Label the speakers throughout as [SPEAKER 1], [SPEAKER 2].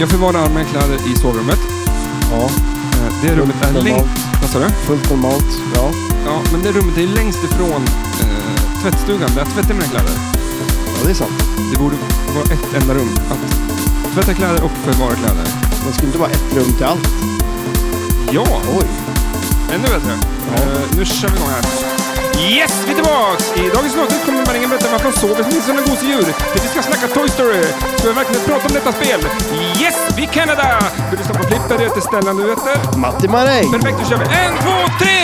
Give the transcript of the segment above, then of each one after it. [SPEAKER 1] Jag förvarar armvinklar i sovrummet.
[SPEAKER 2] Ja,
[SPEAKER 1] Eh, Det rummet är
[SPEAKER 2] Fullt
[SPEAKER 1] längst... Vad sa du?
[SPEAKER 2] fullt normalt. Ja.
[SPEAKER 1] Ja, men det rummet är längst ifrån eh, tvättstugan där jag tvättar mina kläder.
[SPEAKER 2] ja, det är sant.
[SPEAKER 1] Det borde vara ett enda rum att tvätta kläder och förvara kläder.
[SPEAKER 2] Det skulle inte vara ett rum till allt.
[SPEAKER 1] Ja,
[SPEAKER 2] Oj.
[SPEAKER 1] ännu bättre. Eh, nu kör vi igång här. Yes, vi är tillbaks! I dagens avsnitt kommer Maringen berätta varför han sover som inte sådana gosedjur. Hur vi ska snacka Toy Story. Ska vi verkligen prata om detta spel? Yes, vi Canada! Hur du skapar flipper, det är snälla nyheter.
[SPEAKER 2] Matti Maräng!
[SPEAKER 1] Perfekt, då kör vi. En, två, tre!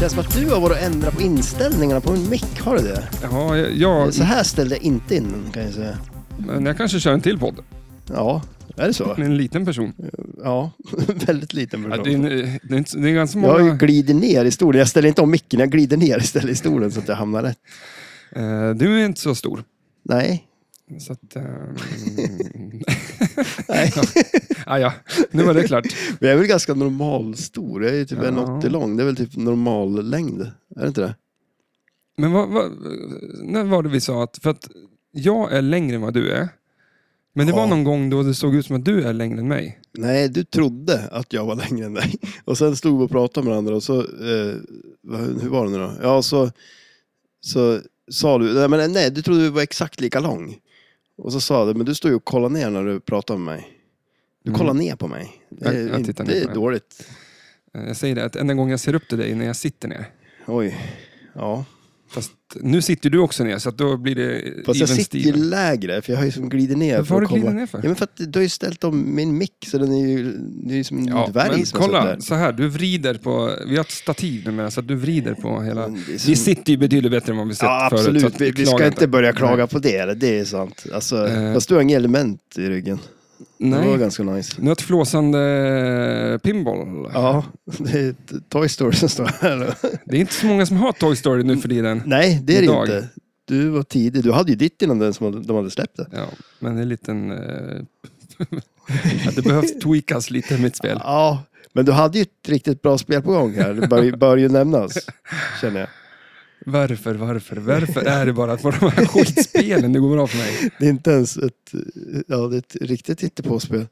[SPEAKER 2] Känns som att du har varit och ändrat på inställningarna på min mick. Har du det?
[SPEAKER 1] Ja, ja,
[SPEAKER 2] Så här ställde jag inte in den, kan jag säga.
[SPEAKER 1] men jag kanske kör en till podd.
[SPEAKER 2] Ja, är det så?
[SPEAKER 1] Med en liten person.
[SPEAKER 2] Ja, väldigt liten
[SPEAKER 1] Mm. Ja,
[SPEAKER 2] version.
[SPEAKER 1] det, är, en- eh, det, är, inte- det är ganska många...
[SPEAKER 2] Jag glider ner i stolen. Jag ställer inte om micken, jag glider ner istället i stolen så att jag hamnar rätt.
[SPEAKER 1] Eh, du är inte så stor.
[SPEAKER 2] Nej.
[SPEAKER 1] Så att, ehm,
[SPEAKER 2] Nej.
[SPEAKER 1] ah, ja, nu var det klart.
[SPEAKER 2] Men jag är väl ganska normalstor. Jag är ju typ
[SPEAKER 1] Ja.
[SPEAKER 2] 1,80 lång. Det är väl typ normal längd. Är det inte det?
[SPEAKER 1] Men vad, vad, när var det vi sa att, för att jag är längre än vad du är. Men det
[SPEAKER 2] Ja.
[SPEAKER 1] var någon gång då det såg ut som att du är längre än mig.
[SPEAKER 2] Nej, du trodde att jag var längre än dig. Och sen stod vi och pratade med varandra och så... Eh, vad- hur var det nu då? Ja, så, så sa du... Nej, men, nej, du trodde vi var exakt lika lång. Och så sa du, men du står ju och kollar ner när du pratar med mig. Du
[SPEAKER 1] Mm.
[SPEAKER 2] kollar ner på mig. Det
[SPEAKER 1] Jag-
[SPEAKER 2] är,
[SPEAKER 1] jag
[SPEAKER 2] inte-
[SPEAKER 1] tittar ner
[SPEAKER 2] det
[SPEAKER 1] på
[SPEAKER 2] är
[SPEAKER 1] dig.
[SPEAKER 2] dåligt.
[SPEAKER 1] Eh, Jag säger det, att enda gång jag ser upp till dig är när jag sitter ner.
[SPEAKER 2] Oj. Ja.
[SPEAKER 1] Fast nu sitter du också ner, så att då blir det
[SPEAKER 2] Fast jag
[SPEAKER 1] even
[SPEAKER 2] sitter ju
[SPEAKER 1] steven.
[SPEAKER 2] lägre, för jag har ju som glider ner.
[SPEAKER 1] Varför
[SPEAKER 2] för
[SPEAKER 1] har du
[SPEAKER 2] att kolla.
[SPEAKER 1] glidit ner för?
[SPEAKER 2] Ja, men för att du har ju ställt om min mick, så den är ju, det är ju som en
[SPEAKER 1] Ja,
[SPEAKER 2] dvärg
[SPEAKER 1] men
[SPEAKER 2] som har
[SPEAKER 1] kolla,
[SPEAKER 2] suttit
[SPEAKER 1] så här, du vrider på, vi har ett stativ numera, så att du vrider på hela...
[SPEAKER 2] Men det är
[SPEAKER 1] Vi
[SPEAKER 2] som-
[SPEAKER 1] sitter ju betydligt bättre än vad vi sett
[SPEAKER 2] Ja,
[SPEAKER 1] förut.
[SPEAKER 2] absolut.
[SPEAKER 1] så att
[SPEAKER 2] vi, vi ska
[SPEAKER 1] klaga
[SPEAKER 2] inte börja klaga på det, eller? det är sant. Alltså,
[SPEAKER 1] Eh.
[SPEAKER 2] Fast du har inget element i ryggen.
[SPEAKER 1] Nej.
[SPEAKER 2] Det var
[SPEAKER 1] Nej.
[SPEAKER 2] ganska nice.
[SPEAKER 1] Nu har ett flåsande pinball.
[SPEAKER 2] Ja, det är ett Toy Story som står här.
[SPEAKER 1] Det är inte så många som har Toy Story
[SPEAKER 2] Mm.
[SPEAKER 1] nu för tiden.
[SPEAKER 2] Nej, det är det
[SPEAKER 1] Idag.
[SPEAKER 2] inte. Du var tidig. Du hade ju ditt innan den som hade- de hade släppt det.
[SPEAKER 1] Ja, men det är en liten... eh, att det behövs tweakas lite i mitt spel.
[SPEAKER 2] Ja, men du hade ju ett riktigt bra spel på gång här. Det bör, ju- bör ju nämnas, känner jag.
[SPEAKER 1] Varför, varför, varför är det bara på de här skitspelen det går bra för mig?
[SPEAKER 2] Det är inte ens ett, ja, det är ett riktigt hittepåspel.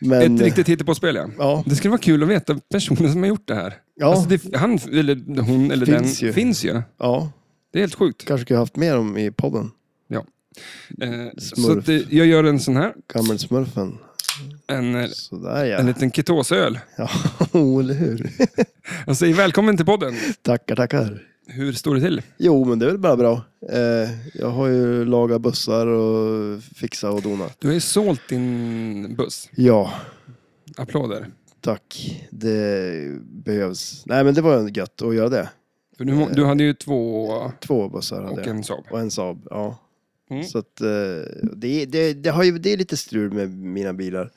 [SPEAKER 2] Men,
[SPEAKER 1] Ett riktigt hittepåspel, ja.
[SPEAKER 2] Ja,
[SPEAKER 1] Det skulle vara kul att veta personen som har gjort det här.
[SPEAKER 2] Ja.
[SPEAKER 1] Alltså det, han, eller hon, eller
[SPEAKER 2] Finns
[SPEAKER 1] den
[SPEAKER 2] ju.
[SPEAKER 1] finns ju.
[SPEAKER 2] ja,
[SPEAKER 1] Det är helt sjukt.
[SPEAKER 2] kanske skulle jag haft med dem i podden.
[SPEAKER 1] Eh,
[SPEAKER 2] Smurf.
[SPEAKER 1] så att, eh, jag gör en sån här,
[SPEAKER 2] Gammelsmurfen.
[SPEAKER 1] en, eh,
[SPEAKER 2] Sådär ja.
[SPEAKER 1] en liten ketosöl.
[SPEAKER 2] Ja, oh, eller hur?
[SPEAKER 1] Jag säger välkommen till podden.
[SPEAKER 2] tackar, tackar.
[SPEAKER 1] Hur står det till?
[SPEAKER 2] Jo, men det är väl bara bra. Eh, jag har ju lagat bussar och fixat och donat.
[SPEAKER 1] Du har ju sålt din buss.
[SPEAKER 2] Ja,
[SPEAKER 1] Applåder.
[SPEAKER 2] tack. Det behövs. Nej, men det var ju gött att göra det.
[SPEAKER 1] För du, må- du hade ju två
[SPEAKER 2] Två bussar hade
[SPEAKER 1] och
[SPEAKER 2] jag.
[SPEAKER 1] en Saab.
[SPEAKER 2] Och en Saab, ja.
[SPEAKER 1] Mm.
[SPEAKER 2] Så att eh, det, det, det, har ju, det är lite strul med mina bilar.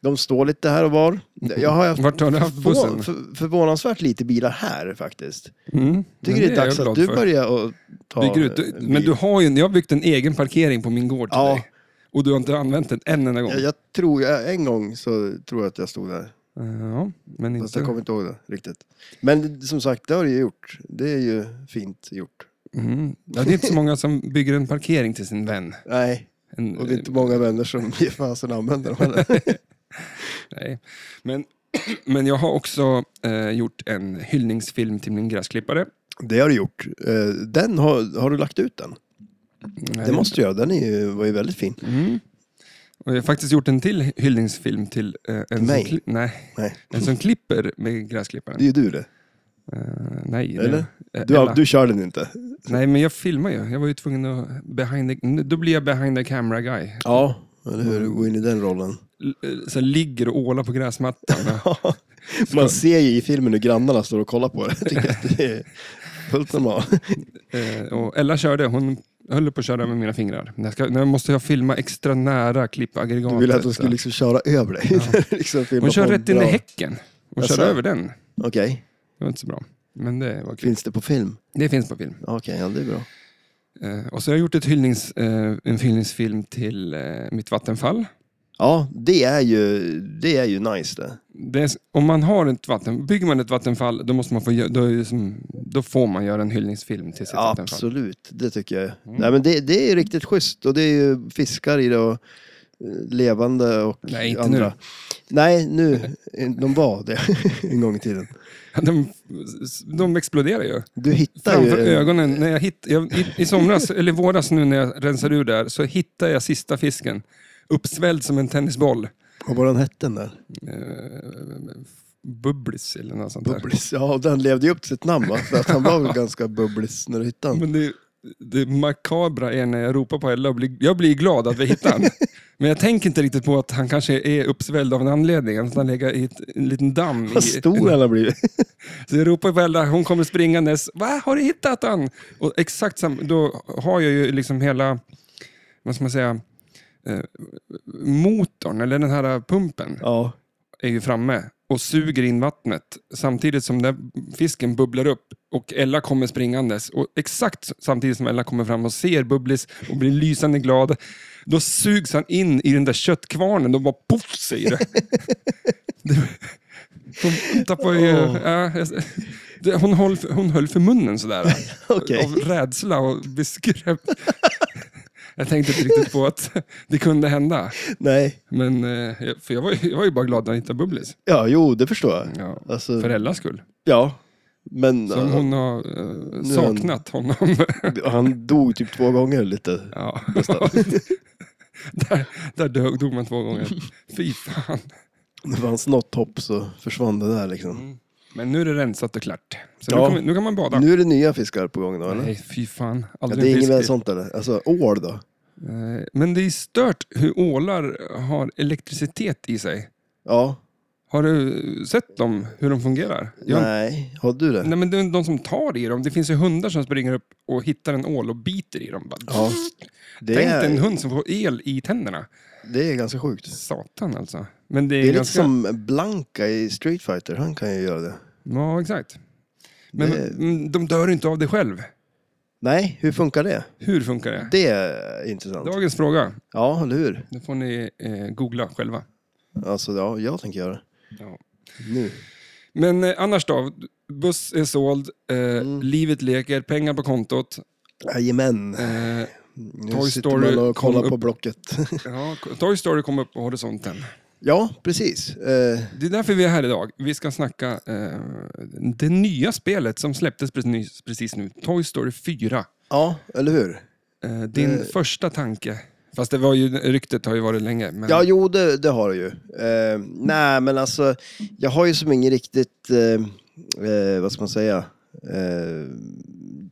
[SPEAKER 2] De står lite här och var. Jag har haft
[SPEAKER 1] Vart har du haft bussen?
[SPEAKER 2] förvån, för, förvånansvärt lite bilar här faktiskt.
[SPEAKER 1] Mm.
[SPEAKER 2] Tycker
[SPEAKER 1] Men
[SPEAKER 2] det
[SPEAKER 1] jag
[SPEAKER 2] är dags att
[SPEAKER 1] glad
[SPEAKER 2] du
[SPEAKER 1] för.
[SPEAKER 2] börjar och ta
[SPEAKER 1] Bygger ut.
[SPEAKER 2] en
[SPEAKER 1] Du,
[SPEAKER 2] bil.
[SPEAKER 1] men du har ju, en- jag har byggt en egen parkering på min gård till
[SPEAKER 2] Ja.
[SPEAKER 1] dig. Och du har inte använt den en enda gång.
[SPEAKER 2] Jag, jag tror, jag, en gång så tror jag att jag stod där.
[SPEAKER 1] Eh, Ja, men
[SPEAKER 2] Fast
[SPEAKER 1] inte...
[SPEAKER 2] jag kommer inte ihåg det riktigt. Men som sagt, det har du ju gjort. Det är ju fint gjort.
[SPEAKER 1] Mm. Ja, det är inte så många som bygger en parkering till sin vän.
[SPEAKER 2] Nej,
[SPEAKER 1] En,
[SPEAKER 2] och det är inte många vänner som ger fasen använder dem heller.
[SPEAKER 1] Nej. Men, men jag har också eh, gjort en hyllningsfilm till min gräsklippare.
[SPEAKER 2] Det har du gjort. Eh, Den har, har du lagt ut den? Det måste du göra. Den är ju, var ju väldigt fin.
[SPEAKER 1] Mm. Eh, Och jag har faktiskt gjort en till hyllningsfilm till eh, en, som
[SPEAKER 2] mig?
[SPEAKER 1] kli- nej,
[SPEAKER 2] Nej,
[SPEAKER 1] en som klipper med
[SPEAKER 2] det
[SPEAKER 1] gräsklipparen.
[SPEAKER 2] är ju du det.
[SPEAKER 1] Eh, nej, det-
[SPEAKER 2] Eller?
[SPEAKER 1] eh,
[SPEAKER 2] Du, har,
[SPEAKER 1] Ella.
[SPEAKER 2] du kör den inte.
[SPEAKER 1] Nej, men jag filmar ju. Jag var ju tvungen att... Behind the, då blir jag behind the camera guy.
[SPEAKER 2] Ja. Eller hur?
[SPEAKER 1] Mm.
[SPEAKER 2] Gå in i den rollen.
[SPEAKER 1] L- eh, Så jag ligger och ålar på gräsmattan.
[SPEAKER 2] Man ser ju i filmen hur grannarna står och kollar på det. Jag tycker att det är fullt normalt.
[SPEAKER 1] Eh, och Ella körde. Hon höll på att köra med mina fingrar. När jag, ska, när jag måste jag filma extra nära klippaggregatet.
[SPEAKER 2] Du ville att de
[SPEAKER 1] så.
[SPEAKER 2] skulle liksom köra över dig. liksom filma
[SPEAKER 1] Hon kör
[SPEAKER 2] på en
[SPEAKER 1] rätt in i
[SPEAKER 2] bra-
[SPEAKER 1] häcken. Hon
[SPEAKER 2] Jaså?
[SPEAKER 1] körde över den.
[SPEAKER 2] Okej.
[SPEAKER 1] Det var inte så bra. Men det var kul.
[SPEAKER 2] Finns det på film?
[SPEAKER 1] Det finns på film.
[SPEAKER 2] Okej, ja det är bra.
[SPEAKER 1] Eh, och så har jag gjort ett hyllnings, eh, en hyllningsfilm till eh, Mitt vattenfall.
[SPEAKER 2] Ja, det är ju, det är ju nice det.
[SPEAKER 1] Det är, s- om man har ett vatten, bygger man ett vattenfall, då, måste man få, gö- då, är det som, då får man göra en hyllningsfilm till sitt vattenfall.
[SPEAKER 2] Absolut, det tycker jag.
[SPEAKER 1] Mm.
[SPEAKER 2] Nej, men det, det är ju riktigt schysst och det är ju fiskar i det och eh, levande och
[SPEAKER 1] Nej, inte
[SPEAKER 2] andra.
[SPEAKER 1] nu.
[SPEAKER 2] Nej, nu. De var det en gång i tiden.
[SPEAKER 1] De, de exploderar ju.
[SPEAKER 2] Du hittar
[SPEAKER 1] Framför
[SPEAKER 2] ju...
[SPEAKER 1] ögonen. När jag hitt, jag, i, I somras, eller i våras nu när jag rensar ur där, så hittade jag sista fisken. Uppsvälld som en tennisboll. Eh,
[SPEAKER 2] Vad var den hette den där?
[SPEAKER 1] Bubblis eller något sånt där.
[SPEAKER 2] Bubblis. Ja, och den levde ju upp till sitt namn va? För att han var väl ganska bubblis när du hittade den.
[SPEAKER 1] Men det, det makabra är när jag ropar på Ella, och blir, jag blir glad att vi hittar honom. Men jag tänker inte riktigt på att han kanske är uppsvälld av en anledning. Att han ligger i ett, en liten damm.
[SPEAKER 2] Vad
[SPEAKER 1] I,
[SPEAKER 2] stor han har blivit.
[SPEAKER 1] så jag ropar på Ella, hon kommer springandes. Va, har du hittat han? Och exakt sam, då har jag ju liksom hela, vad ska man säga, eh, motorn, eller den här pumpen,
[SPEAKER 2] Ja.
[SPEAKER 1] är ju framme och suger in vattnet samtidigt som den fisken bubblar upp och Ella kommer springandes. Och exakt samtidigt som Ella kommer fram och ser Bubblis och blir lysande glad, då sugs han in i den där köttkvarnen och bara poff säger det. Det- Hon tappar ju...
[SPEAKER 2] Åh.
[SPEAKER 1] ja, jag- det- hon, höll, för- hon höll för munnen sådär.
[SPEAKER 2] Okej.
[SPEAKER 1] Av rädsla och blev skrämd. Jag tänkte inte riktigt på att det kunde hända.
[SPEAKER 2] Nej.
[SPEAKER 1] Men, eh, jag- för jag var, ju- jag var ju bara glad när jag hittade Bubblis.
[SPEAKER 2] Ja, jo, det förstår jag.
[SPEAKER 1] Ja.
[SPEAKER 2] Alltså,
[SPEAKER 1] För Ellas skull.
[SPEAKER 2] ja. Men
[SPEAKER 1] Som
[SPEAKER 2] ja,
[SPEAKER 1] hon har eh,
[SPEAKER 2] är han-
[SPEAKER 1] saknat honom.
[SPEAKER 2] han dog typ två gånger lite.
[SPEAKER 1] ja.
[SPEAKER 2] Nästan.
[SPEAKER 1] där där dog, dog man två gånger. Fy fan.
[SPEAKER 2] Det fanns något hopp så försvann det där liksom.
[SPEAKER 1] Mm. Men nu är det rensat och klart. Så
[SPEAKER 2] Ja.
[SPEAKER 1] nu, kommer, nu kan man bada.
[SPEAKER 2] Nu är det nya fiskar på gång då eller?
[SPEAKER 1] Nej, fy fan.
[SPEAKER 2] Ja,
[SPEAKER 1] Aldrig
[SPEAKER 2] det
[SPEAKER 1] en
[SPEAKER 2] är inget
[SPEAKER 1] fisk
[SPEAKER 2] mer
[SPEAKER 1] till.
[SPEAKER 2] sånt eller? Alltså ål då?
[SPEAKER 1] Eh, Men det är stört hur ålar har elektricitet i sig.
[SPEAKER 2] Ja.
[SPEAKER 1] Har du sett dem, hur de fungerar? Jag-
[SPEAKER 2] Nej, har du det?
[SPEAKER 1] Nej, men det är de som tar i dem. Det finns ju hundar som springer upp och hittar en ål och biter i dem. Bara,
[SPEAKER 2] Ja. Det
[SPEAKER 1] Tänk dig en
[SPEAKER 2] är,
[SPEAKER 1] hund som får el i tänderna.
[SPEAKER 2] det är ganska sjukt.
[SPEAKER 1] Satan alltså. Men det är,
[SPEAKER 2] Det är lite
[SPEAKER 1] ganska...
[SPEAKER 2] som Blanka i Street Fighter, han kan ju göra det.
[SPEAKER 1] Ja, exakt. Men
[SPEAKER 2] Det-
[SPEAKER 1] mm, de dör inte av det själv.
[SPEAKER 2] Nej, hur funkar det?
[SPEAKER 1] Hur funkar det?
[SPEAKER 2] Det är intressant.
[SPEAKER 1] Dagens fråga.
[SPEAKER 2] Ja, eller hur?
[SPEAKER 1] Det får ni eh, googla själva.
[SPEAKER 2] Alltså, ja, jag tänker göra det.
[SPEAKER 1] Ja.
[SPEAKER 2] Nu.
[SPEAKER 1] Men eh, annars då? Buss är såld, eh,
[SPEAKER 2] Mm.
[SPEAKER 1] livet leker, pengar på kontot.
[SPEAKER 2] Jajamän.
[SPEAKER 1] Eh,
[SPEAKER 2] Nu
[SPEAKER 1] Toy
[SPEAKER 2] sitter
[SPEAKER 1] Story
[SPEAKER 2] man och
[SPEAKER 1] kom
[SPEAKER 2] kollar på
[SPEAKER 1] upp.
[SPEAKER 2] Blocket.
[SPEAKER 1] ja, Toy Story kom upp på horisonten.
[SPEAKER 2] ja, precis. Eh,
[SPEAKER 1] Det är därför vi är här idag. Vi ska snacka eh, det nya spelet som släpptes precis, precis nu. Toy Story 4.
[SPEAKER 2] ja, eller hur?
[SPEAKER 1] Eh, din första tanke. Fast det var ju, ryktet har ju varit länge. Men...
[SPEAKER 2] Ja, jo, det, det har det ju. Eh, nej, men alltså, jag har ju som ingen riktigt, eh, eh, vad ska man säga, eh,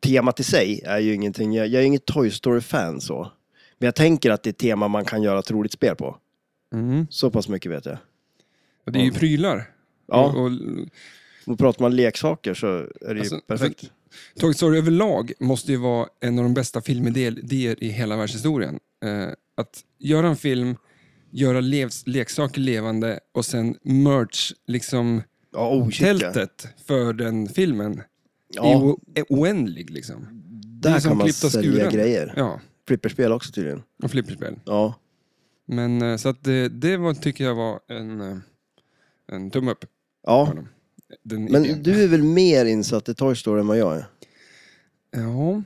[SPEAKER 2] temat i sig är ju ingenting, jag, jag är inget Toy Story-fan så. Men jag tänker att det är ett tema man kan göra ett roligt spel på.
[SPEAKER 1] Mm.
[SPEAKER 2] Så pass mycket vet jag.
[SPEAKER 1] Och Det är ju prylar.
[SPEAKER 2] Ja.
[SPEAKER 1] Och, och,
[SPEAKER 2] Och pratar man leksaker så är det ju
[SPEAKER 1] Alltså,
[SPEAKER 2] perfekt.
[SPEAKER 1] Toy Story överlag måste ju vara en av de bästa filmidéer i hela världshistorien. Eh, att göra en film, göra levs, leksaker levande och sen merch, liksom
[SPEAKER 2] Ja, oh, shit, ja.
[SPEAKER 1] tältet för den filmen är
[SPEAKER 2] ja,
[SPEAKER 1] o- är oändlig. Liksom.
[SPEAKER 2] där
[SPEAKER 1] som
[SPEAKER 2] kan man
[SPEAKER 1] klippta
[SPEAKER 2] sälja
[SPEAKER 1] skuren.
[SPEAKER 2] grejer.
[SPEAKER 1] Ja,
[SPEAKER 2] Flipperspel också tydligen.
[SPEAKER 1] och flipperspel.
[SPEAKER 2] Ja,
[SPEAKER 1] Men eh, så att det, det var, tycker jag var en, eh, en tumme upp.
[SPEAKER 2] ja.
[SPEAKER 1] Den idén.
[SPEAKER 2] men du är väl mer insatt i Toy Story än vad jag är?
[SPEAKER 1] Ja.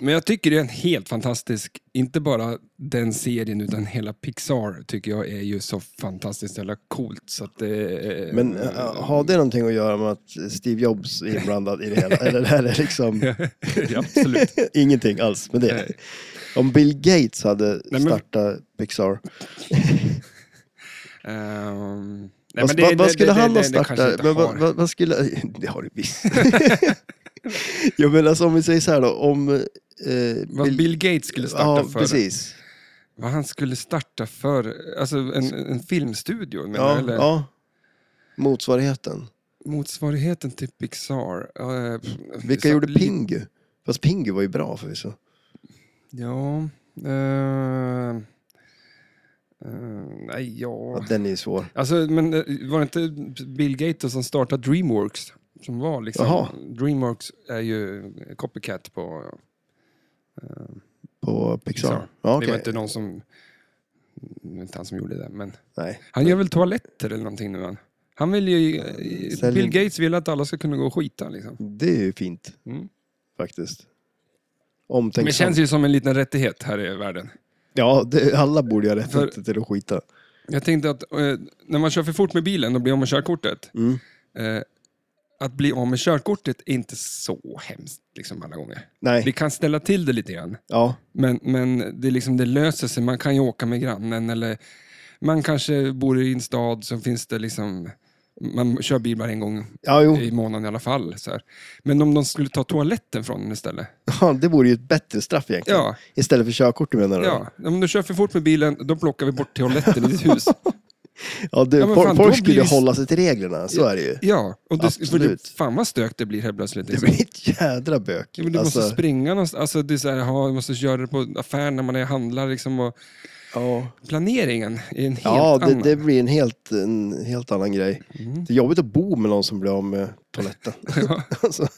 [SPEAKER 1] Men jag tycker det är en helt fantastisk, inte bara den serien utan hela Pixar tycker jag är ju så fantastiskt jävla coolt. Så att det, eh,
[SPEAKER 2] Men eh, har det någonting att göra med att Steve Jobs är inblandad i det hela? Eller är det liksom
[SPEAKER 1] ja, absolut.
[SPEAKER 2] ingenting alls med det?
[SPEAKER 1] Nej.
[SPEAKER 2] Om Bill Gates hade
[SPEAKER 1] men-
[SPEAKER 2] startat Pixar,
[SPEAKER 1] Ehm, nej,
[SPEAKER 2] vad,
[SPEAKER 1] men det-
[SPEAKER 2] vad, vad
[SPEAKER 1] det-
[SPEAKER 2] skulle
[SPEAKER 1] det-
[SPEAKER 2] han
[SPEAKER 1] det-
[SPEAKER 2] ha
[SPEAKER 1] det kanske jag
[SPEAKER 2] startat?
[SPEAKER 1] inte
[SPEAKER 2] Men vad,
[SPEAKER 1] har.
[SPEAKER 2] vad, vad skulle... Det har du visst. Jag menar alltså, om vi säger så här då, om... Eh,
[SPEAKER 1] Vad Bill, Gates skulle starta
[SPEAKER 2] ja,
[SPEAKER 1] för.
[SPEAKER 2] precis.
[SPEAKER 1] Vad han skulle starta för. Alltså en, en filmstudio menar du,
[SPEAKER 2] Ja,
[SPEAKER 1] eller
[SPEAKER 2] ja. Motsvarigheten.
[SPEAKER 1] motsvarigheten till Pixar. Eh, så-
[SPEAKER 2] Vilka gjorde Pingu? Fast Pingu var ju bra förvisso.
[SPEAKER 1] Ja. eh, eh, nej, ja.
[SPEAKER 2] Ja, den är ju svår.
[SPEAKER 1] Alltså, men eh, var det inte Bill Gates som startade Dreamworks? Som var liksom...
[SPEAKER 2] Jaha.
[SPEAKER 1] Dreamworks är ju copycat på
[SPEAKER 2] På Pixar?
[SPEAKER 1] Pixar.
[SPEAKER 2] Ja,
[SPEAKER 1] Det var
[SPEAKER 2] okej.
[SPEAKER 1] inte någon som... Det var inte han som gjorde det, men...
[SPEAKER 2] Nej.
[SPEAKER 1] Han gör väl toaletter eller någonting nu han. Han vill ju... eh,
[SPEAKER 2] Sälj-
[SPEAKER 1] Bill Gates vill att alla ska kunna gå och skita liksom.
[SPEAKER 2] Det är ju fint,
[SPEAKER 1] Mm.
[SPEAKER 2] faktiskt.
[SPEAKER 1] Men det
[SPEAKER 2] Omtänksamt.
[SPEAKER 1] känns ju som en liten rättighet här i världen.
[SPEAKER 2] Ja, det, alla borde ju ha rätt
[SPEAKER 1] För-
[SPEAKER 2] till att skita.
[SPEAKER 1] Jag tänkte att eh, när man kör för fort med bilen och blir av med körkortet.
[SPEAKER 2] Mm.
[SPEAKER 1] Eh, att bli av med körkortet är inte så hemskt liksom, alla gånger.
[SPEAKER 2] Nej,
[SPEAKER 1] Det kan ställa till det lite grann.
[SPEAKER 2] ja.
[SPEAKER 1] Men, men det, är liksom, det löser sig. Man kan ju åka med grannen eller man kanske bor i en stad så finns det liksom... Man kör bil bara en gång
[SPEAKER 2] Ja, jo.
[SPEAKER 1] i månaden i alla fall. Så här. Men om de skulle ta toaletten från den istället.
[SPEAKER 2] Ja, det vore ju ett bättre straff egentligen.
[SPEAKER 1] Ja,
[SPEAKER 2] Istället för körkort menar du?
[SPEAKER 1] ja. Om du kör för fort med bilen, då plockar vi bort toaletten i ditt hus.
[SPEAKER 2] ja, det,
[SPEAKER 1] Ja, men
[SPEAKER 2] fol-
[SPEAKER 1] fan,
[SPEAKER 2] folk
[SPEAKER 1] då blir
[SPEAKER 2] skulle
[SPEAKER 1] det-
[SPEAKER 2] hålla sig till reglerna, så är det ju.
[SPEAKER 1] Ja, och det, för
[SPEAKER 2] Absolut.
[SPEAKER 1] det, fan vad stök det blir här plötsligt.
[SPEAKER 2] Det
[SPEAKER 1] Liksom.
[SPEAKER 2] blir ett jädra bök.
[SPEAKER 1] Ja, men du måste springa någonstans. Alltså, det är så här, ja, du måste göra det på affären när man är handlar. Liksom, och
[SPEAKER 2] ja.
[SPEAKER 1] planeringen är en helt
[SPEAKER 2] Ja, det,
[SPEAKER 1] annan.
[SPEAKER 2] det blir en helt, en helt annan grej.
[SPEAKER 1] Mm.
[SPEAKER 2] Det är jobbigt att bo med någon som blir av med toaletten.
[SPEAKER 1] Ja.
[SPEAKER 2] alltså,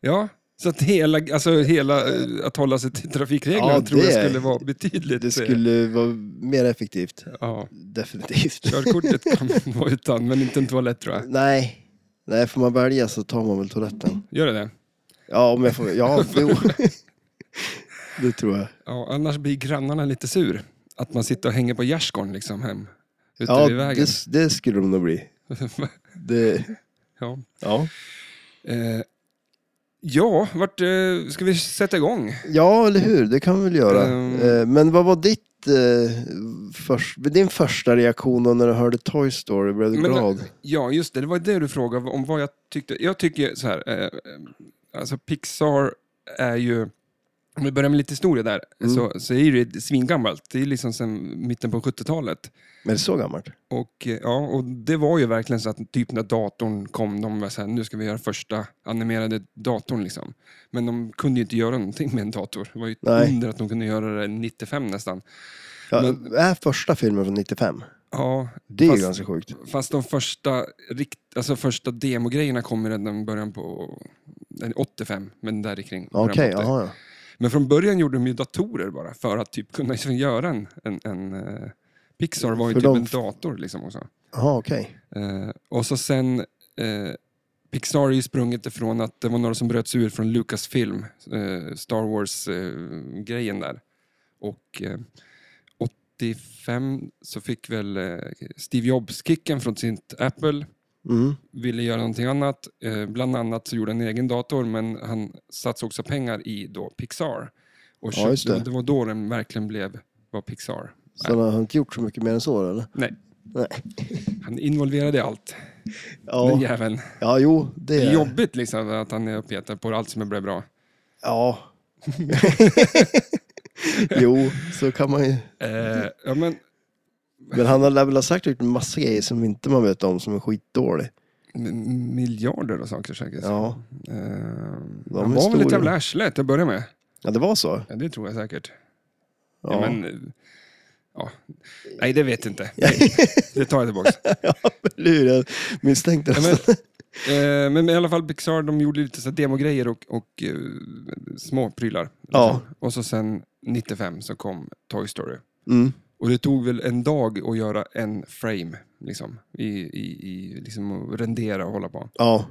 [SPEAKER 1] Ja, så att hela, alltså, hela eh, att hålla sig till trafikreglerna
[SPEAKER 2] Ja,
[SPEAKER 1] tror
[SPEAKER 2] det-
[SPEAKER 1] jag skulle vara betydligt...
[SPEAKER 2] det
[SPEAKER 1] eh,
[SPEAKER 2] skulle vara mer effektivt.
[SPEAKER 1] Ja,
[SPEAKER 2] Definitivt.
[SPEAKER 1] körkortet kan man vara utan, men inte en toalett tror jag.
[SPEAKER 2] Nej. Nej, får man välja så tar man väl toaletten.
[SPEAKER 1] Gör det det?
[SPEAKER 2] Ja, om jag får... Ja, jo. det tror jag.
[SPEAKER 1] Ja, annars blir grannarna lite sur. Att man sitter och hänger på gärdsgården liksom hem. Ute
[SPEAKER 2] Ja,
[SPEAKER 1] vid vägen.
[SPEAKER 2] det, det skulle de nog bli. Det,
[SPEAKER 1] ja.
[SPEAKER 2] ja.
[SPEAKER 1] Eh, ja, vart eh, ska vi sätta igång?
[SPEAKER 2] ja, eller hur? Det kan vi väl göra.
[SPEAKER 1] Ehm.
[SPEAKER 2] Eh, Men vad var ditt... eh, Först, din första reaktion då när du hörde Toy Story? Blev du
[SPEAKER 1] Men-
[SPEAKER 2] glad?
[SPEAKER 1] Ja, just det. Det var det du frågade om vad jag tyckte. Jag tycker så här, eh, alltså Pixar är ju, om vi börjar med lite historia där,
[SPEAKER 2] Mm.
[SPEAKER 1] så, så är det svingammalt. Det är liksom sedan mitten på 70-talet.
[SPEAKER 2] Men det är så gammalt?
[SPEAKER 1] Och, eh, ja, och det var ju verkligen så att typ när datorn kom, de var så här, nu ska vi göra första animerade datorn liksom. Men de kunde ju inte göra någonting med en dator. Det var ju ett
[SPEAKER 2] Nej.
[SPEAKER 1] under att de kunde göra det 95 nästan.
[SPEAKER 2] Ja,
[SPEAKER 1] Men-
[SPEAKER 2] Är första filmen från 95?
[SPEAKER 1] Ja,
[SPEAKER 2] Det är ju
[SPEAKER 1] Fast-
[SPEAKER 2] ganska sjukt.
[SPEAKER 1] Fast de första, rikt, alltså första demogrejerna kom ju redan i början på eller 85, men där i kring. början på
[SPEAKER 2] Okej,
[SPEAKER 1] 80.
[SPEAKER 2] jaha ja.
[SPEAKER 1] Men från början gjorde de ju datorer bara för att typ kunna liksom göra en, en, en eh, Pixar var ju
[SPEAKER 2] För
[SPEAKER 1] typ
[SPEAKER 2] de-
[SPEAKER 1] en dator liksom också.
[SPEAKER 2] Jaha, okej.
[SPEAKER 1] Eh, och så sen, eh, Pixar är ju sprunget ifrån att det var några som bröt sig ur från Lucasfilm, eh, Star Wars-grejen där. Och eh, 85 så fick väl eh, Steve Jobs kicken från sitt Apple,
[SPEAKER 2] Mm.
[SPEAKER 1] ville göra någonting annat. Eh, bland annat så gjorde han en egen dator, men han satsade också pengar i då Pixar. Och
[SPEAKER 2] Ja, just
[SPEAKER 1] köpte-
[SPEAKER 2] det.
[SPEAKER 1] det var då den verkligen blev vad Pixar.
[SPEAKER 2] Så han har inte gjort så mycket mer än så eller?
[SPEAKER 1] Nej,
[SPEAKER 2] Nej.
[SPEAKER 1] han involverade i allt, den
[SPEAKER 2] Ja,
[SPEAKER 1] jäveln.
[SPEAKER 2] ja jo, det
[SPEAKER 1] Det är
[SPEAKER 2] är...
[SPEAKER 1] jobbigt liksom att han är och petar på allt som blev bra.
[SPEAKER 2] Ja. jo, så kan man ju.
[SPEAKER 1] Eh, ja, men,
[SPEAKER 2] Men han har lär väl ha sagt en massa grejer som inte man vet om som är skitdålig.
[SPEAKER 1] m- miljarder och saker säkert.
[SPEAKER 2] Ja,
[SPEAKER 1] Eh,
[SPEAKER 2] är
[SPEAKER 1] han var väl ett
[SPEAKER 2] stora.
[SPEAKER 1] jävla arsle till att börja med.
[SPEAKER 2] ja det var så.
[SPEAKER 1] Ja, det tror jag säkert. Ja.
[SPEAKER 2] Ja.
[SPEAKER 1] men, eh, ja. Nej, det vet jag inte. Nej, det tar jag tillbaka.
[SPEAKER 2] Eller hur? Jag misstänkte
[SPEAKER 1] Ja,
[SPEAKER 2] nästan.
[SPEAKER 1] men, eh, men i alla fall Pixar, de gjorde lite så här demogrejer och, och eh, små prylar. liksom.
[SPEAKER 2] Ja.
[SPEAKER 1] Och så sen 95 så kom Toy Story.
[SPEAKER 2] Mm.
[SPEAKER 1] Och det tog väl en dag att göra en frame, liksom. I, i, i, liksom att rendera och hålla på. Mm,
[SPEAKER 2] Ja.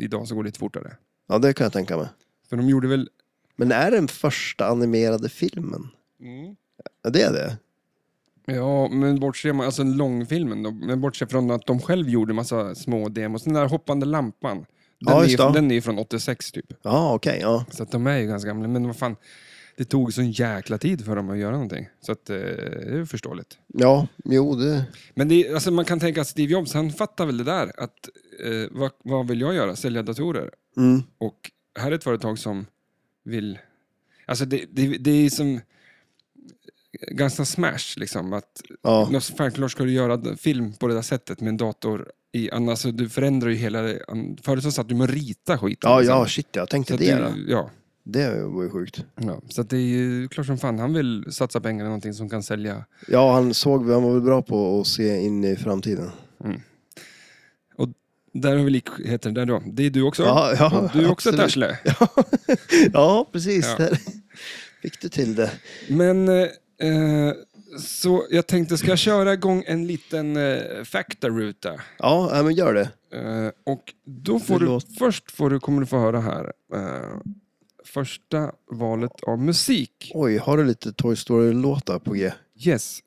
[SPEAKER 1] Idag så går det lite fortare.
[SPEAKER 2] ja, det kan jag tänka mig.
[SPEAKER 1] För de gjorde väl...
[SPEAKER 2] Men är den första animerade filmen? Ja, det är det.
[SPEAKER 1] Ja, men bortse man, alltså långfilmen då, men bortse från att de själv gjorde massa små demos. Den där hoppande lampan, den,
[SPEAKER 2] Ja,
[SPEAKER 1] är,
[SPEAKER 2] just
[SPEAKER 1] ju-
[SPEAKER 2] det.
[SPEAKER 1] den är ju från 86 typ.
[SPEAKER 2] Ja, okej. ja.
[SPEAKER 1] Så att de är ju ganska gamla, men vad fan. Det tog sån jäkla tid för dem att göra någonting. Så att eh, det är ju förståeligt.
[SPEAKER 2] ja, jo det...
[SPEAKER 1] Men det, är- alltså man kan tänka att Steve Jobs, han fattar väl det där att eh, vad, vad vill jag göra? Sälja datorer.
[SPEAKER 2] Mm.
[SPEAKER 1] Och här är ett företag som vill... Alltså det, det, det är som ganska smash liksom. Att
[SPEAKER 2] Ja.
[SPEAKER 1] ja. självklart ska du göra film på det där sättet med en dator. I, annars, så du förändrar ju hela... det. Förut så satt du med att rita skiten.
[SPEAKER 2] Ja,
[SPEAKER 1] liksom.
[SPEAKER 2] ja, shit jag tänkte
[SPEAKER 1] så att
[SPEAKER 2] det.
[SPEAKER 1] det,
[SPEAKER 2] då.
[SPEAKER 1] ja.
[SPEAKER 2] Det var ju sjukt.
[SPEAKER 1] Ja, så att det är ju klart som fan han vill satsa pengar i någonting som kan sälja.
[SPEAKER 2] Ja, han såg, han var väl bra på att se in i framtiden.
[SPEAKER 1] Där har vi likheter. Där då. Det är du också.
[SPEAKER 2] Ja, ja,
[SPEAKER 1] du är också ett
[SPEAKER 2] absolut.
[SPEAKER 1] arsle.
[SPEAKER 2] Ja, precis.
[SPEAKER 1] Ja.
[SPEAKER 2] Där fick du till det.
[SPEAKER 1] Men eh, eh, så jag tänkte, ska jag köra igång en liten eh, faktaruta?
[SPEAKER 2] Ja, ja, men gör det.
[SPEAKER 1] Eh, och då får
[SPEAKER 2] Det
[SPEAKER 1] du,
[SPEAKER 2] låter-
[SPEAKER 1] först får du, kommer du få höra här, eh, första valet av musik.
[SPEAKER 2] Oj, har du lite Toy Story-låtar på G?
[SPEAKER 1] Yes.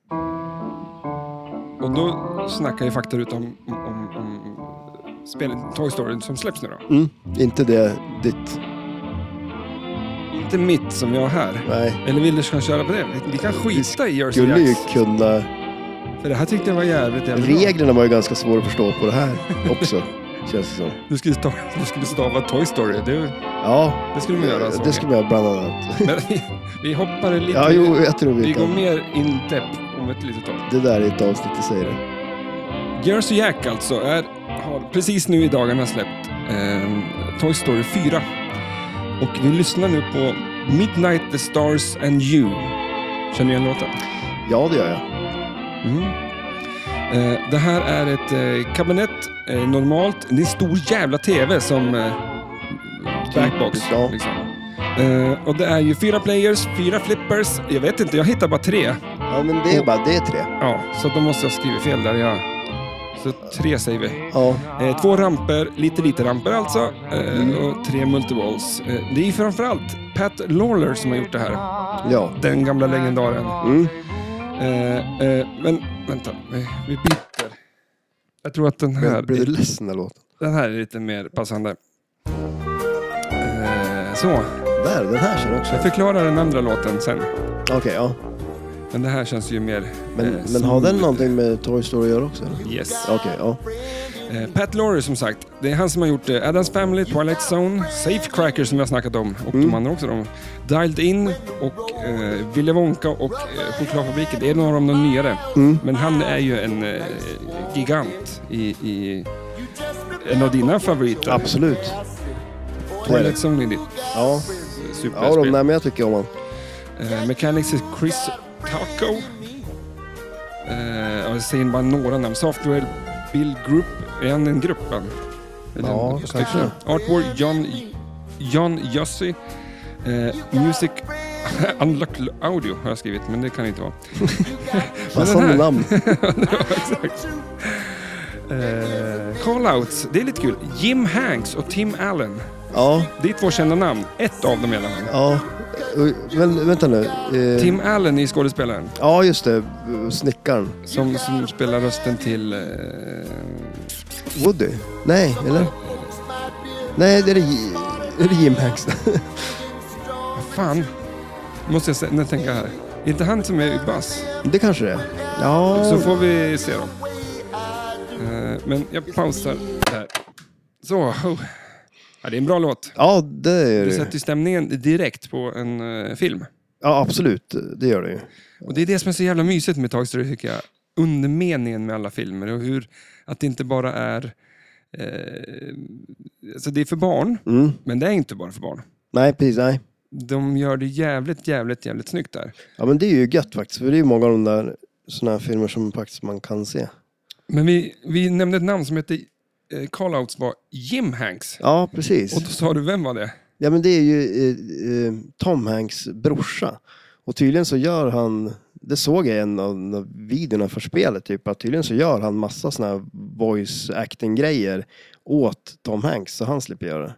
[SPEAKER 1] Och då snackar ju faktarutan om, om, om, om spelet Toy Story som släpps nu då.
[SPEAKER 2] Mm, inte det ditt.
[SPEAKER 1] Inte mitt som jag har här.
[SPEAKER 2] Nej.
[SPEAKER 1] Eller vill du ska köra på det? Vi- Vi kan skita i Jersey
[SPEAKER 2] Skulle ju
[SPEAKER 1] Jacks.
[SPEAKER 2] kunna...
[SPEAKER 1] För det här tyckte jag var jävligt jävligt bra.
[SPEAKER 2] Reglerna var ju ganska svåra att förstå på det här också. känns det som.
[SPEAKER 1] Du skulle, stava, du skulle stava Toy Story. Det,
[SPEAKER 2] Ja,
[SPEAKER 1] alltså det skulle man göra. såg
[SPEAKER 2] det
[SPEAKER 1] jag.
[SPEAKER 2] skulle jag bland annat.
[SPEAKER 1] Men vi, vi hoppar lite.
[SPEAKER 2] Ja, jo, jag tror
[SPEAKER 1] vi
[SPEAKER 2] vi
[SPEAKER 1] går
[SPEAKER 2] kan.
[SPEAKER 1] mer in depth om ett litet tag.
[SPEAKER 2] Det där är ett avsnitt i sig det.
[SPEAKER 1] Jersey Jack alltså är, har precis nu i dagarna släppt eh, Toy Story 4. Och vi lyssnar nu på Midnight, The Stars and You. Känner ni igen låten?
[SPEAKER 2] Ja, det gör jag.
[SPEAKER 1] Mm. Eh, det här är ett eh, kabinett, eh, normalt. Det är en stor jävla TV som eh, backbox.
[SPEAKER 2] Ja.
[SPEAKER 1] Liksom. Eh, och det är ju fyra players, fyra flippers. Jag vet inte, jag hittar bara tre.
[SPEAKER 2] Ja, men det är bara det är tre.
[SPEAKER 1] Ja, så då måste jag skriva fel där. Jag... Så tre säger vi.
[SPEAKER 2] Ja,
[SPEAKER 1] Eh, två ramper, lite lite ramper alltså, eh, och tre multiballs. Eh, det är framförallt Pat Lawler som har gjort det här.
[SPEAKER 2] ja.
[SPEAKER 1] Den gamla legendaren.
[SPEAKER 2] Mm.
[SPEAKER 1] Eh, eh, men vänta, eh, vi byter. Jag tror att den här,
[SPEAKER 2] Men, blev du ledsen när låten?
[SPEAKER 1] den här är lite mer passande. Eh, så,
[SPEAKER 2] Där, den här känner jag
[SPEAKER 1] jag
[SPEAKER 2] också.
[SPEAKER 1] förklarar den andra låten sen.
[SPEAKER 2] Okej, ja.
[SPEAKER 1] Men det här känns ju mer...
[SPEAKER 2] Men,
[SPEAKER 1] eh,
[SPEAKER 2] men har den
[SPEAKER 1] smooth.
[SPEAKER 2] någonting med Toy Story att göra också? eller?
[SPEAKER 1] Yes.
[SPEAKER 2] Okej, ja.
[SPEAKER 1] Eh, Pat Lawler som sagt, det är han som har gjort eh, Addams Family, Twilight Zone, Safe Cracker som vi har snackat om och
[SPEAKER 2] Mm.
[SPEAKER 1] de andra också. De. Dialed In och eh, Willy Wonka och eh, Chokladfabriken. Det är några av de nyare.
[SPEAKER 2] Mm.
[SPEAKER 1] Men han är ju en eh, gigant i, i en av dina favoriter.
[SPEAKER 2] Absolut. Det är det.
[SPEAKER 1] Twilight Zone är ditt eh,
[SPEAKER 2] Ja, ja de
[SPEAKER 1] superspel.
[SPEAKER 2] där, men jag tycker om han.
[SPEAKER 1] eh, Mechanics är Chris Taco. Eh, jag säger bara några namn. Software Bill Group. Är han en grupp? va? Eller
[SPEAKER 2] Ja,
[SPEAKER 1] en-
[SPEAKER 2] kanske.
[SPEAKER 1] stycken? Artwork John, John Jussi. Eh, music Unlocked Audio har jag skrivit, men det kan det inte vara.
[SPEAKER 2] Passande
[SPEAKER 1] här-
[SPEAKER 2] namn.
[SPEAKER 1] Exakt. Eh, Callouts, det är lite kul. Jim Hanks och Tim Allen.
[SPEAKER 2] Ja,
[SPEAKER 1] Det är två kända namn. Ett av dem i alla fall.
[SPEAKER 2] ja. Men vänta nu. Eh,
[SPEAKER 1] Tim Allen är skådespelaren.
[SPEAKER 2] Ja, just det. Snickaren.
[SPEAKER 1] Som, som spelar rösten till... Eh,
[SPEAKER 2] Woody? Nej, eller? Nej, det är, J- är det Jim Hanks.
[SPEAKER 1] vad fan? Måste jag sä- nu tänka här. Är inte han som är Buzz?
[SPEAKER 2] det kanske det är. Ja,
[SPEAKER 1] Så får vi se då. Eh, men jag pausar där. Så. oh. Ja, det är en bra låt.
[SPEAKER 2] ja det är
[SPEAKER 1] Det
[SPEAKER 2] det.
[SPEAKER 1] sätter ju stämningen direkt på en eh, film.
[SPEAKER 2] Ja, absolut. Det gör det ju.
[SPEAKER 1] Och det är det som är så jävla mysigt med Toy Story tycker jag. Undermeningen med alla filmer och hur att det inte bara är... Eh, alltså det är för barn,
[SPEAKER 2] Mm.
[SPEAKER 1] men det är inte bara för barn.
[SPEAKER 2] Nej, precis. Nej.
[SPEAKER 1] De gör det jävligt, jävligt, jävligt snyggt där.
[SPEAKER 2] Ja, men det är ju gött faktiskt. För det är ju många av de där såna här filmer som faktiskt man kan se.
[SPEAKER 1] Men vi, vi nämnde ett namn som hette eh, Callouts var Jim Hanks.
[SPEAKER 2] Ja, precis.
[SPEAKER 1] Och då sa du, vem var det?
[SPEAKER 2] Ja, men det är ju eh, eh, Tom Hanks brorsa. Och tydligen så gör han, det såg jag i en av de videorna för spelet, typ, att tydligen så gör han massa såna här voice acting-grejer åt Tom Hanks, så han slipper göra det.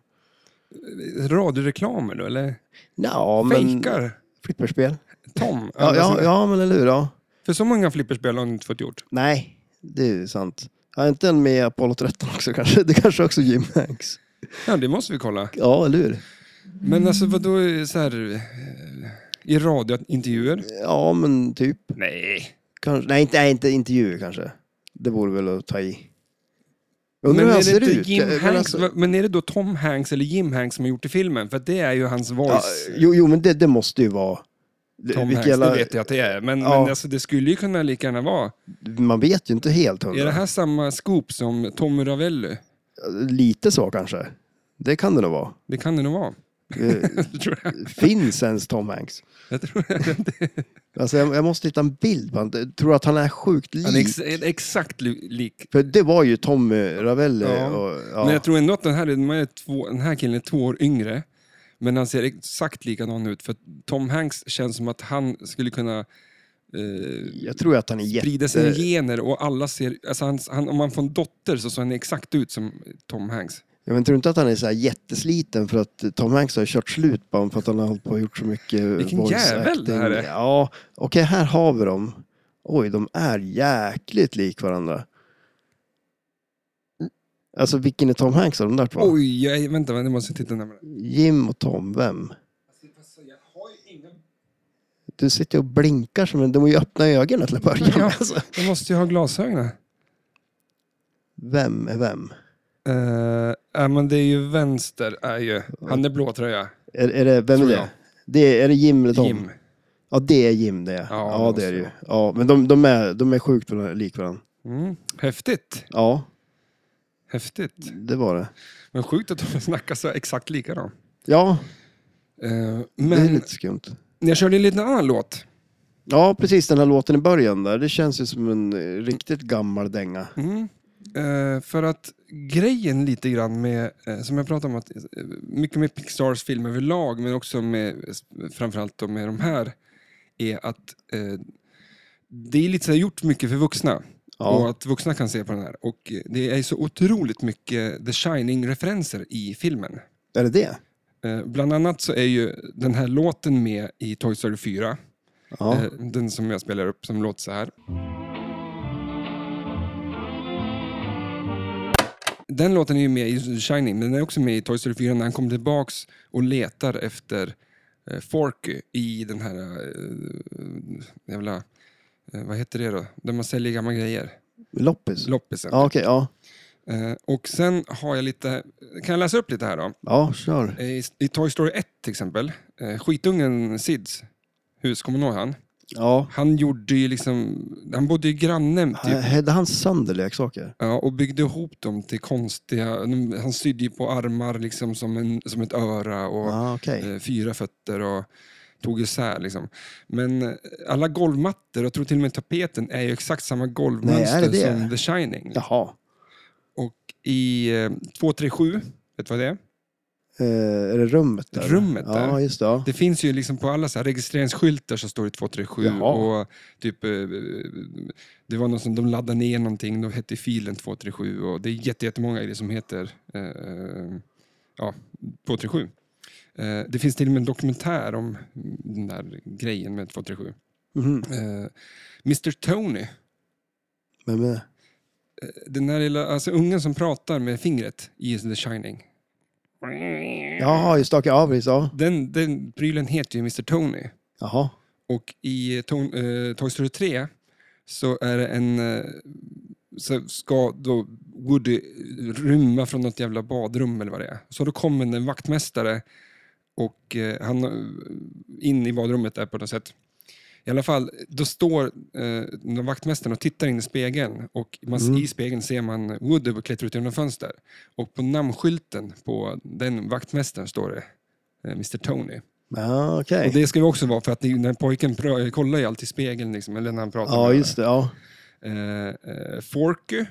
[SPEAKER 1] Radioreklamer då, eller?
[SPEAKER 2] Ja, men...
[SPEAKER 1] Fejkar
[SPEAKER 2] Flipperspel?
[SPEAKER 1] Tom?
[SPEAKER 2] Ja,
[SPEAKER 1] Andersson.
[SPEAKER 2] ja, ja, men eller hur? Ja.
[SPEAKER 1] För så många flipperspel har han inte fått gjort.
[SPEAKER 2] Nej, det är ju sant. Har inte en med Apollo 13 också kanske? Det kanske också är Jim Hanks.
[SPEAKER 1] Ja, det måste vi kolla.
[SPEAKER 2] Ja, eller hur?
[SPEAKER 1] Men alltså vadå, eh, så här, eh, i radiointervjuer?
[SPEAKER 2] Ja, men typ.
[SPEAKER 1] Nej.
[SPEAKER 2] Kanske, nej, inte, nej, inte intervjuer kanske. Det vore väl att ta i. Undrar hur
[SPEAKER 1] är
[SPEAKER 2] han
[SPEAKER 1] det
[SPEAKER 2] ser
[SPEAKER 1] inte
[SPEAKER 2] ut.
[SPEAKER 1] Jim
[SPEAKER 2] Jag- men
[SPEAKER 1] Hanks,
[SPEAKER 2] alltså-
[SPEAKER 1] va- men är det då Tom Hanks eller Jim Hanks som har gjort det i filmen? För att det är ju hans
[SPEAKER 2] ja,
[SPEAKER 1] voice.
[SPEAKER 2] jo, jo, men det, det måste ju vara... det-
[SPEAKER 1] Tom
[SPEAKER 2] vilka
[SPEAKER 1] Hanks,
[SPEAKER 2] jävla-
[SPEAKER 1] det vet jag att det är. Men,
[SPEAKER 2] Ja.
[SPEAKER 1] men alltså, det skulle ju kunna lika gärna vara.
[SPEAKER 2] Man vet ju inte helt
[SPEAKER 1] Är
[SPEAKER 2] hundra.
[SPEAKER 1] det här samma scoop som Tommy Ravelli?
[SPEAKER 2] Lite så kanske. Det kan det nog vara.
[SPEAKER 1] Det kan det nog vara.
[SPEAKER 2] Eh,
[SPEAKER 1] Det tror jag.
[SPEAKER 2] finns ens Tom Hanks?
[SPEAKER 1] jag tror det.
[SPEAKER 2] Alltså, jag, jag måste hitta en bild på honom. Jag tror att han är sjukt lik.
[SPEAKER 1] Han är ex, en exakt li- lik.
[SPEAKER 2] För det var ju Tommy Ravelli.
[SPEAKER 1] Ja.
[SPEAKER 2] Och,
[SPEAKER 1] Men
[SPEAKER 2] ja.
[SPEAKER 1] jag tror ändå att den här, den här är två, den här killen är två år yngre. Men han ser exakt likadan ut. För att Tom Hanks känns som att han skulle kunna eh,
[SPEAKER 2] Jag tror att han är
[SPEAKER 1] sprida sina
[SPEAKER 2] jätte...
[SPEAKER 1] gener och alla ser... Alltså han, han, om man får en dotter så ser han exakt ut som Tom Hanks.
[SPEAKER 2] Jag men, tror du inte att han är så här jättesliten för att Tom Hanks har kört slut på honom för att han har hållit på och gjort så mycket
[SPEAKER 1] Vilken
[SPEAKER 2] voice
[SPEAKER 1] jävel det här är.
[SPEAKER 2] acting? Ja, okej här har vi dem. Oj, de är jäkligt lik varandra. Alltså vilken är Tom Hanks av de där två?
[SPEAKER 1] Oj, jag, vänta, nu måste jag titta närmare.
[SPEAKER 2] Jim och Tom, vem?
[SPEAKER 1] Jag har ju ingen...
[SPEAKER 2] Du sitter och blinkar som en... De har ju öppna ögonen till att börja med.
[SPEAKER 1] Ja.
[SPEAKER 2] Alltså.
[SPEAKER 1] Jag måste ju ha glasögonen.
[SPEAKER 2] Vem är vem?
[SPEAKER 1] Eh, ja, men det är ju vänster, är ju. Han är blå tröja.
[SPEAKER 2] Är, är det, vem är
[SPEAKER 1] Tror
[SPEAKER 2] det?
[SPEAKER 1] jag.
[SPEAKER 2] det? Är det Jim eller Tom?
[SPEAKER 1] Jim.
[SPEAKER 2] Ja, det är Jim det. Ja,
[SPEAKER 1] Ja,
[SPEAKER 2] ja
[SPEAKER 1] det
[SPEAKER 2] det är det ju.
[SPEAKER 1] måste
[SPEAKER 2] Ja, men de, de, är, de är sjukt varandra- lik varandra.
[SPEAKER 1] Mm. Häftigt.
[SPEAKER 2] Ja,
[SPEAKER 1] Häftigt.
[SPEAKER 2] det var det.
[SPEAKER 1] Men sjukt att de snackar så exakt likadant.
[SPEAKER 2] Ja,
[SPEAKER 1] Eh,
[SPEAKER 2] det är
[SPEAKER 1] men
[SPEAKER 2] lite skumt.
[SPEAKER 1] jag körde en liten annan låt.
[SPEAKER 2] Ja, precis den här låten i början där. Det känns ju som en eh, riktigt gammal dänga.
[SPEAKER 1] Mm. Eh, för att grejen lite grann med, eh, som jag pratade om, att, eh, mycket med Pixars film överlag, men också med, framförallt då med de här, är att eh, det är lite så här gjort mycket för vuxna. Och
[SPEAKER 2] Ja,
[SPEAKER 1] att vuxna kan se på den här. Och eh, det är så otroligt mycket The Shining-referenser i filmen.
[SPEAKER 2] är det det?
[SPEAKER 1] Eh, Bland annat så är ju den här låten med i Toy Story 4.
[SPEAKER 2] Ja,
[SPEAKER 1] Eh, Den som jag spelar upp som låter så här. Den låten är ju med i The Shining, men den är också med i Toy Story 4 när han kommer tillbaks och letar efter eh, Forky i den här eh, jävla, eh, vad heter det då, där man säljer gamla grejer,
[SPEAKER 2] loppis.
[SPEAKER 1] loppisen.
[SPEAKER 2] Ja, okej, ja.
[SPEAKER 1] Eh, och sen har jag lite, kan jag läsa upp lite här då?
[SPEAKER 2] Ja, kör.
[SPEAKER 1] Eh, I, i Toy Story 1 till exempel, eh, skitungen Sids hus, kommer du ihåg han?
[SPEAKER 2] Ja.
[SPEAKER 1] Han gjorde ju liksom, han bodde ju granne
[SPEAKER 2] H-
[SPEAKER 1] typ.
[SPEAKER 2] Hade han sönder leksaker?
[SPEAKER 1] Ja, och byggde ihop dem till konstiga, de- han sydde ju på armar liksom som, en, som ett öra och
[SPEAKER 2] Ja, okej.
[SPEAKER 1] eh, fyra fötter och tog isär liksom. Men eh, alla golvmattor, och jag tror till och med tapeten, är ju exakt samma golvmönster
[SPEAKER 2] Nej, är det det?
[SPEAKER 1] som The Shining.
[SPEAKER 2] Jaha.
[SPEAKER 1] Och i eh, 237, vet du vad det är?
[SPEAKER 2] Eh, är det rummet där?
[SPEAKER 1] Rummet där.
[SPEAKER 2] Ja, just det. Ja.
[SPEAKER 1] Det finns ju liksom på alla så här registreringsskyltar så står det 237
[SPEAKER 2] Jaha.
[SPEAKER 1] och typ eh, det var någon som de laddade ner någonting, då hette filen 237 och det är jätte- jättemånga i det som heter eh, eh, ja, 237. Eh, Det finns till och med en dokumentär om den där grejen med 237.
[SPEAKER 2] Mhm.
[SPEAKER 1] Eh, Mr Tony, eh,
[SPEAKER 2] Vem är det?
[SPEAKER 1] den där lilla, alltså ungen som pratar med fingret i The Shining.
[SPEAKER 2] Jaha, just det. okej, Ja, precis. Ja.
[SPEAKER 1] Den, den prylen heter ju Mr Tony.
[SPEAKER 2] Jaha.
[SPEAKER 1] Och i Ton- eh, Toy Story 3 så är det en... eh, så ska då Woody rymma från något jävla badrum eller vad det är. Så då kommer en vaktmästare och eh, han eh, in i badrummet där på något sätt. I alla fall, då står eh, den vaktmästaren och tittar in i spegeln och man, i spegeln ser man Woody klättra ut genom ett fönster. Och på namnskylten på den vaktmästaren står det eh, Mr Tony.
[SPEAKER 2] Ja, okej.
[SPEAKER 1] Och det ska vi också vara för att den här pojken prö- kollar ju alltid i spegeln, liksom, eller när han pratar
[SPEAKER 2] Ja,
[SPEAKER 1] med
[SPEAKER 2] just det. Ja.
[SPEAKER 1] henne. Eh, eh, Forky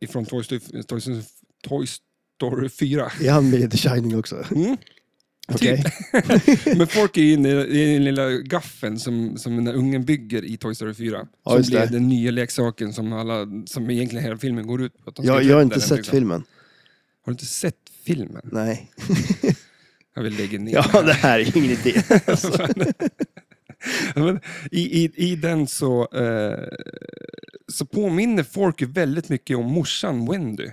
[SPEAKER 1] ifrån Toy Story, Toy Story, Toy Story 4.
[SPEAKER 2] Är han med i The Shining också?
[SPEAKER 1] Mm.
[SPEAKER 2] Okej.
[SPEAKER 1] Men Forky är ju den- är den lilla gaffeln som, som den där ungen bygger i Toy Story 4.
[SPEAKER 2] Ja,
[SPEAKER 1] som
[SPEAKER 2] just
[SPEAKER 1] blir
[SPEAKER 2] det.
[SPEAKER 1] den nya leksaken som, alla, som egentligen hela filmen går ut på. att de ska
[SPEAKER 2] Jag,
[SPEAKER 1] hitta
[SPEAKER 2] jag har
[SPEAKER 1] den liksom?
[SPEAKER 2] inte
[SPEAKER 1] där människan.
[SPEAKER 2] sett filmen.
[SPEAKER 1] Har du inte sett filmen?
[SPEAKER 2] Nej.
[SPEAKER 1] Jag vill lägga ner.
[SPEAKER 2] Ja, det här är ingen idé.
[SPEAKER 1] Ja, men i, i, I den så, eh, så påminner Forky väldigt mycket om morsan Wendy.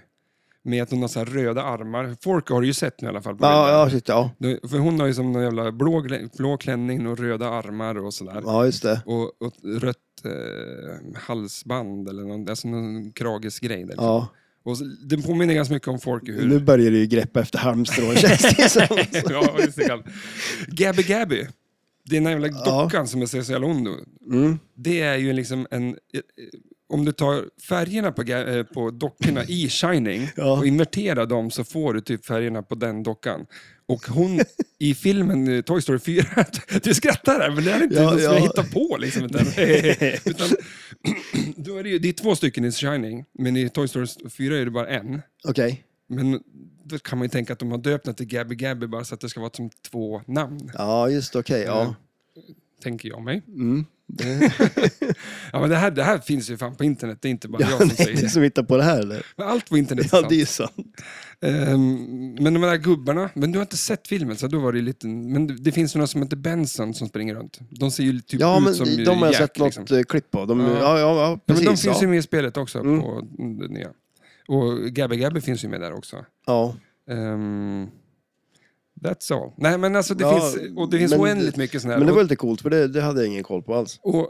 [SPEAKER 1] Med att hon har så här röda armar. Forky har du ju sett nu i alla fall. på
[SPEAKER 2] Ja,
[SPEAKER 1] bilden.
[SPEAKER 2] ja, shit, ja.
[SPEAKER 1] Du- För hon har ju som någon jävla blå, glä- blå klänning och röda armar och sådär.
[SPEAKER 2] ja, just det.
[SPEAKER 1] Och, och ett rött eh, halsband eller någon, alltså någon kragisk grej. Där, liksom.
[SPEAKER 2] Ja.
[SPEAKER 1] och så, den påminner ganska mycket om Forky. Hur...
[SPEAKER 2] Nu börjar du ju greppa efter halmstrån känns det som.
[SPEAKER 1] ja, just det. Gabby Gabby. Det är den här jävla
[SPEAKER 2] Ja.
[SPEAKER 1] dockan som jag ser så jävla ond ut.
[SPEAKER 2] Mm.
[SPEAKER 1] Det är ju liksom en... om du tar färgerna på, ga- eh, på dockorna i Shining
[SPEAKER 2] Ja.
[SPEAKER 1] och inverterar dem så får du typ färgerna på den dockan. Och hon i filmen eh, Toy Story 4, du skrattar här, men det är inte
[SPEAKER 2] Ja,
[SPEAKER 1] något som
[SPEAKER 2] ja.
[SPEAKER 1] jag hittar på. Liksom, utan, utan, då är det, ju, det är två stycken i Shining, men i Toy Story 4 är det bara en.
[SPEAKER 2] Okej.
[SPEAKER 1] Men då kan man ju tänka att de har döpt den till Gabby Gabby bara så att det ska vara som två namn,
[SPEAKER 2] Ja, just okej. Ja.
[SPEAKER 1] tänker jag mig.
[SPEAKER 2] Mm.
[SPEAKER 1] Ja, men det, här, det här finns ju fan på internet, det är inte bara
[SPEAKER 2] Ja,
[SPEAKER 1] jag som
[SPEAKER 2] nej,
[SPEAKER 1] säger
[SPEAKER 2] du
[SPEAKER 1] det.
[SPEAKER 2] som hittar på det här eller?
[SPEAKER 1] Men allt på internet är
[SPEAKER 2] Ja,
[SPEAKER 1] sant.
[SPEAKER 2] det är sant.
[SPEAKER 1] Ehm, Men de där gubbarna, men du har inte sett filmen så då var det ju lite, men det- det finns ju några som heter Benson som springer runt. De ser ju typ
[SPEAKER 2] Ja,
[SPEAKER 1] ut
[SPEAKER 2] men
[SPEAKER 1] som
[SPEAKER 2] de har jag
[SPEAKER 1] Jack,
[SPEAKER 2] sett något
[SPEAKER 1] liksom.
[SPEAKER 2] eh, klipp på. De,
[SPEAKER 1] Ja.
[SPEAKER 2] ja. Ja, ja,
[SPEAKER 1] ja, men
[SPEAKER 2] precis.
[SPEAKER 1] de finns
[SPEAKER 2] ja.
[SPEAKER 1] ju med i spelet också
[SPEAKER 2] Mm.
[SPEAKER 1] på det nya. Och Gabby Gabby finns ju med där också.
[SPEAKER 2] ja.
[SPEAKER 1] Ehm, that's all. Nej men alltså det
[SPEAKER 2] Ja,
[SPEAKER 1] finns, och det finns
[SPEAKER 2] men-
[SPEAKER 1] oändligt mycket sådana här.
[SPEAKER 2] Men det
[SPEAKER 1] Och-
[SPEAKER 2] var lite coolt, för det, det hade jag ingen koll på alls.
[SPEAKER 1] Och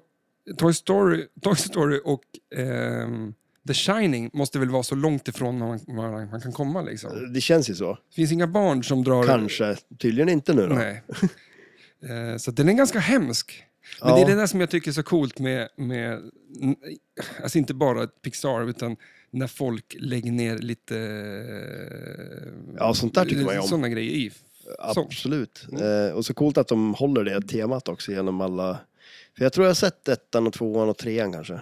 [SPEAKER 1] Toy Story, Toy Story och ehm, The Shining måste väl vara så långt ifrån man, man, man kan komma liksom.
[SPEAKER 2] Det känns ju så.
[SPEAKER 1] Det finns inga barn som drar...
[SPEAKER 2] Kanske. Tydligen inte nu då.
[SPEAKER 1] Nej. Eh, så att den är ganska hemsk. Men
[SPEAKER 2] Ja.
[SPEAKER 1] det är det där som jag tycker är så coolt med, med n- alltså inte bara Pixar, utan när folk lägger ner lite... eh,
[SPEAKER 2] Ja, sånt där tycker man ju om.
[SPEAKER 1] Såna grejer i. Sånt.
[SPEAKER 2] Absolut.
[SPEAKER 1] Mm.
[SPEAKER 2] Eh, och så coolt att de håller det temat också genom alla... För jag tror jag har sett ettan och tvåan och trean kanske.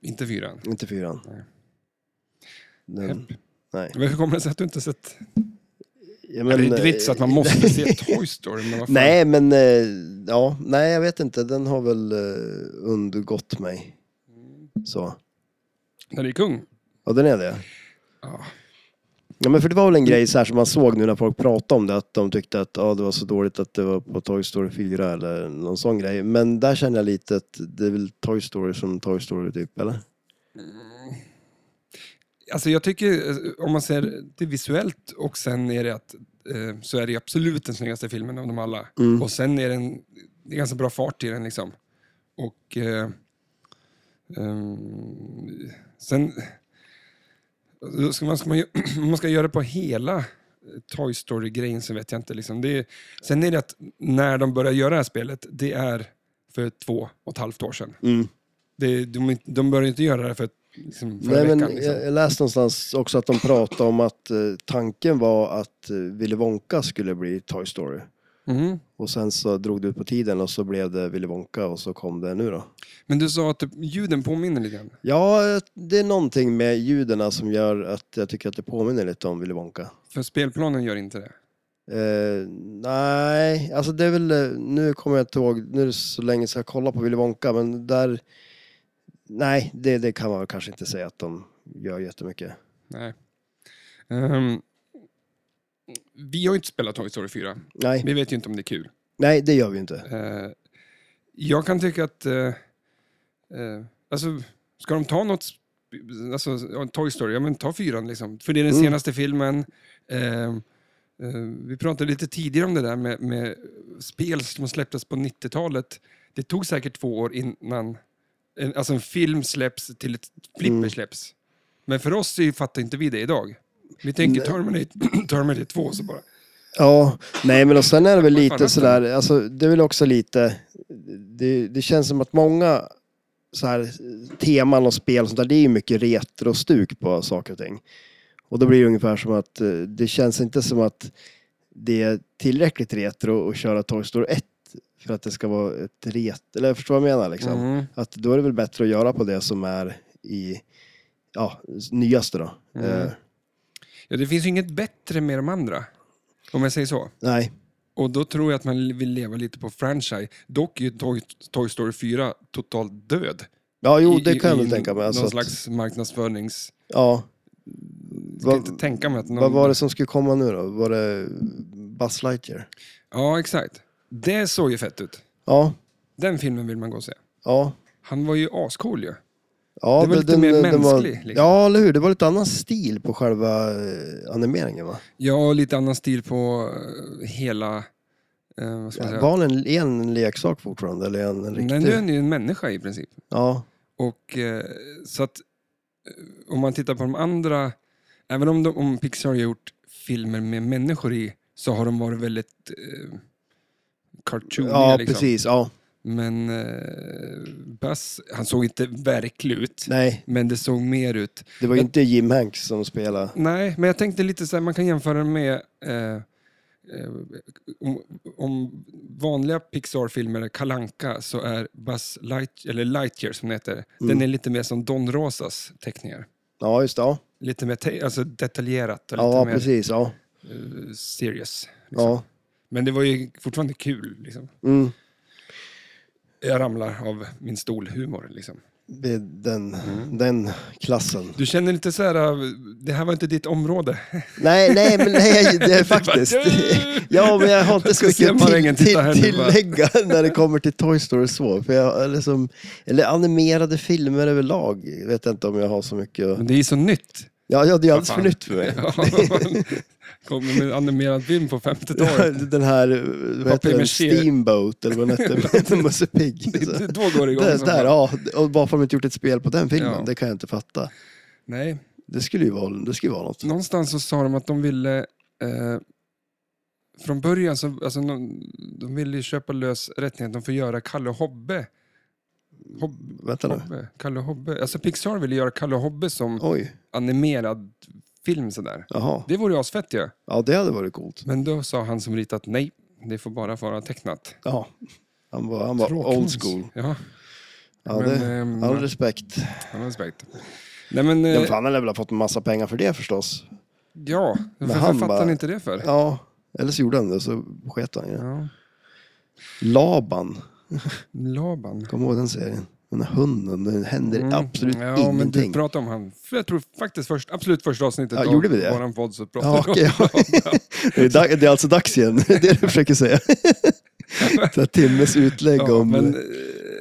[SPEAKER 1] Inte fyran.
[SPEAKER 2] Inte fyran.
[SPEAKER 1] Nej.
[SPEAKER 2] Den, nej.
[SPEAKER 1] Men Hur kommer det sig att du inte sett...
[SPEAKER 2] Ja,
[SPEAKER 1] Men, det är inte
[SPEAKER 2] eh,
[SPEAKER 1] vits att man måste se Toy Story, men vad fan.
[SPEAKER 2] Nej, men eh, ja, nej, jag vet inte. Den har väl eh, undgått mig.
[SPEAKER 1] Mm.
[SPEAKER 2] Så.
[SPEAKER 1] Den är ju kung.
[SPEAKER 2] Ja, den är det.
[SPEAKER 1] Ja. Mm.
[SPEAKER 2] Ja, men för det var väl en grej så här som man såg nu när folk pratade om det, att de tyckte att ja, det var så dåligt att det var på Toy Story 4 eller någon sån grej. Men där känner jag lite att det är väl Toy Story som Toy Story typ, eller?
[SPEAKER 1] Alltså jag tycker, eh, om man ser det visuellt och sen är det att eh, så är det absolut den snyggaste filmen av dem alla.
[SPEAKER 2] Mm.
[SPEAKER 1] Och sen är den, det är ganska bra fart i den liksom. Och eh, ehm, sen, då ska man, ska man, ju- om man ska göra det på hela eh, Toy Story-grejen så vet jag inte. Liksom. Det är, sen är det att när de börjar göra det här spelet, det är för två och ett halvt år sedan.
[SPEAKER 2] Mm.
[SPEAKER 1] Det, de, de började inte göra det här för, liksom, förra
[SPEAKER 2] Nej, men
[SPEAKER 1] veckan. Liksom.
[SPEAKER 2] jag, jag läste någonstans också att de pratade om att eh, tanken var att eh, Willy Wonka skulle bli Toy Story.
[SPEAKER 1] Mhm.
[SPEAKER 2] Och sen så drog det ut på tiden och så blev det Willy Wonka och så kom det nu då.
[SPEAKER 1] Men du sa att typ, ljuden påminner lite grann.
[SPEAKER 2] Ja, eh, det är någonting med ljuden som gör att jag tycker att det påminner lite om Willy Wonka.
[SPEAKER 1] För spelplanen gör inte det.
[SPEAKER 2] Eh, nej, alltså det är väl, eh, nu kommer jag inte ihåg, nu är det så länge sedan jag kollade på Willy Wonka, men där, nej, det, det kan man väl kanske inte säga att de gör jättemycket.
[SPEAKER 1] Nej. Ehm, vi har ju inte spelat Toy Story 4.
[SPEAKER 2] Nej,
[SPEAKER 1] Vi vet ju inte om det är kul.
[SPEAKER 2] nej, det gör vi inte.
[SPEAKER 1] Eh, jag kan tycka att... eh, eh, alltså, ska de ta något... sp- Alltså, ja, Toy Story, ja men ta fyran liksom. För det är den
[SPEAKER 2] Mm.
[SPEAKER 1] senaste filmen. Ehm, eh, vi pratade lite tidigare om det där med, med spel som släpptes på 90-talet. Det tog säkert två år innan en, alltså en film släpps till ett flipper
[SPEAKER 2] Mm.
[SPEAKER 1] släpps. Men för oss är ju- fattar inte vi det idag. Vi tänker
[SPEAKER 2] Nej.
[SPEAKER 1] Terminator, Terminator 2 så bara...
[SPEAKER 2] Ja, nej men och sen är det väl
[SPEAKER 1] Vad fan
[SPEAKER 2] lite
[SPEAKER 1] heter
[SPEAKER 2] sådär, alltså det är väl också lite, det, det känns som att många så här teman och spel och sånt där, det är ju mycket retrostuk på saker och ting. Och då blir det ungefär som att eh, det känns inte som att det är tillräckligt retro att köra Toy Story 1 för att det ska vara ett ret, eller förstår du vad jag menar liksom?
[SPEAKER 1] Mm.
[SPEAKER 2] Att då är det väl bättre att göra på det som är i, ja, nyaste då.
[SPEAKER 1] Mm.
[SPEAKER 2] Eh,
[SPEAKER 1] Ja, det finns ju inget bättre med de andra. Om jag säger så.
[SPEAKER 2] nej,
[SPEAKER 1] Och då tror jag att man vill leva lite på franchise. Dock är ju Toy, Toy Story 4 totalt död.
[SPEAKER 2] ja jo
[SPEAKER 1] I-
[SPEAKER 2] det
[SPEAKER 1] i-
[SPEAKER 2] kan jag
[SPEAKER 1] i
[SPEAKER 2] väl tänka mig. Alltså
[SPEAKER 1] någon
[SPEAKER 2] att-
[SPEAKER 1] slags marknadsförings...
[SPEAKER 2] Ja.
[SPEAKER 1] Jag kan
[SPEAKER 2] Vad-
[SPEAKER 1] inte tänka mig att någon...
[SPEAKER 2] Vad var det som skulle komma nu då? Var det Buzz Lightyear?
[SPEAKER 1] Ja, exakt. Det såg ju fett ut.
[SPEAKER 2] Ja,
[SPEAKER 1] Den filmen vill man gå och se.
[SPEAKER 2] ja.
[SPEAKER 1] Han var ju ascool ju.
[SPEAKER 2] Ja,
[SPEAKER 1] Det var lite mer mänsklig,
[SPEAKER 2] Var,
[SPEAKER 1] liksom.
[SPEAKER 2] Ja, eller hur? Det var lite annan stil på själva eh, animeringen va?
[SPEAKER 1] Ja, och lite annan stil på eh, hela... Eh, vad ska man säga?
[SPEAKER 2] Var den en, är den en leksak fortfarande eller är den en
[SPEAKER 1] Nej,
[SPEAKER 2] riktig?
[SPEAKER 1] nu är han ju en människa i princip.
[SPEAKER 2] Ja,
[SPEAKER 1] Och eh, så att eh, om man tittar på de andra, även om, de, om Pixar har gjort filmer med människor i, så har de varit väldigt eh, cartooniga.
[SPEAKER 2] ja
[SPEAKER 1] liksom.
[SPEAKER 2] precis. Ja.
[SPEAKER 1] Men eh, Bass, han såg inte verklig ut.
[SPEAKER 2] Nej,
[SPEAKER 1] Men det såg mer ut.
[SPEAKER 2] det var ju
[SPEAKER 1] Men-
[SPEAKER 2] inte Jim Hanks som spelade.
[SPEAKER 1] Nej, men jag tänkte lite så här, man kan jämföra den med eh, eh, om, om vanliga Pixar-filmer, Kalanka så är Buzz Light, eller Lightyear som den heter,
[SPEAKER 2] Mm.
[SPEAKER 1] den är lite mer som Don Rosas teckningar.
[SPEAKER 2] Ja, just det. Ja,
[SPEAKER 1] Lite mer te- alltså detaljerat och
[SPEAKER 2] ja
[SPEAKER 1] lite mer
[SPEAKER 2] precis. Ja.
[SPEAKER 1] eh, serious. Liksom.
[SPEAKER 2] Ja.
[SPEAKER 1] Men det var ju fortfarande kul. Liksom.
[SPEAKER 2] Mm.
[SPEAKER 1] Jag ramlar av min stol-humor. Liksom.
[SPEAKER 2] Det är den,
[SPEAKER 1] Mm.
[SPEAKER 2] den klassen.
[SPEAKER 1] Du känner lite så här, eh, det här var inte ditt område.
[SPEAKER 2] Nej, nej, men nej, det är faktiskt.
[SPEAKER 1] "Du!"
[SPEAKER 2] Ja, men jag har inte
[SPEAKER 1] Jag
[SPEAKER 2] så
[SPEAKER 1] ska se
[SPEAKER 2] mycket
[SPEAKER 1] om
[SPEAKER 2] till,
[SPEAKER 1] ringen
[SPEAKER 2] till,
[SPEAKER 1] tittar här nu, va?
[SPEAKER 2] tillägga när det kommer till Toy Story och så. För jag, är liksom, eller animerade filmer överlag vet jag inte om jag har så mycket. att-
[SPEAKER 1] Men det är ju så nytt.
[SPEAKER 2] Ja, ja det är alldeles
[SPEAKER 1] Vad
[SPEAKER 2] för
[SPEAKER 1] fan.
[SPEAKER 2] nytt för mig.
[SPEAKER 1] Ja, man kommer med en animerad film på 50-talet.
[SPEAKER 2] Den här, vad heter den,
[SPEAKER 1] Papier-mâché.
[SPEAKER 2] Steamboat eller vad den hette, med Musse Pigg.
[SPEAKER 1] Det- Då går det igång.
[SPEAKER 2] Där,
[SPEAKER 1] som
[SPEAKER 2] där,
[SPEAKER 1] fan.
[SPEAKER 2] ja. Och varför har de inte gjort ett spel på den filmen?
[SPEAKER 1] Ja.
[SPEAKER 2] Det kan jag inte fatta.
[SPEAKER 1] Nej,
[SPEAKER 2] Det skulle ju vara, det skulle vara något.
[SPEAKER 1] någonstans så sa de att de ville... Eh, från början så... Alltså, de, de ville ju köpa lös rättigheten. De får göra Kalle och Hobbe. Hob,
[SPEAKER 2] Vänta nu.
[SPEAKER 1] Hobbe. Kalle och Hobbe. Alltså Pixar ville göra Kalle och Hobbe som
[SPEAKER 2] Oj,
[SPEAKER 1] animerad film sådär.
[SPEAKER 2] jaha.
[SPEAKER 1] Det vore ju asfett ju.
[SPEAKER 2] Ja, det hade varit coolt.
[SPEAKER 1] Men då sa han som ritat nej. Det får bara vara tecknat.
[SPEAKER 2] Ja. Han var, han var
[SPEAKER 1] Tråkigt.
[SPEAKER 2] old school.
[SPEAKER 1] Ja,
[SPEAKER 2] Ja,
[SPEAKER 1] men...
[SPEAKER 2] det,
[SPEAKER 1] ehm,
[SPEAKER 2] all respekt.
[SPEAKER 1] Han har respekt. Nej men, eh,
[SPEAKER 2] Den fan han lär väl ha fått en massa pengar för det förstås.
[SPEAKER 1] ja, varför
[SPEAKER 2] han
[SPEAKER 1] fattar
[SPEAKER 2] bara-
[SPEAKER 1] han inte det för? Ja.
[SPEAKER 2] Ja, eller så gjorde han det så sket han ju. Laban,
[SPEAKER 1] Laban.
[SPEAKER 2] kom ihåg den serien? Den där hunden, det händer
[SPEAKER 1] Mm.
[SPEAKER 2] absolut
[SPEAKER 1] ja, men
[SPEAKER 2] ingenting.
[SPEAKER 1] du pratade om han. För jag tror faktiskt först, absolut första avsnittet
[SPEAKER 2] Ja, gjorde vi det?
[SPEAKER 1] våran podd så pratade
[SPEAKER 2] Ja,
[SPEAKER 1] vi om
[SPEAKER 2] okej, ja.
[SPEAKER 1] Laban.
[SPEAKER 2] det, är dag, det är alltså dags igen, det är det du försöker säga. så här, timmes utlägg
[SPEAKER 1] Ja,
[SPEAKER 2] om...
[SPEAKER 1] men
[SPEAKER 2] en-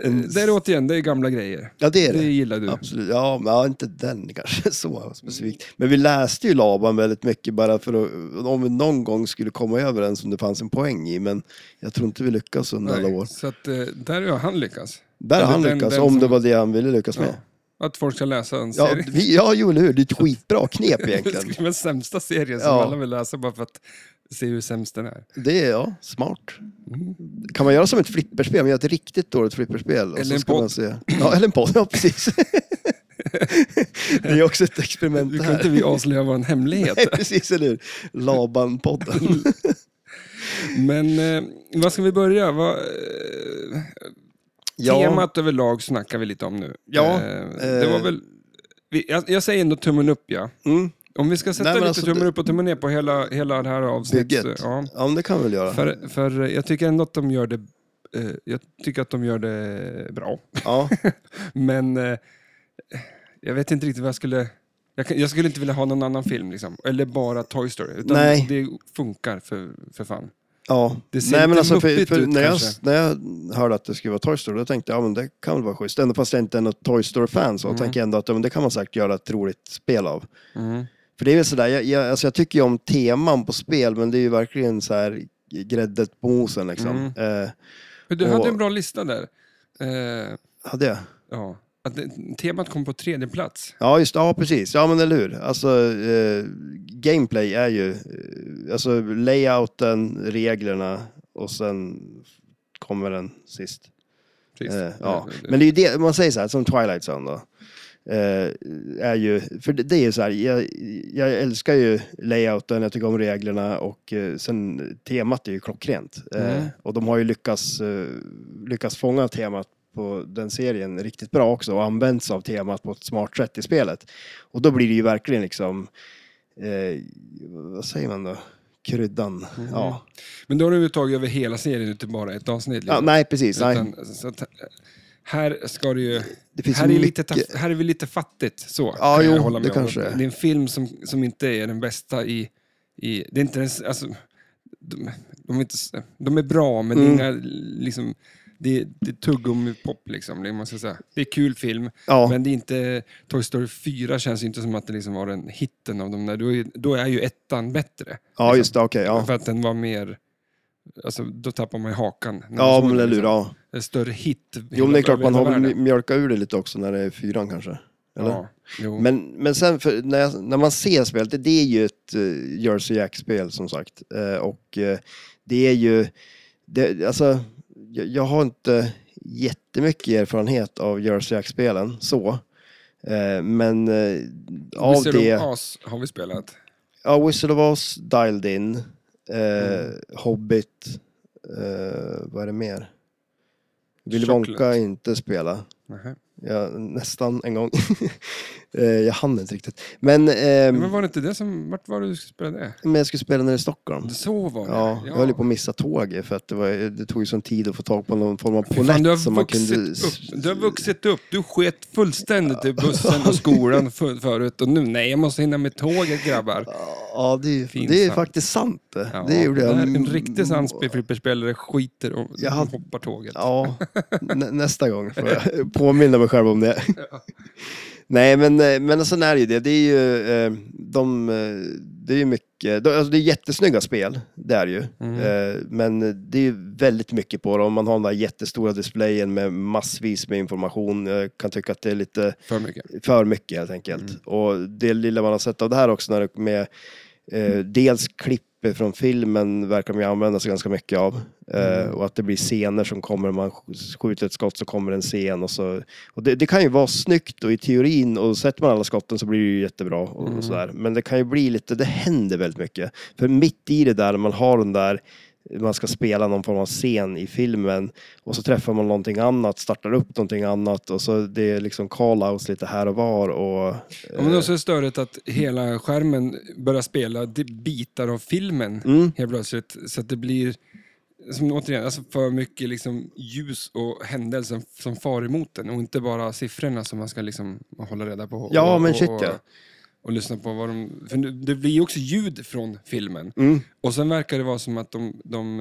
[SPEAKER 1] en... där återigen, det är gamla grejer.
[SPEAKER 2] ja, det är
[SPEAKER 1] Det
[SPEAKER 2] det.
[SPEAKER 1] gillar du.
[SPEAKER 2] Absolut, ja, men ja, inte den kanske så specifikt. Men vi läste ju Laban väldigt mycket bara för att, om vi någon gång skulle komma överens om det fanns en poäng i, men jag tror inte vi lyckas under alla år.
[SPEAKER 1] Så att, eh, där har han lyckats.
[SPEAKER 2] Där har
[SPEAKER 1] Eller
[SPEAKER 2] han
[SPEAKER 1] den-
[SPEAKER 2] lyckats,
[SPEAKER 1] den
[SPEAKER 2] om
[SPEAKER 1] som-
[SPEAKER 2] det var det han ville lyckas med.
[SPEAKER 1] Ja. Att folk ska läsa en
[SPEAKER 2] Ja,
[SPEAKER 1] serie.
[SPEAKER 2] vi, ja jo, eller hur, det är ett skitbra knep egentligen.
[SPEAKER 1] Skriv den sämsta serien som
[SPEAKER 2] Ja.
[SPEAKER 1] alla vill läsa bara för att se hur sämst den är.
[SPEAKER 2] Det är, ja, smart.
[SPEAKER 1] Mm.
[SPEAKER 2] Kan man göra som ett flipperspel, man gör ett riktigt dåligt flipperspel. och
[SPEAKER 1] Eller
[SPEAKER 2] så
[SPEAKER 1] en
[SPEAKER 2] ska
[SPEAKER 1] podd.
[SPEAKER 2] Man se. Ja, eller en podd, ja precis. det är också ett experiment
[SPEAKER 1] Nu
[SPEAKER 2] det
[SPEAKER 1] kan
[SPEAKER 2] här.
[SPEAKER 1] inte vi avslöja vår hemlighet.
[SPEAKER 2] Nej, precis, eller hur? Laban-podden.
[SPEAKER 1] Men eh, vad ska vi börja? Vad, eh, Temat överlag snackar vi lite om nu.
[SPEAKER 2] Ja,
[SPEAKER 1] eh, det var
[SPEAKER 2] eh.
[SPEAKER 1] väl, vi, jag, jag säger ändå tummen upp ja.
[SPEAKER 2] Mm.
[SPEAKER 1] Om vi ska sätta
[SPEAKER 2] Nej, men
[SPEAKER 1] lite
[SPEAKER 2] alltså,
[SPEAKER 1] tummen
[SPEAKER 2] det-
[SPEAKER 1] upp och tummen ner på hela, hela det här avsnittet. eh,
[SPEAKER 2] Bygget.
[SPEAKER 1] Ja.
[SPEAKER 2] Ja, men det kan vi väl göra.
[SPEAKER 1] För, för eh, jag tycker ändå att de gör det eh, jag tycker att de gör det bra.
[SPEAKER 2] Ja.
[SPEAKER 1] Men eh, jag vet inte riktigt vad jag skulle... Jag, kan, jag skulle inte vilja ha någon annan film, liksom. eller bara Toy Story. Utan
[SPEAKER 2] Nej.
[SPEAKER 1] Det funkar för, för fan.
[SPEAKER 2] Ja. alltså,
[SPEAKER 1] Det ser lite
[SPEAKER 2] för,
[SPEAKER 1] muppigt
[SPEAKER 2] för
[SPEAKER 1] ut,
[SPEAKER 2] när, jag,
[SPEAKER 1] kanske.
[SPEAKER 2] när jag hörde att det skulle vara Toy Story, då tänkte jag ja, men det kan väl vara schysst. Ändå fast jag inte är något Toy Story-fan
[SPEAKER 1] Mm.
[SPEAKER 2] så tänker jag ändå att ja, men det kan man säkert göra ett roligt spel av.
[SPEAKER 1] Mm.
[SPEAKER 2] För det är väl sådär, jag, jag, alltså jag tycker ju om teman på spel, men det är ju verkligen så här gräddet på mosen liksom.
[SPEAKER 1] Mm.
[SPEAKER 2] Eh,
[SPEAKER 1] Men Du
[SPEAKER 2] Och-
[SPEAKER 1] hade en bra lista där. Eh,
[SPEAKER 2] hade jag?
[SPEAKER 1] ja. att det, temat kom på tredje plats.
[SPEAKER 2] Ja, just det. Ja, precis. Ja, men eller hur. Alltså, eh, gameplay är ju eh, alltså layouten, reglerna och sen kommer den sist.
[SPEAKER 1] Precis.
[SPEAKER 2] Eh, ja. Men det är ju det, man säger så här, som Twilight Zone då. Eh, är ju, för det, det är ju så här, jag, jag älskar ju layouten, jag tycker om reglerna och eh, sen temat är ju klockrent. Eh,
[SPEAKER 1] Mm.
[SPEAKER 2] Och de har ju lyckats, eh, lyckats fånga temat på den serien riktigt bra också och använt sig av temat på ett smart sätt i spelet. Och då blir det ju verkligen liksom, eh, vad säger man då? Kryddan.
[SPEAKER 1] Mm.
[SPEAKER 2] Ja.
[SPEAKER 1] Men då har du ju tagit över hela serien, inte bara ett avsnitt.
[SPEAKER 2] ja,
[SPEAKER 1] liksom.
[SPEAKER 2] nej precis. Nej.
[SPEAKER 1] Utan, så att, här ska du ju...
[SPEAKER 2] Det finns
[SPEAKER 1] här, är lite,
[SPEAKER 2] mycket-
[SPEAKER 1] taff- här är vi lite fattigt, så
[SPEAKER 2] Ja,
[SPEAKER 1] kan
[SPEAKER 2] jo,
[SPEAKER 1] jag hålla
[SPEAKER 2] det
[SPEAKER 1] med om.
[SPEAKER 2] kanske är.
[SPEAKER 1] Det är en film som, som inte är den bästa i... i det är inte ens, alltså, de, de, är inte, s- de är bra, men
[SPEAKER 2] Mm.
[SPEAKER 1] det är inga... Liksom, det, är- det är tuggummi-pop, liksom, det, man ska säga. det är kul film,
[SPEAKER 2] Ja.
[SPEAKER 1] men det är inte... Toy Story 4 känns ju inte som att det liksom var den hitten av dem. Där. Då, är, då är ju ettan bättre. Liksom.
[SPEAKER 2] Ja, just det. Okej. ja.
[SPEAKER 1] För att den var mer... Alltså, då tappar man ju hakan. när man
[SPEAKER 2] Ja,
[SPEAKER 1] såg
[SPEAKER 2] men
[SPEAKER 1] den,
[SPEAKER 2] eller hur.
[SPEAKER 1] liksom.
[SPEAKER 2] Ja.
[SPEAKER 1] En större hit.
[SPEAKER 2] Jo, men det är klart man har
[SPEAKER 1] Över
[SPEAKER 2] väl
[SPEAKER 1] hela
[SPEAKER 2] mj-
[SPEAKER 1] världen.
[SPEAKER 2] mjölkat ur det lite också när det är fyran kanske. Eller?
[SPEAKER 1] Ja, jo.
[SPEAKER 2] Men, men sen för, när, jag, när man ser spelet, det, det är ju ett uh, Jersey Jack-spel som sagt. Eh, och eh, det är ju, det, alltså, jag, jag har inte jättemycket erfarenhet av Jersey Jack-spelen, så. Eh, Men eh, av
[SPEAKER 1] Wizard
[SPEAKER 2] det...
[SPEAKER 1] of Oz har vi spelat.
[SPEAKER 2] Ja, Wizard of Oz, Dialed In, eh,
[SPEAKER 1] Mm.
[SPEAKER 2] Hobbit, eh, vad är det mer? Willy
[SPEAKER 1] Chocolate.
[SPEAKER 2] Wonka har jag inte spela.
[SPEAKER 1] Nähä.
[SPEAKER 2] Jag, nästan en gång. eh, jag hann inte riktigt. Men, ehm,
[SPEAKER 1] Men var det inte det som... Vart var det du skulle spela det?
[SPEAKER 2] men jag skulle spela när i Stockholm.
[SPEAKER 1] Så var det.
[SPEAKER 2] Ja, jag höll ju på att missa tåget för att det, var, det tog ju sån tid att få tag på någon form av
[SPEAKER 1] Fy Fan, du,
[SPEAKER 2] polett
[SPEAKER 1] har
[SPEAKER 2] som man
[SPEAKER 1] vuxit
[SPEAKER 2] kunde...
[SPEAKER 1] upp. du har vuxit upp. Du sket fullständigt i bussen och skolan för, förut. Och nu, nej, jag måste hinna med tåget grabbar.
[SPEAKER 2] Ja, det är, ju-
[SPEAKER 1] Fin
[SPEAKER 2] det är
[SPEAKER 1] sant.
[SPEAKER 2] faktiskt sant det.
[SPEAKER 1] Ja,
[SPEAKER 2] det gjorde jag.
[SPEAKER 1] där En riktig sandflipperspelare skiter och
[SPEAKER 2] Jag hade-
[SPEAKER 1] hoppar tåget.
[SPEAKER 2] Ja, nä- nästa gång får jag påminna mig själv om det. Nej, men, eh, men sen är det ju det. Det är ju, eh, de, eh, det är ju mycket, de, alltså det är jättesnygga spel, det är det ju. Eh, Men det är ju väldigt mycket på dem. Man har den där jättestora displayen med massvis med information. Jag kan tycka att det är lite
[SPEAKER 1] För mycket.
[SPEAKER 2] för mycket helt enkelt. Och det lilla man har sett av det här också, när det med, eh, dels klipp från filmen verkar de ju använda sig ganska mycket av. Eh, Och att det blir scener som kommer, man sk- skjuter ett skott så kommer en scen. Och så, och det, det kan ju vara snyggt och i teorin, och sätter man alla skotten så blir det ju jättebra. Och, och sådär. Men det kan ju bli lite, det händer väldigt mycket. För mitt i det där, när man har den där man ska spela någon form av scen i filmen och så träffar man någonting annat, startar upp någonting annat och så det är liksom call-outs lite här och var och...
[SPEAKER 1] Ja, men också är det störigt att hela skärmen börjar spela di- bitar av filmen
[SPEAKER 2] Mm.
[SPEAKER 1] helt plötsligt. Så att det blir, som återigen, alltså för mycket liksom ljus och händelser som far emot en och inte bara siffrorna som man ska liksom hålla reda på. Och,
[SPEAKER 2] Ja, men
[SPEAKER 1] och,
[SPEAKER 2] shit,
[SPEAKER 1] och,
[SPEAKER 2] ja.
[SPEAKER 1] och lyssna på vad de... För nu- det blir ju också ljud från filmen.
[SPEAKER 2] Mm.
[SPEAKER 1] Och sen verkar det vara som att de... de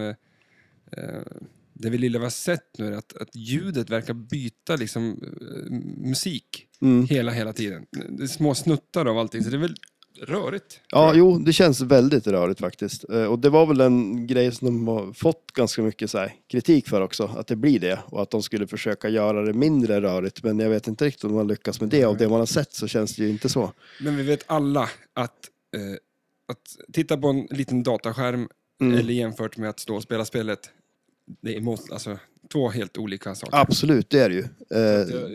[SPEAKER 1] eh, det vi lilla har sett nu är att, att ljudet verkar byta liksom, eh, musik
[SPEAKER 2] Mm.
[SPEAKER 1] hela, hela tiden. Det är små snuttar av allting, så det är väl rörigt.
[SPEAKER 2] Ja, jo, det känns väldigt rörigt faktiskt. Eh, Och det var väl en grej som de har fått ganska mycket så här, kritik för också, att det blir det. Och att de skulle försöka göra det mindre rörigt, men jag vet inte riktigt om de har lyckats med det. Av det man har sett så känns det ju inte så.
[SPEAKER 1] Men vi vet alla att, eh, att titta på en liten dataskärm
[SPEAKER 2] Mm.
[SPEAKER 1] eller jämfört med att stå och spela spelet, det är mot, alltså, två helt olika saker.
[SPEAKER 2] Absolut, det är det ju. Eh,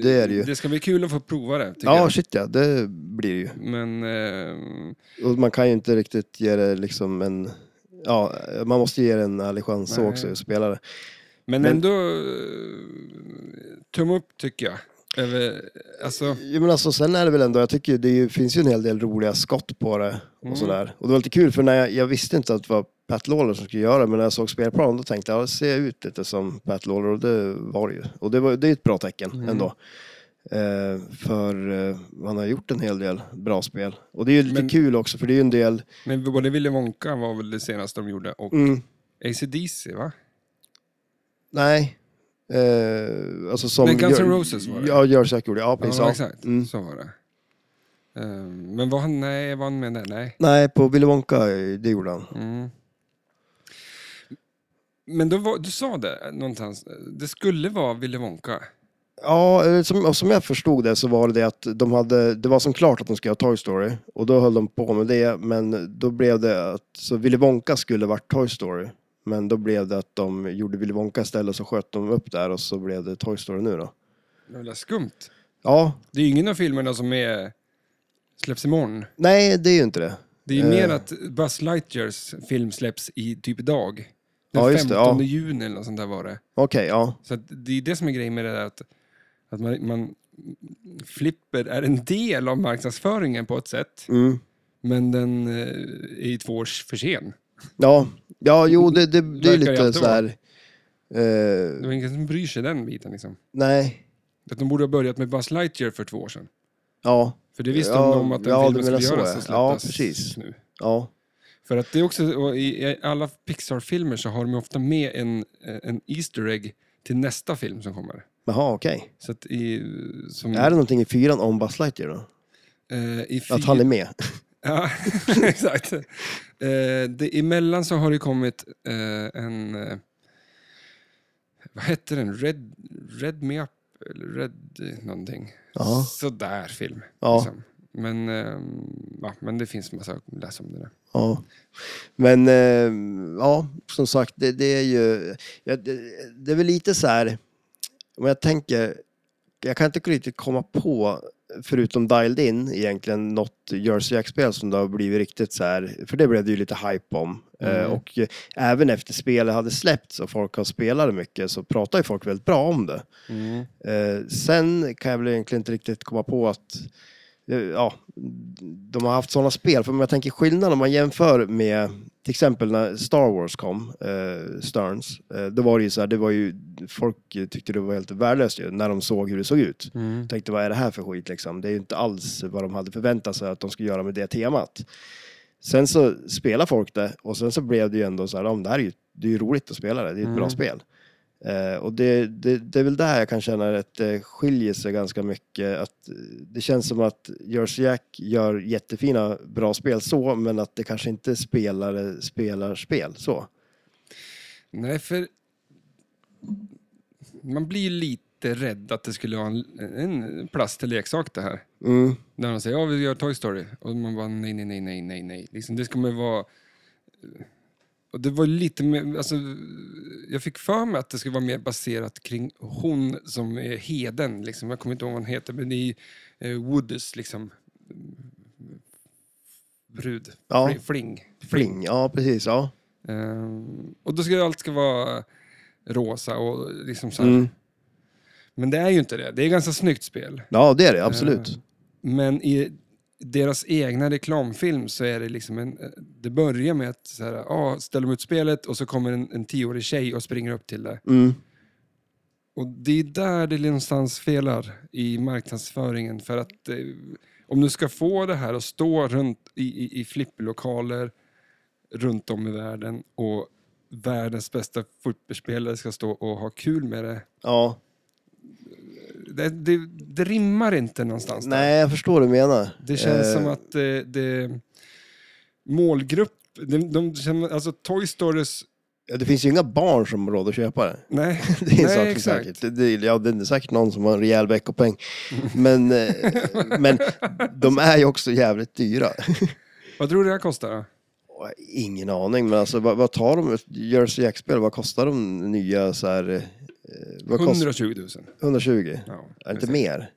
[SPEAKER 2] Det är det ju.
[SPEAKER 1] Det ska bli kul att få prova det, tycker
[SPEAKER 2] Ja,
[SPEAKER 1] jag.
[SPEAKER 2] shit ja, det blir det ju.
[SPEAKER 1] Men eh,
[SPEAKER 2] Och man kan ju inte riktigt ge det liksom en... Ja, man måste ge det en ärlig chans så
[SPEAKER 1] Nej.
[SPEAKER 2] också, att spela det.
[SPEAKER 1] Men,
[SPEAKER 2] Men-
[SPEAKER 1] ändå, eh, tumme upp tycker jag. Över, alltså,
[SPEAKER 2] Jo, men alltså, sen är det väl ändå, jag tycker ju det är ju- finns ju en hel del roliga skott på det och
[SPEAKER 1] Mm.
[SPEAKER 2] sådär. Och det var lite kul för när jag, jag visste inte att det var Pat Lawler som skulle göra det, men när jag såg spelplanen då tänkte jag, ja, det ser ut lite som Pat Lawler och det var det ju. Och det, var, det är ett bra tecken
[SPEAKER 1] Mm.
[SPEAKER 2] ändå. Eh, för eh, han har gjort en hel del bra spel. Och det är ju lite
[SPEAKER 1] Men-
[SPEAKER 2] kul också för det är ju en del, mm,
[SPEAKER 1] men både Willy Wonka var väl det senaste de gjorde och AC/DC va?
[SPEAKER 2] nej, eh, alltså som...
[SPEAKER 1] Nej, Guns N'
[SPEAKER 2] Gör-
[SPEAKER 1] Roses var det.
[SPEAKER 2] Ja, Jersey Jack gjorde det, ja precis.
[SPEAKER 1] Ja,
[SPEAKER 2] ja.
[SPEAKER 1] exakt.
[SPEAKER 2] Mm.
[SPEAKER 1] Så var det. Eh, Men var han, nej, var han med där? Nej.
[SPEAKER 2] Nej, på Willy Wonka, eh, det gjorde han.
[SPEAKER 1] Mm. Men då var, du sa det någonstans, det skulle vara Willy Wonka.
[SPEAKER 2] Ja, eh, som, och som jag förstod det så var det det att de hade, det var som klart att de skulle göra Toy Story och då höll de på med det men då blev det att, så Willy Wonka skulle varit Toy Story men då blev det att de gjorde Willy Wonka istället så sköt de upp där och så blev det Toy Story nu då.
[SPEAKER 1] Jävla skumt.
[SPEAKER 2] Ja,
[SPEAKER 1] Det är ju ingen av filmerna som är, släpps imorgon.
[SPEAKER 2] nej det är ju inte det.
[SPEAKER 1] Det är ju
[SPEAKER 2] Eh.
[SPEAKER 1] mer att Buzz Lightyears film släpps i typ idag. Den
[SPEAKER 2] Ja, just
[SPEAKER 1] 15
[SPEAKER 2] det, ja.
[SPEAKER 1] juni eller något sånt där var det.
[SPEAKER 2] Okej, ja.
[SPEAKER 1] Så att det är det som är grejen med det där att, att man, man flipper är en del av marknadsföringen på ett sätt.
[SPEAKER 2] Mm.
[SPEAKER 1] Men den eh, är ju två år för sen.
[SPEAKER 2] Ja, ja jo det, det, det är
[SPEAKER 1] Verkar det
[SPEAKER 2] lite
[SPEAKER 1] alltid
[SPEAKER 2] så här. Eh,
[SPEAKER 1] Det var ingen som bryr sig den biten liksom.
[SPEAKER 2] nej,
[SPEAKER 1] Att de borde ha börjat med Buzz Lightyear för två år sedan.
[SPEAKER 2] ja,
[SPEAKER 1] För det visste
[SPEAKER 2] Ja,
[SPEAKER 1] de om att den
[SPEAKER 2] ja, du
[SPEAKER 1] filmen skulle
[SPEAKER 2] menar så,
[SPEAKER 1] göras
[SPEAKER 2] ja.
[SPEAKER 1] och
[SPEAKER 2] Ja,
[SPEAKER 1] släppas
[SPEAKER 2] precis.
[SPEAKER 1] nu.
[SPEAKER 2] ja.
[SPEAKER 1] För att det är också, och i i alla Pixar-filmer så har de ju ofta med en, en Easter egg till nästa film som kommer.
[SPEAKER 2] Jaha, okej.
[SPEAKER 1] Så att i, som,
[SPEAKER 2] Är det någonting i fyran om Buzz Lightyear då?
[SPEAKER 1] eh, i
[SPEAKER 2] Att han är med?
[SPEAKER 1] Ja, exakt. Eh, det, emellan så har det kommit eh, en... Eh, vad hette den? Red, Red Me Up? Eller Red eh, någonting.
[SPEAKER 2] Ja.
[SPEAKER 1] Sådär film.
[SPEAKER 2] Ja.
[SPEAKER 1] Liksom. Men, eh, ja, men det finns massa att läsa om det där.
[SPEAKER 2] Ja. Men eh, ja, som sagt, det, det är ju... Ja, det, det är väl lite så här... Men jag tänker, jag kan inte riktigt komma på, förutom Dialed In egentligen, något Jersey Jack-spel som det har blivit riktigt så här, för det blev det ju lite hype om.
[SPEAKER 1] Mm.
[SPEAKER 2] Eh, och eh, även efter spelet hade släppts och folk har spelat det mycket så pratar ju folk väldigt bra om det.
[SPEAKER 1] Mm.
[SPEAKER 2] Eh, sen kan jag väl egentligen inte riktigt komma på att eh, ja, de har haft sådana spel. För om jag tänker skillnaden om man jämför med till exempel när Star Wars kom, eh, Sterns, eh, då var det ju så här, det var ju, folk tyckte det var helt värdelöst ju, när de såg hur det såg ut.
[SPEAKER 1] Mm.
[SPEAKER 2] Jag tänkte vad är det här för skit liksom? Det är ju inte alls vad de hade förväntat sig att de skulle göra med det temat. Sen så spelar folk det och sen så blev det ju ändå så här, om det här är ju, det är ju roligt att spela det, det är ett
[SPEAKER 1] Mm.
[SPEAKER 2] bra spel. Eh, och det, det, det är väl där jag kan känna att det skiljer sig ganska mycket. Att eh, det känns som att Jersey Jack gör jättefina, bra spel så, men att det kanske inte spelare spelar spel så.
[SPEAKER 1] Nej, för man blir ju lite rädd att det skulle vara en, en plats till leksak det här.
[SPEAKER 2] Mm.
[SPEAKER 1] När de säger ja, vi gör Toy Story och man bara nej, nej, nej, nej, nej, nej. Liksom, det kommer vara... Och det var lite mer, alltså, jag fick för mig att det skulle vara mer baserat kring hon som är heden. Liksom. Jag kommer inte ihåg vad hon heter, men det är eh, Woodys liksom, brud.
[SPEAKER 2] Ja.
[SPEAKER 1] Fling. Fling.
[SPEAKER 2] Fling, ja precis. Ja.
[SPEAKER 1] Ehm, och då ska allt ska vara rosa och liksom så här.
[SPEAKER 2] Mm.
[SPEAKER 1] Men det är ju inte det. Det är ett ganska snyggt spel.
[SPEAKER 2] ja, det är det absolut.
[SPEAKER 1] Ehm, men i deras egna reklamfilm så är det liksom en... eh, Det börjar med att så här, ah, ställer de ut spelet och så kommer en, en tioårig tjej och springer upp till det.
[SPEAKER 2] Mm.
[SPEAKER 1] Och det är där det någonstans felar i marknadsföringen. För att eh, om du ska få det här att stå runt i, i, i flipperlokaler runt om i världen och världens bästa fotbollsspelare ska stå och ha kul med det.
[SPEAKER 2] Ja.
[SPEAKER 1] Det, det, det rimmar inte någonstans. där.
[SPEAKER 2] Nej, jag förstår vad du menar.
[SPEAKER 1] Det känns
[SPEAKER 2] Eh,
[SPEAKER 1] som att eh, det, målgrupp... De, de känner, alltså Toy Stories...
[SPEAKER 2] Ja, det finns ju inga barn som har råd att köpa det.
[SPEAKER 1] Nej,
[SPEAKER 2] Det är en
[SPEAKER 1] Nej,
[SPEAKER 2] sak för
[SPEAKER 1] exakt.
[SPEAKER 2] säkert. Det, det, ja, det är säkert någon som har en rejäl veckopeng. Men, eh, men de är ju också jävligt dyra.
[SPEAKER 1] Vad tror du det här kostar? då?
[SPEAKER 2] Och jag har Ingen aning, men alltså vad, vad tar de, ett Jersey Jack-spel, vad kostar de nya så här, eh, vad kostar,
[SPEAKER 1] 120 000.
[SPEAKER 2] 120?
[SPEAKER 1] Ja,
[SPEAKER 2] Är inte mer?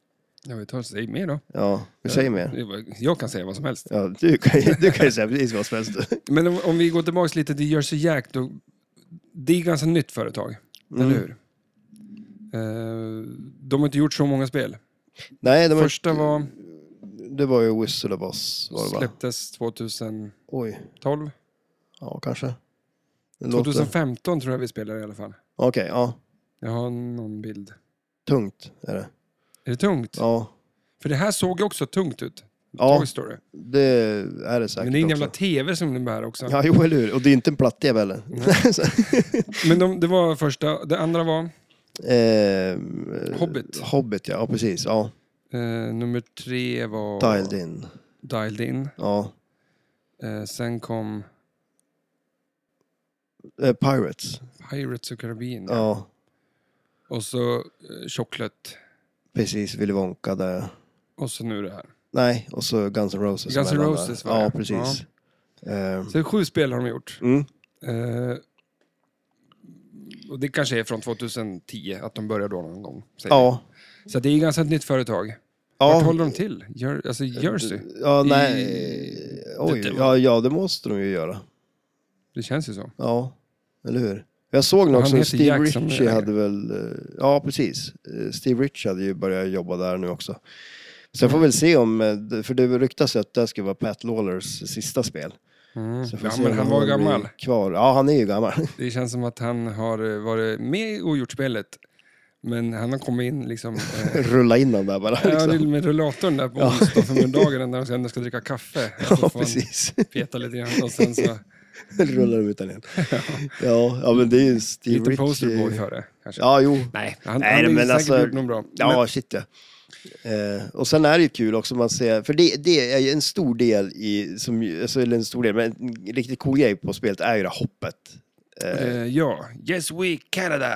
[SPEAKER 1] Ja, vi tar, säg mer då.
[SPEAKER 2] Ja, vi säger mer.
[SPEAKER 1] Jag kan säga vad som helst.
[SPEAKER 2] Ja, du, kan, ju- du kan ju säga precis vad som helst.
[SPEAKER 1] Men om, om vi går tillbaka lite till Jersey Jack, då, det är ett ganska nytt företag,
[SPEAKER 2] Mm.
[SPEAKER 1] eller hur? Eh, de har inte gjort så många spel.
[SPEAKER 2] Nej, de,
[SPEAKER 1] Första var,
[SPEAKER 2] det var ju Whistle of Us, var det va?
[SPEAKER 1] släpptes 2012.
[SPEAKER 2] Oj, ja kanske. Det låter-
[SPEAKER 1] 2015 tror jag vi spelade i alla fall.
[SPEAKER 2] Okej, ja.
[SPEAKER 1] Jag har någon bild.
[SPEAKER 2] Tungt är det.
[SPEAKER 1] Är det tungt?
[SPEAKER 2] Ja.
[SPEAKER 1] För det här såg ju också tungt ut.
[SPEAKER 2] Ja.
[SPEAKER 1] Toy Story.
[SPEAKER 2] Det är det säkert
[SPEAKER 1] Men det är en
[SPEAKER 2] också.
[SPEAKER 1] jävla tv som den bär också.
[SPEAKER 2] Ja, jo, eller hur. Och det är inte en platt-tv heller.
[SPEAKER 1] Men de, det var första. Det andra var
[SPEAKER 2] Ehm,
[SPEAKER 1] Hobbit.
[SPEAKER 2] Hobbit, ja. ja precis. Ja.
[SPEAKER 1] eh, nummer tre var
[SPEAKER 2] Dialed in.
[SPEAKER 1] Dialed In.
[SPEAKER 2] Ja.
[SPEAKER 1] Eh, sen kom
[SPEAKER 2] Eh, Pirates.
[SPEAKER 1] Pirates of Caribbean.
[SPEAKER 2] Ja.
[SPEAKER 1] Och så eh, Chocolate.
[SPEAKER 2] precis. Willy Wonka där.
[SPEAKER 1] Och så nu det här.
[SPEAKER 2] Nej, och så Guns N' Roses.
[SPEAKER 1] Guns N'
[SPEAKER 2] emellan
[SPEAKER 1] Roses
[SPEAKER 2] där.
[SPEAKER 1] var det.
[SPEAKER 2] Ja, precis. Ehm,
[SPEAKER 1] Så sju spel har de gjort.
[SPEAKER 2] mm.
[SPEAKER 1] Eh, och det kanske är från 2010, att de började då någon gång. säger
[SPEAKER 2] Ja.
[SPEAKER 1] vi. Så det är ganska ett nytt företag. Vart
[SPEAKER 2] Ja. Eh,
[SPEAKER 1] håller de till? Jer- alltså Jersey?
[SPEAKER 2] ja,
[SPEAKER 1] I-
[SPEAKER 2] nej.
[SPEAKER 1] Det-
[SPEAKER 2] Oj,
[SPEAKER 1] det-
[SPEAKER 2] ja, ja, det måste de ju göra.
[SPEAKER 1] Det känns ju så.
[SPEAKER 2] Ja, eller hur? Jag såg nog
[SPEAKER 1] Han
[SPEAKER 2] också
[SPEAKER 1] heter
[SPEAKER 2] Steve
[SPEAKER 1] Jack som
[SPEAKER 2] Ritchie
[SPEAKER 1] äger.
[SPEAKER 2] hade väl, eh, ja precis, Eh, Steve Ritchie hade ju börjat jobba där nu också. Sen får vi väl se om, eh, det- för det ryktas ju att det här ska vara Pat Lawlers sista spel.
[SPEAKER 1] Mm.
[SPEAKER 2] Så får vi
[SPEAKER 1] Ja,
[SPEAKER 2] se
[SPEAKER 1] men
[SPEAKER 2] om
[SPEAKER 1] han var
[SPEAKER 2] blir
[SPEAKER 1] gammal.
[SPEAKER 2] Kvar. Ja, han är ju gammal.
[SPEAKER 1] Det känns som att han har eh, varit med och gjort spelet. Men han har kommit in liksom... Eh,
[SPEAKER 2] Rulla in honom där bara.
[SPEAKER 1] Ja,
[SPEAKER 2] Liksom.
[SPEAKER 1] det är med rullatorn där på onsdag förmiddagen när de sen ska dricka kaffe. Och så
[SPEAKER 2] Ja,
[SPEAKER 1] får han
[SPEAKER 2] precis.
[SPEAKER 1] Peta lite grann och sen så...
[SPEAKER 2] Rullar dem utan igen. Ja, ja, men det är ju Steve
[SPEAKER 1] Lite
[SPEAKER 2] Ritchie.
[SPEAKER 1] posterboy för det, kanske.
[SPEAKER 2] eh, Ja, jo.
[SPEAKER 1] Nej, han,
[SPEAKER 2] Nej,
[SPEAKER 1] han har
[SPEAKER 2] men
[SPEAKER 1] säkert
[SPEAKER 2] alltså-
[SPEAKER 1] gjort något bra.
[SPEAKER 2] Ja, shit ja. Eh, och sen är det ju kul också man ser, för det, det är ju en stor del i, som, ju- alltså, eller en stor del, men en riktigt cool grej på spelet är ju det här hoppet.
[SPEAKER 1] Men, eh, ja, Yes We Canada!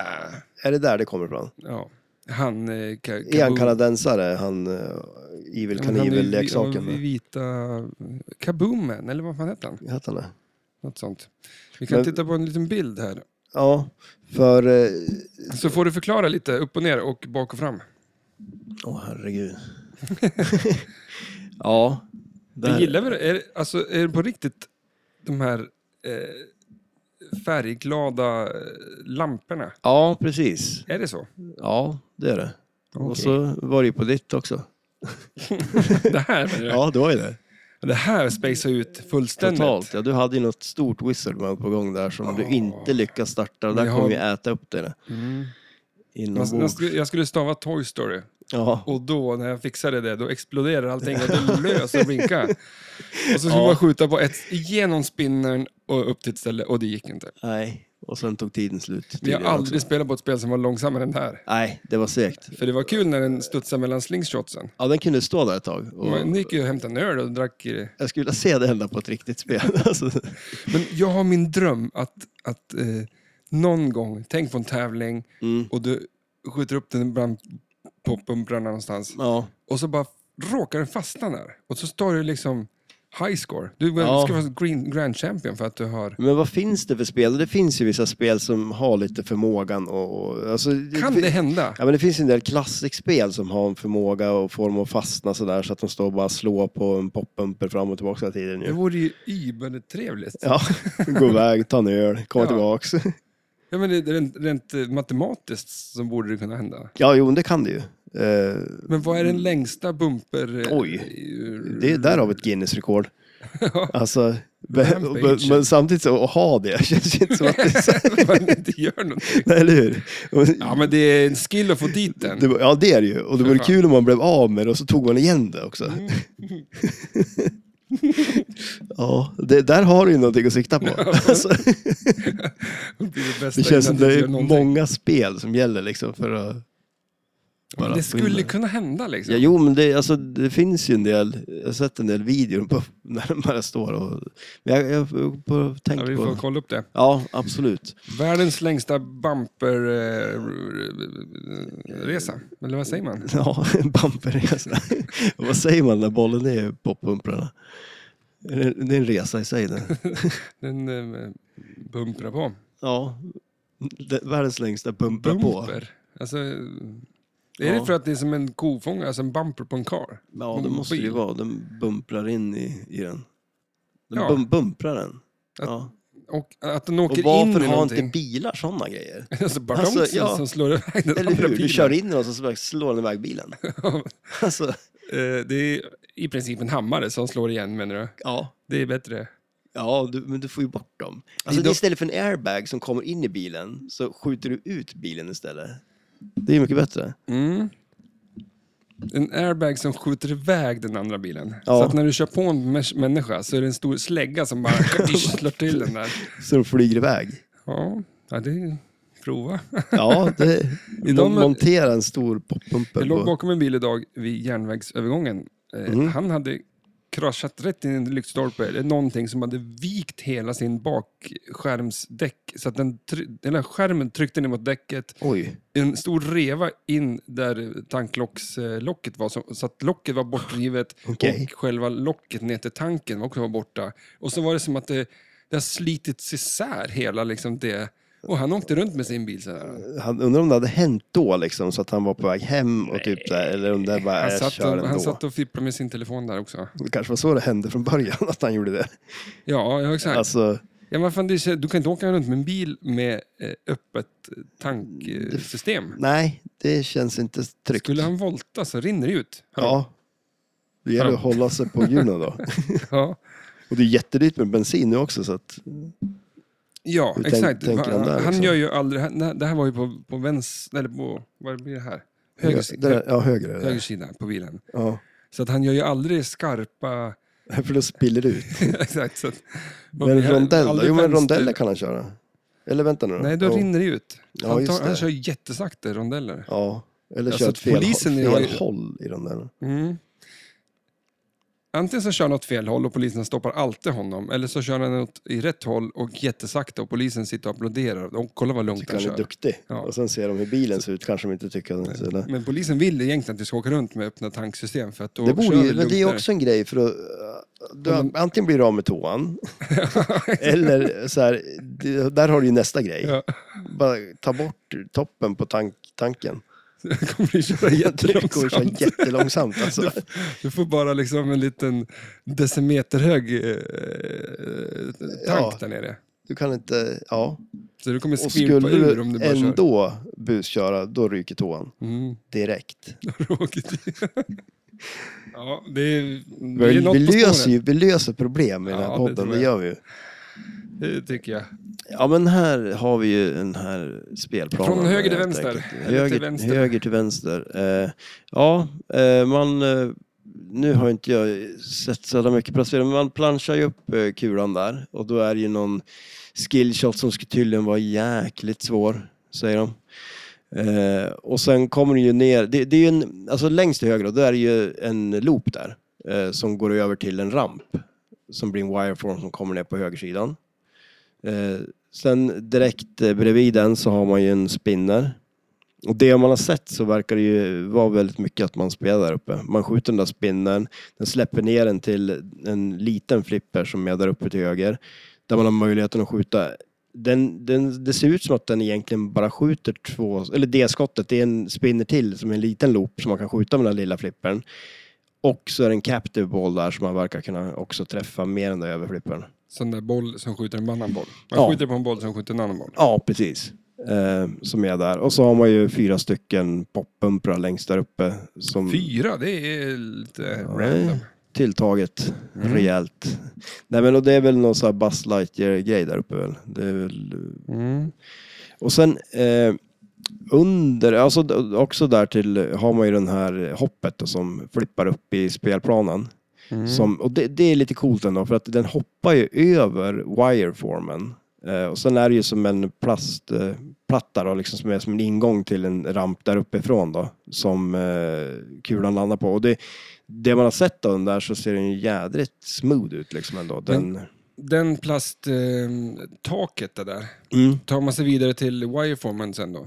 [SPEAKER 2] Är det där det kommer ifrån?
[SPEAKER 1] Ja, han... Eh, ka,
[SPEAKER 2] Är han
[SPEAKER 1] Kaboo-
[SPEAKER 2] kanadensare, han uh, Evil
[SPEAKER 1] Ja, men han är ju vi-
[SPEAKER 2] Knievel-leksaken?
[SPEAKER 1] ja, vi
[SPEAKER 2] Ja,
[SPEAKER 1] Vita... Kaboomen, eller vad fan heter han?
[SPEAKER 2] Hette han det?
[SPEAKER 1] Något sånt. Vi kan
[SPEAKER 2] Men-
[SPEAKER 1] titta på en liten bild här.
[SPEAKER 2] Ja, för... eh,
[SPEAKER 1] Så får du förklara lite upp och ner och bak och fram.
[SPEAKER 2] Åh, herregud. ja.
[SPEAKER 1] Men
[SPEAKER 2] Där,
[SPEAKER 1] gillar vi det? Är, det- alltså, är det på riktigt de här eh, färgglada eh, lamporna?
[SPEAKER 2] Ja, precis.
[SPEAKER 1] Är det så?
[SPEAKER 2] Ja, det är det. Och
[SPEAKER 1] Okej.
[SPEAKER 2] så var det ju på ditt också.
[SPEAKER 1] Det här, menar jag.
[SPEAKER 2] Ja, det var ju det.
[SPEAKER 1] det här spejsar ut fullständigt.
[SPEAKER 2] Totalt. Ja, du hade ju något stort wizard mode på gång där som du
[SPEAKER 1] Ja.
[SPEAKER 2] inte lyckas starta.
[SPEAKER 1] Men
[SPEAKER 2] Där
[SPEAKER 1] jag
[SPEAKER 2] kommer vi
[SPEAKER 1] har-
[SPEAKER 2] äta upp det.
[SPEAKER 1] Mm.
[SPEAKER 2] Inombords.
[SPEAKER 1] Man, man skulle, jag skulle stava Toy Story
[SPEAKER 2] Ja.
[SPEAKER 1] och då när jag fixade det då exploderar allting och det löser och blinkar. Och så skulle man skjuta på ett, igenom spinnern och upp till ett ställe och det gick inte.
[SPEAKER 2] Nej, och sen tog tiden slut.
[SPEAKER 1] Vi har
[SPEAKER 2] tydligen också.
[SPEAKER 1] aldrig spelat på ett spel som var långsammare än det här.
[SPEAKER 2] Nej, det var segt.
[SPEAKER 1] För det var kul när den studsade mellan slingshotsen.
[SPEAKER 2] Ja, den kunde stå där ett tag. Och
[SPEAKER 1] Man gick ju och hämtade en öl och drack i det.
[SPEAKER 2] Jag skulle vilja se det hända på ett riktigt spel. alltså.
[SPEAKER 1] Men jag har min dröm att, att eh, någon gång, tänk på en tävling
[SPEAKER 2] mm.
[SPEAKER 1] och du skjuter upp den bland poppumprarna någonstans
[SPEAKER 2] Ja,
[SPEAKER 1] och så bara råkar den fastna där. Och så står det liksom high score. Du
[SPEAKER 2] Ja.
[SPEAKER 1] ska vara green, grand champion för att du har...
[SPEAKER 2] men vad finns det för spel? Det finns ju vissa spel som har lite förmågan och... och alltså,
[SPEAKER 1] Kan det hända?
[SPEAKER 2] Ja, men det finns ju en del klassikspel som har en förmåga och får dem att fastna sådär så att de står och bara slår på en poppumper fram och tillbaka hela tiden.
[SPEAKER 1] Det
[SPEAKER 2] Ju.
[SPEAKER 1] vore ju ybertrevligt. Ja.
[SPEAKER 2] Ja, gå iväg, ta en öl, komma
[SPEAKER 1] Ja.
[SPEAKER 2] tillbaks.
[SPEAKER 1] Ja, men det- rent, rent eh, matematiskt så borde det kunna hända.
[SPEAKER 2] Ja, jo, men det kan det ju. Eh,
[SPEAKER 1] Men vad är den längsta bumper... eh,
[SPEAKER 2] Oj. det, där har vi ett Guinness-rekord.
[SPEAKER 1] Ja.
[SPEAKER 2] Alltså, be,
[SPEAKER 1] Rampage.
[SPEAKER 2] men, men samtidigt så, att ha det känns ju inte som att det är så,
[SPEAKER 1] man inte gör någonting.
[SPEAKER 2] Nej, eller hur? Och-
[SPEAKER 1] Ja, men det är en skill att få dit den.
[SPEAKER 2] Det, var- ja, det är det ju. Och det
[SPEAKER 1] För
[SPEAKER 2] vore
[SPEAKER 1] fan. Mm.
[SPEAKER 2] kul om man blev av med det och så tog man igen det också. ja, det, där har du ju någonting att sikta på. alltså,
[SPEAKER 1] Det, blir det, bästa
[SPEAKER 2] det känns som
[SPEAKER 1] innan
[SPEAKER 2] det
[SPEAKER 1] du
[SPEAKER 2] är
[SPEAKER 1] gör någonting.
[SPEAKER 2] många spel som gäller liksom för att... bara
[SPEAKER 1] Det
[SPEAKER 2] få in
[SPEAKER 1] skulle
[SPEAKER 2] det.
[SPEAKER 1] kunna hända liksom.
[SPEAKER 2] Ja, jo, men det, alltså, det finns ju en del, jag har sett en del videor på när de bara står och... Men jag, jag, på,
[SPEAKER 1] Ja,
[SPEAKER 2] tänker
[SPEAKER 1] vi får
[SPEAKER 2] på...
[SPEAKER 1] kolla upp det.
[SPEAKER 2] Ja, absolut.
[SPEAKER 1] Världens längsta bumperresa. Eller vad säger man?
[SPEAKER 2] Ja, en bumperresa. Och Vad säger man när bollen är poppumprarna? Är det- Det är en resa i sig det.
[SPEAKER 1] Den eh, bumprar på.
[SPEAKER 2] Ja, det, världens längsta bumpra på.
[SPEAKER 1] Bumper. Alltså, är
[SPEAKER 2] Ja.
[SPEAKER 1] det för att det är som en kofångare, alltså en bumper på en kar?
[SPEAKER 2] Ja, det måste det ju
[SPEAKER 1] Bil.
[SPEAKER 2] vara. Den bumprar in i, i den. Den
[SPEAKER 1] Ja.
[SPEAKER 2] bum, bumprar den.
[SPEAKER 1] Att-
[SPEAKER 2] Ja.
[SPEAKER 1] Och att den
[SPEAKER 2] Och
[SPEAKER 1] åker in
[SPEAKER 2] varför
[SPEAKER 1] i
[SPEAKER 2] har inte
[SPEAKER 1] någonting.
[SPEAKER 2] bilar sådana grejer?
[SPEAKER 1] Alltså, bara
[SPEAKER 2] Alltså,
[SPEAKER 1] alltså,
[SPEAKER 2] ja.
[SPEAKER 1] som slår iväg den
[SPEAKER 2] Eller
[SPEAKER 1] andra
[SPEAKER 2] hur? Du
[SPEAKER 1] bilen.
[SPEAKER 2] kör in i någon och så bara slår den iväg bilen. Alltså,
[SPEAKER 1] Eh, det är i princip en hammare som slår igen menar du?
[SPEAKER 2] ja.
[SPEAKER 1] Det är bättre.
[SPEAKER 2] Ja, du, men du får ju bort dem.
[SPEAKER 1] Nej,
[SPEAKER 2] Alltså,
[SPEAKER 1] då-
[SPEAKER 2] Istället för en airbag som kommer in i bilen så skjuter du ut bilen istället. Det är mycket bättre.
[SPEAKER 1] Mm. En airbag som skjuter iväg den andra bilen.
[SPEAKER 2] Ja.
[SPEAKER 1] Så att när du kör på en mäs- människa så är det en stor slägga som bara slår till den där.
[SPEAKER 2] Så de flyger iväg.
[SPEAKER 1] Ja, ja det är... Prova.
[SPEAKER 2] Ja, det,
[SPEAKER 1] De-
[SPEAKER 2] de monterar en stor poppumper
[SPEAKER 1] Jag låg
[SPEAKER 2] på.
[SPEAKER 1] bakom en bil idag vid järnvägsövergången. Eh, Han hade kraschat rätt in i en lyktstolpe eller någonting som hade vikt hela sin bakskärmsdäck. Så att den, try- den här skärmen tryckte ner mot däcket
[SPEAKER 2] Oj.
[SPEAKER 1] en stor reva in där tanklockslocket var, så så att locket var bortrivet
[SPEAKER 2] Okej.
[SPEAKER 1] och själva locket ner till tanken var också var borta. Och så var det som att det, det har slitits isär hela liksom det. Och han åkte runt med sin bil så här.
[SPEAKER 2] Han, undrar om det hade hänt då liksom, så att han var på väg hem och typ där, eller om det bara,
[SPEAKER 1] Han
[SPEAKER 2] jag
[SPEAKER 1] satt,
[SPEAKER 2] kör
[SPEAKER 1] och,
[SPEAKER 2] ändå.
[SPEAKER 1] han satt och fipplade med sin telefon där också.
[SPEAKER 2] Det kanske var så det hände från början, att han gjorde det.
[SPEAKER 1] Ja, ja exakt.
[SPEAKER 2] Alltså,
[SPEAKER 1] ja, men fan, det är, så- du kan inte åka runt med en bil med eh, öppet tanksystem.
[SPEAKER 2] nej, det känns inte tryggt.
[SPEAKER 1] Skulle han volta så rinner det ut.
[SPEAKER 2] Ja. Det gäller att hålla sig på hjulen då.
[SPEAKER 1] ja.
[SPEAKER 2] Och det är jättedyrt med bensin nu också, så att,
[SPEAKER 1] Ja,
[SPEAKER 2] Hur tänk-
[SPEAKER 1] exakt.
[SPEAKER 2] tänker han
[SPEAKER 1] han,
[SPEAKER 2] där,
[SPEAKER 1] han
[SPEAKER 2] liksom?
[SPEAKER 1] gör ju aldrig... Han, det här var ju på, på vänster... Eller på... Vad blir det här? Höger,
[SPEAKER 2] det där, ja, högre. är
[SPEAKER 1] höger
[SPEAKER 2] det.
[SPEAKER 1] sida på bilen.
[SPEAKER 2] Ja.
[SPEAKER 1] Så att han gör ju aldrig skarpa...
[SPEAKER 2] För då spiller det ut.
[SPEAKER 1] exakt. Så att, man
[SPEAKER 2] Men
[SPEAKER 1] blir
[SPEAKER 2] rondell då?
[SPEAKER 1] aldrig
[SPEAKER 2] Jo, men
[SPEAKER 1] vänster-
[SPEAKER 2] rondeller kan han köra. Eller vänta nu
[SPEAKER 1] Nej, då
[SPEAKER 2] Jo.
[SPEAKER 1] rinner det ut.
[SPEAKER 2] Ja,
[SPEAKER 1] Han,
[SPEAKER 2] just
[SPEAKER 1] tar,
[SPEAKER 2] det.
[SPEAKER 1] han kör jättesakta i rondeller.
[SPEAKER 2] Ja, eller
[SPEAKER 1] Ja,
[SPEAKER 2] kör
[SPEAKER 1] så
[SPEAKER 2] åt fel,
[SPEAKER 1] Alltså, polisen
[SPEAKER 2] fel
[SPEAKER 1] har ju-
[SPEAKER 2] håll i den där.
[SPEAKER 1] Mm. Antingen så kör han åt fel håll och polisen stoppar alltid honom. Eller så kör han åt, i rätt håll och jättesakta och polisen sitter och applåderar. Och kolla vad lugnt
[SPEAKER 2] Tycker
[SPEAKER 1] han
[SPEAKER 2] han är
[SPEAKER 1] kör.
[SPEAKER 2] duktig.
[SPEAKER 1] Ja.
[SPEAKER 2] Och sen ser de hur bilen ser ut, kanske de inte tycker att den ser det.
[SPEAKER 1] Men polisen vill egentligen att vi ska åka runt med öppna tanksystem för att då
[SPEAKER 2] Det
[SPEAKER 1] kör
[SPEAKER 2] borde
[SPEAKER 1] vi
[SPEAKER 2] ju, men det är
[SPEAKER 1] lugnare.
[SPEAKER 2] också en grej för att, du, antingen blir du av med toan, eller så här, det- där har du ju nästa grej.
[SPEAKER 1] Ja.
[SPEAKER 2] Bara ta bort toppen på tank, tanken.
[SPEAKER 1] Det kommer bli köra
[SPEAKER 2] Det går så
[SPEAKER 1] jättelångsamt.
[SPEAKER 2] jättelångsamt alltså.
[SPEAKER 1] Du får bara liksom en liten decimeterhög eh, tank
[SPEAKER 2] Ja.
[SPEAKER 1] där nere.
[SPEAKER 2] Du kan inte, ja.
[SPEAKER 1] Så du kommer
[SPEAKER 2] Och
[SPEAKER 1] skvirpa
[SPEAKER 2] skulle
[SPEAKER 1] ur om du
[SPEAKER 2] du
[SPEAKER 1] bara kör.
[SPEAKER 2] ändå busköra, då ryker toan.
[SPEAKER 1] Mm.
[SPEAKER 2] Direkt.
[SPEAKER 1] Tråkigt. ja, det är, det är
[SPEAKER 2] Vi,
[SPEAKER 1] något
[SPEAKER 2] vi,
[SPEAKER 1] på
[SPEAKER 2] löser
[SPEAKER 1] spåren,
[SPEAKER 2] ju, vi löser problem i den
[SPEAKER 1] Ja,
[SPEAKER 2] här
[SPEAKER 1] det
[SPEAKER 2] podden,
[SPEAKER 1] tror
[SPEAKER 2] det,
[SPEAKER 1] jag.
[SPEAKER 2] gör vi ju.
[SPEAKER 1] det tycker jag.
[SPEAKER 2] Ja men här har vi ju den här spelplanen.
[SPEAKER 1] Från höger till
[SPEAKER 2] helt
[SPEAKER 1] vänster.
[SPEAKER 2] enkelt.
[SPEAKER 1] Eller till
[SPEAKER 2] Höger,
[SPEAKER 1] vänster.
[SPEAKER 2] höger till vänster. Eh, ja, eh, man... Eh, nu har inte jag sett så jävla mycket placering, men man planchar ju upp eh, kulan där och då är det ju någon skillshot som ska tydligen vara jäkligt svår, säger de. Eh, och sen kommer det ju ner, det, det är ju en, alltså längst till höger då, då är det ju en loop där eh, som går över till en ramp som blir en wireform som kommer ner på högersidan. Eh, sen direkt eh, bredvid den så har man ju en spinner. Och det man har sett så verkar det ju vara väldigt mycket att man spelar där uppe. Man skjuter den där spinnen, den släpper ner den till en liten flipper som är där uppe till höger. Där man har möjligheten att skjuta. Den, den, det ser ut som att den egentligen bara skjuter två, eller det skottet, det är en spinner till som är en liten loop som man kan skjuta med den där lilla flippern. Och så är det en captive ball där som man verkar kunna också träffa med den där överflippern.
[SPEAKER 1] Sån där boll som skjuter en annan boll. Man
[SPEAKER 2] Ja.
[SPEAKER 1] skjuter på en boll som skjuter en annan boll.
[SPEAKER 2] Ja, precis. Eh, som är där. Och så har man ju fyra stycken poppumprar längst där uppe. Som
[SPEAKER 1] Fyra, det är lite random.
[SPEAKER 2] Nej, tilltaget rejält. Nej men och det är väl någon sån här Buzz Lightyear-grej där uppe väl. Det är väl...
[SPEAKER 1] Mm.
[SPEAKER 2] Och sen eh, under, alltså d- också där till har man ju den här hoppet då, som flippar upp i spelplanen.
[SPEAKER 1] Mm.
[SPEAKER 2] Som, och det, det är lite coolt ändå för att den hoppar ju över wireformen. Eh, och sen är det ju som en plastplatta eh, platta då, liksom som är som en ingång till en ramp där uppifrån då, som eh, kulan landar på. Och det, det man har sett av den där så ser den ju jädrigt smooth ut liksom ändå. Den,
[SPEAKER 1] Den plasttaket eh, taket det där,
[SPEAKER 2] mm.
[SPEAKER 1] tar man sig vidare till wireformen sen då?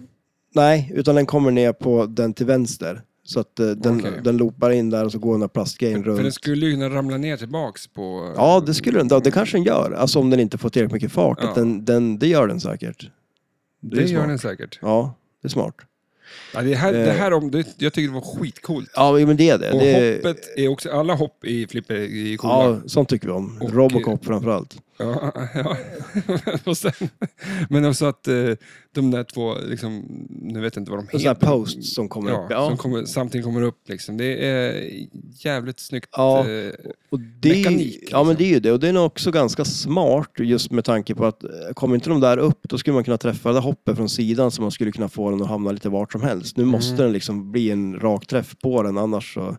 [SPEAKER 2] Nej, utan den kommer ner på den till vänster. Så att eh, den,
[SPEAKER 1] Okej.
[SPEAKER 2] den loopar in där och så går den här plastgrejen
[SPEAKER 1] För den
[SPEAKER 2] runt.
[SPEAKER 1] skulle ju kunna ramla ner tillbaks på...
[SPEAKER 2] Ja, det skulle den. ja, Det kanske den gör. Alltså om den inte får tillräckligt mycket fart.
[SPEAKER 1] Ja.
[SPEAKER 2] Att den, den, det gör den säkert.
[SPEAKER 1] det,
[SPEAKER 2] är
[SPEAKER 1] gör
[SPEAKER 2] smart.
[SPEAKER 1] den säkert.
[SPEAKER 2] Ja, det är smart.
[SPEAKER 1] Ja, det här, det
[SPEAKER 2] Eh.
[SPEAKER 1] här om, det, jag tycker det var skitcoolt.
[SPEAKER 2] Ja, men det är det.
[SPEAKER 1] Och
[SPEAKER 2] det är,
[SPEAKER 1] hoppet är också, alla hopp i flipper i coola.
[SPEAKER 2] Ja, sånt tycker vi om.
[SPEAKER 1] Och-
[SPEAKER 2] Robocop framförallt.
[SPEAKER 1] Ja, ja. och sen, men också att eh, de där två, liksom, nu vet jag inte vad de
[SPEAKER 2] Och sådana
[SPEAKER 1] heter.
[SPEAKER 2] här posts som kommer
[SPEAKER 1] ja,
[SPEAKER 2] upp. Ja.
[SPEAKER 1] Som kommer, samtidigt kommer upp. Liksom. Det är jävligt snyggt.
[SPEAKER 2] Ja.
[SPEAKER 1] eh,
[SPEAKER 2] och det,
[SPEAKER 1] mekanik,
[SPEAKER 2] Ja,
[SPEAKER 1] liksom.
[SPEAKER 2] men det är ju det. Och det är nog också ganska smart just med tanke på att eh, kommer inte de där upp då skulle man kunna träffa det där hoppet från sidan så man skulle kunna få den att hamna lite vart som helst.
[SPEAKER 1] Mm.
[SPEAKER 2] Nu måste den liksom bli en rak träff på den annars så...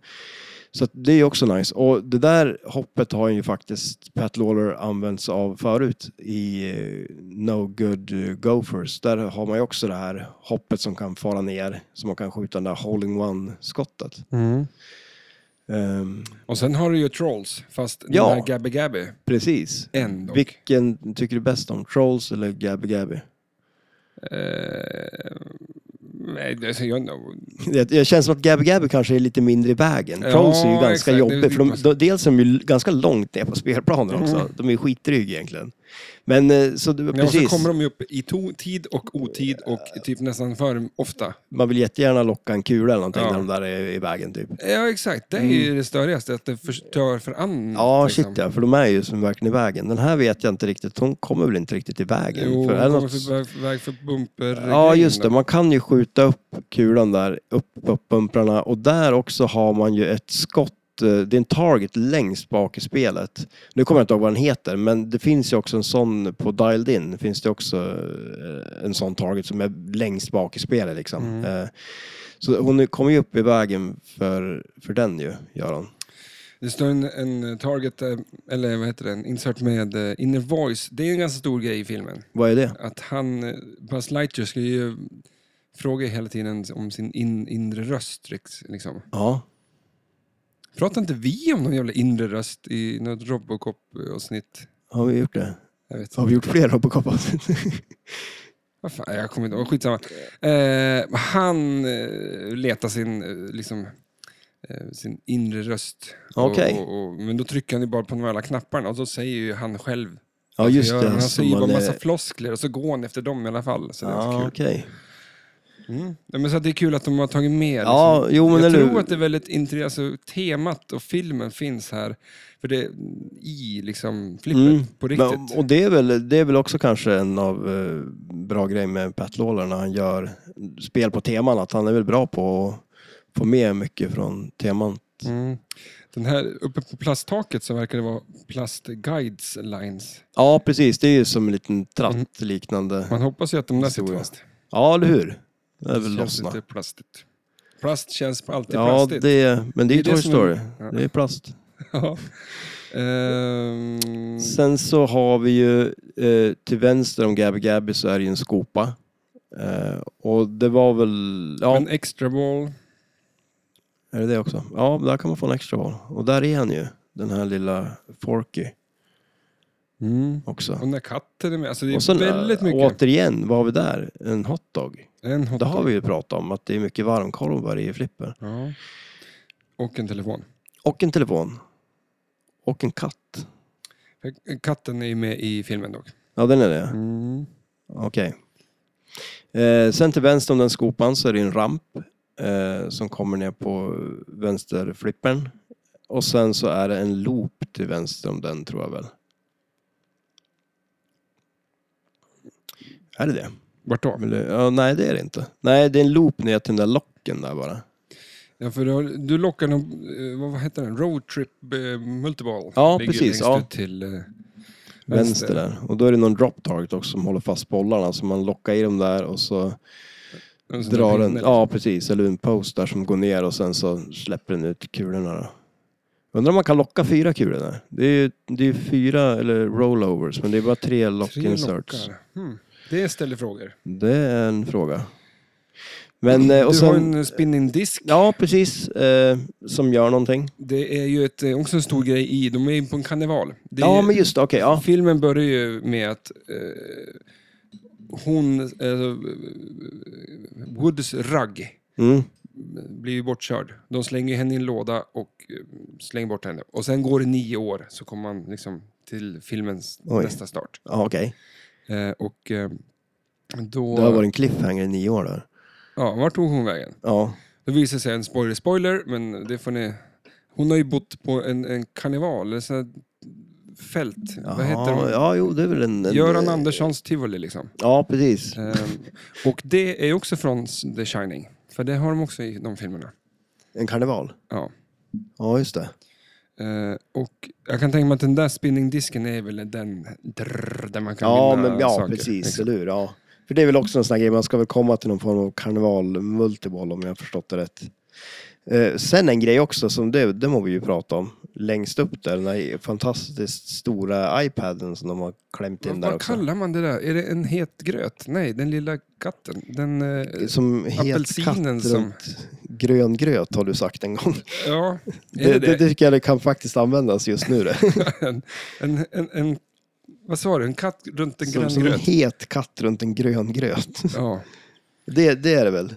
[SPEAKER 2] Så att det är ju också nice. Och det där hoppet har ju faktiskt Pat Lawler använts av förut i eh, No Good eh, Gophers. Där har man ju också det här hoppet som kan fara ner, som man kan skjuta det där hole-in-one-skottet.
[SPEAKER 1] Mm.
[SPEAKER 2] Ehm,
[SPEAKER 1] Och sen har du ju Trolls, fast
[SPEAKER 2] Ja.
[SPEAKER 1] den här Gabby Gabby.
[SPEAKER 2] precis.
[SPEAKER 1] En dock.
[SPEAKER 2] Vilken tycker du bäst om? Trolls eller Gabby Gabby?
[SPEAKER 1] Eh, nej, det, så jag,
[SPEAKER 2] Det, det känns som att Gabby Gabby kanske är lite mindre i vägen.
[SPEAKER 1] Ja,
[SPEAKER 2] Trolls är ju ganska
[SPEAKER 1] exakt. Det är
[SPEAKER 2] jobbig. För de,
[SPEAKER 1] typ-
[SPEAKER 2] de, dels är de ju ganska långt ner på spelplanen också. De är ju skitdryg egentligen. Men eh, så, du-
[SPEAKER 1] Mm. ja, och så
[SPEAKER 2] precis,
[SPEAKER 1] kommer de ju upp i to, tid och otid och typ nästan för ofta.
[SPEAKER 2] man vill jättegärna locka en kula eller någonting
[SPEAKER 1] Ja. Mm,
[SPEAKER 2] när de där är i vägen typ.
[SPEAKER 1] Ja, exakt. Det är ju det störigaste, att det förstör för liksom. andra.
[SPEAKER 2] Mm. Ja, shit ja, för de är ju som verkligen i vägen. Den här vet jag inte riktigt, hon kommer väl inte riktigt i vägen?
[SPEAKER 1] Jo,
[SPEAKER 2] för är det
[SPEAKER 1] kommer
[SPEAKER 2] något-
[SPEAKER 1] för väg- väg för bumper.
[SPEAKER 2] Ja, just det. Man kan ju skjuta upp kulan där, upp på pumprarna. Och där också har man ju ett skott, eh, det är en target längst bak i spelet. Nu kommer jag inte ihåg vad den heter, men det finns ju också en sån på Dialed In. Finns det också eh, en sån target som är längst bak i spelet liksom.
[SPEAKER 1] Mm.
[SPEAKER 2] Eh, Så hon kommer ju upp i vägen för, för den ju, gör hon.
[SPEAKER 1] Det står en, en target, eh, eller vad heter den, insert med eh, inner voice. Det är en ganska stor grej i filmen.
[SPEAKER 2] Vad är det?
[SPEAKER 1] Att han, eh, Buzz Lightyear ska ju fråga hela tiden om sin in, inre röst. Liksom.
[SPEAKER 2] Ja.
[SPEAKER 1] Pratar inte vi om någon jävla inre röst i något Robocop-avsnitt?
[SPEAKER 2] Har vi gjort det?
[SPEAKER 1] Jag vet
[SPEAKER 2] Har
[SPEAKER 1] inte.
[SPEAKER 2] vi gjort fler robocop
[SPEAKER 1] Vad fan, jag kommer inte ihåg. Skitsamma. Eh, han eh, letar sin eh, liksom, eh, sin inre röst.
[SPEAKER 2] Okej.
[SPEAKER 1] Och, och, och, men då trycker han ju bara på de alla knapparna och så säger ju han själv.
[SPEAKER 2] Ja, just
[SPEAKER 1] Ja,
[SPEAKER 2] det.
[SPEAKER 1] Han
[SPEAKER 2] som
[SPEAKER 1] säger ju
[SPEAKER 2] man
[SPEAKER 1] bara
[SPEAKER 2] är-
[SPEAKER 1] massa floskler och så går han efter dem i alla fall. Så det är ganska
[SPEAKER 2] Ja,
[SPEAKER 1] kul.
[SPEAKER 2] okej.
[SPEAKER 1] Mm. Ja, men så att det är kul att de har tagit med. Liksom.
[SPEAKER 2] Ja, jo men
[SPEAKER 1] jag
[SPEAKER 2] eller
[SPEAKER 1] tror
[SPEAKER 2] hur?
[SPEAKER 1] att det är väldigt intressant, alltså, temat och filmen finns här. För det i liksom flippet
[SPEAKER 2] Mm.
[SPEAKER 1] på riktigt.
[SPEAKER 2] Men, och det är, väl, det är väl också kanske en av eh, bra grejer med Pat Lawler när han gör spel på teman, att han är väl bra på att få med mycket från teman.
[SPEAKER 1] Mm. Den här uppe på plasttaket så verkar det vara plastguides lines.
[SPEAKER 2] Ja, precis. Det är ju som en liten
[SPEAKER 1] Mm.
[SPEAKER 2] tratt liknande.
[SPEAKER 1] Man hoppas ju att de där sitter
[SPEAKER 2] Historia.
[SPEAKER 1] fast.
[SPEAKER 2] Ja, eller hur? Det är väl
[SPEAKER 1] känns
[SPEAKER 2] lossna.
[SPEAKER 1] lite plastigt. Plast känns alltid
[SPEAKER 2] Ja,
[SPEAKER 1] plastigt.
[SPEAKER 2] det är, men det är ju
[SPEAKER 1] Det är det
[SPEAKER 2] Toy
[SPEAKER 1] som är-
[SPEAKER 2] Story.
[SPEAKER 1] Ja. Mm.
[SPEAKER 2] Det är plast.
[SPEAKER 1] Ja. Ehm,
[SPEAKER 2] Sen så har vi ju eh, till vänster om Gabby Gabby så är det ju en skopa. Eh, och det var väl... Ja,
[SPEAKER 1] En extra ball.
[SPEAKER 2] Är det det också? Ja, där kan man få en extra val. Och där är han ju, den här lilla Forky
[SPEAKER 1] Mm.
[SPEAKER 2] också.
[SPEAKER 1] Och när katten är med. Alltså det är
[SPEAKER 2] och sen,
[SPEAKER 1] väldigt
[SPEAKER 2] eh,
[SPEAKER 1] mycket.
[SPEAKER 2] Återigen, vad har vi där? En hotdog.
[SPEAKER 1] en hot
[SPEAKER 2] Det har vi ju pratat om, att det är mycket varmkorvar i flipper.
[SPEAKER 1] Ja. Och en telefon.
[SPEAKER 2] Och en telefon. Och en katt.
[SPEAKER 1] Katten är ju med i filmen dock.
[SPEAKER 2] Ja, den är det.
[SPEAKER 1] Mm.
[SPEAKER 2] Okej. Eh, sen till vänster om den skopan så är det en ramp eh, som kommer ner på vänsterflippern. Och sen så är det en loop till vänster om den tror jag väl. Är det det?
[SPEAKER 1] Vart då?
[SPEAKER 2] Eller, ja, nej, det är det inte. Nej, det är en loop ner till den där locken där bara.
[SPEAKER 1] Ja, för du, har- du lockar någon, eh, vad, vad heter den? Roadtrip eh, Multiball.
[SPEAKER 2] Ja,
[SPEAKER 1] Ligger
[SPEAKER 2] precis,
[SPEAKER 1] längst
[SPEAKER 2] ja.
[SPEAKER 1] ut till eh,
[SPEAKER 2] Vänster där. Och då är det någon drop target också som håller fast bollarna. Så man lockar i dem där och så
[SPEAKER 1] En sån där
[SPEAKER 2] drar den,
[SPEAKER 1] pinne.
[SPEAKER 2] ja precis, eller en post där som går ner och sen så släpper den ut kulorna då. Undrar om man kan locka fyra kulor där? Det är ju det är ju fyra, eller rollovers, men det är bara tre lock
[SPEAKER 1] Tre
[SPEAKER 2] inserts.
[SPEAKER 1] lockar. Hmm. Det ställer frågor.
[SPEAKER 2] Det är en fråga. Men, eh, och
[SPEAKER 1] du har
[SPEAKER 2] sen,
[SPEAKER 1] en spinning disk.
[SPEAKER 2] ja precis, eh, som gör någonting.
[SPEAKER 1] Det är ju ett, eh, också en stor grej i, de är ju på en karneval. Det är
[SPEAKER 2] Ja
[SPEAKER 1] ju,
[SPEAKER 2] men just det, okej, ja.
[SPEAKER 1] Filmen börjar ju med att eh, hon, eh, Woods ragg,
[SPEAKER 2] Mm.
[SPEAKER 1] blir ju bortkörd. De slänger henne i en låda och eh, slänger bort henne. Och sen går det nio år så kommer man liksom till filmens
[SPEAKER 2] Oj.
[SPEAKER 1] nästa start.
[SPEAKER 2] Ja, okej.
[SPEAKER 1] Eh, och eh, då...
[SPEAKER 2] Det har varit en cliffhanger i nio år där.
[SPEAKER 1] Ja, vart tog hon vägen?
[SPEAKER 2] Ja,
[SPEAKER 1] Då visar sig en spoiler, spoiler, men det får ni... Hon har ju bott på en, en karneval, eller sån här fält. Vad heter
[SPEAKER 2] ja,
[SPEAKER 1] hon?
[SPEAKER 2] ja jo det är väl en... en
[SPEAKER 1] Göran
[SPEAKER 2] eh,
[SPEAKER 1] Anderssons tivoli liksom.
[SPEAKER 2] Ja precis.
[SPEAKER 1] Ehm, och det är också från The Shining. För det har de också i de filmerna.
[SPEAKER 2] En karneval.
[SPEAKER 1] Ja.
[SPEAKER 2] Ja just det.
[SPEAKER 1] Eh, och jag kan tänka mig att den där spinningdisken är väl den drrr, där man kan
[SPEAKER 2] Ja,
[SPEAKER 1] vinna
[SPEAKER 2] men ja,
[SPEAKER 1] saker.
[SPEAKER 2] precis.
[SPEAKER 1] Liksom.
[SPEAKER 2] Eller hur? Ja. För det är väl också en sån här grej, man ska väl komma till någon form av karneval, multiball om jag har förstått det rätt. Eh, sen en grej också, som det, det må vi ju prata om, längst upp där, den här fantastiskt stora iPaden som de har klämt in
[SPEAKER 1] Vad,
[SPEAKER 2] där
[SPEAKER 1] vad
[SPEAKER 2] också.
[SPEAKER 1] kallar man det där? Är det en het gröt? Nej, den lilla katten. Den, eh,
[SPEAKER 2] Som het katt
[SPEAKER 1] apelsinen
[SPEAKER 2] runt
[SPEAKER 1] som-
[SPEAKER 2] grön gröt har du sagt en gång.
[SPEAKER 1] ja, är
[SPEAKER 2] Det,
[SPEAKER 1] det,
[SPEAKER 2] det,
[SPEAKER 1] det?
[SPEAKER 2] tycker jag det kan faktiskt användas just nu. Det.
[SPEAKER 1] En, en, en, en, vad sa du? En katt runt en
[SPEAKER 2] Som,
[SPEAKER 1] grön
[SPEAKER 2] som en
[SPEAKER 1] gröt?
[SPEAKER 2] het katt runt en grön gröt.
[SPEAKER 1] Ja,
[SPEAKER 2] Det, det är det väl?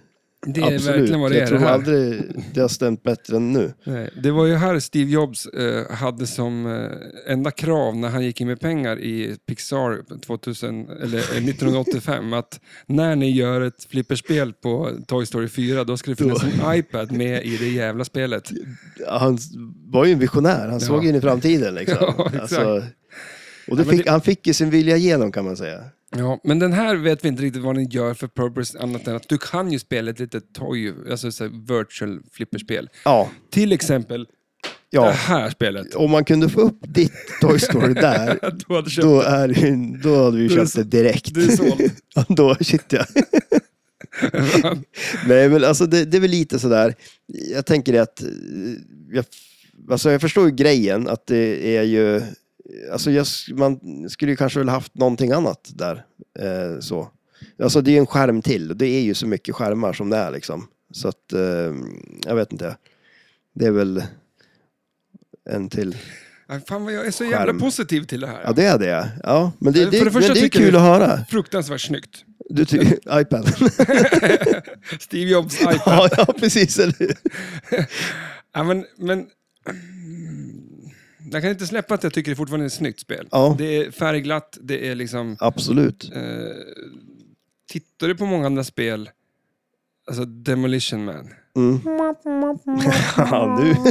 [SPEAKER 1] det är
[SPEAKER 2] Absolut.
[SPEAKER 1] verkligen vad det
[SPEAKER 2] jag
[SPEAKER 1] är.
[SPEAKER 2] tror
[SPEAKER 1] Det, här.
[SPEAKER 2] aldrig det har stämt bättre än nu.
[SPEAKER 1] Nej, det var ju här Steve Jobs eh, hade som eh, enda krav när han gick in med pengar i Pixar 2000, eller, eh, 1985 att när ni gör ett flipperspel på Toy Story 4 då ska det finnas en iPad med i det jävla spelet.
[SPEAKER 2] han var ju en visionär, han såg ju in i framtiden. Liksom.
[SPEAKER 1] Ja, exakt.
[SPEAKER 2] och det
[SPEAKER 1] Ja, men
[SPEAKER 2] fick, han fick ju sin vilja igenom kan man säga.
[SPEAKER 1] Ja, men den här vet vi inte riktigt vad den gör för purpose annat än att du kan ju spela ett litet toy, alltså så här virtual flipperspel.
[SPEAKER 2] Ja,
[SPEAKER 1] Till exempel det
[SPEAKER 2] ja.
[SPEAKER 1] här spelet.
[SPEAKER 2] om man kunde få upp ditt Toy Story där,
[SPEAKER 1] Du hade köpt,
[SPEAKER 2] då, är, det- då hade vi ju
[SPEAKER 1] Du är
[SPEAKER 2] köpt
[SPEAKER 1] så-
[SPEAKER 2] det direkt.
[SPEAKER 1] du är såld.
[SPEAKER 2] Ja, då, shit ja. Nej, men alltså det, det är väl lite sådär. Jag tänker det att eh, jag, alltså jag förstår ju grejen att det är ju, alltså jag, s- man skulle ju kanske väl haft någonting annat där. Eh, så. Alltså det är ju en skärm till och det är ju så mycket skärmar som det är liksom. Så att, eh, jag vet inte. Det är väl en till.
[SPEAKER 1] Ja, Äh, Fan vad jag är så jävla
[SPEAKER 2] Skärm.
[SPEAKER 1] positiv till det här.
[SPEAKER 2] Ja, det är det. Ja, men det,
[SPEAKER 1] För det
[SPEAKER 2] det, men
[SPEAKER 1] första
[SPEAKER 2] det är
[SPEAKER 1] tycker
[SPEAKER 2] kul
[SPEAKER 1] du-
[SPEAKER 2] att höra.
[SPEAKER 1] Fruktansvärt snyggt.
[SPEAKER 2] Du ty- iPad.
[SPEAKER 1] Steve Jobs iPad.
[SPEAKER 2] ja, ja, precis. Eller hur?
[SPEAKER 1] Ja, men, men... Jag kan inte släppa att jag tycker det fortfarande är ett snyggt spel.
[SPEAKER 2] Ja.
[SPEAKER 1] Det är färgglatt, det är liksom...
[SPEAKER 2] Absolut.
[SPEAKER 1] Eh, tittar du på många andra spel, alltså Demolition Man.
[SPEAKER 2] Mm. Ja, nu.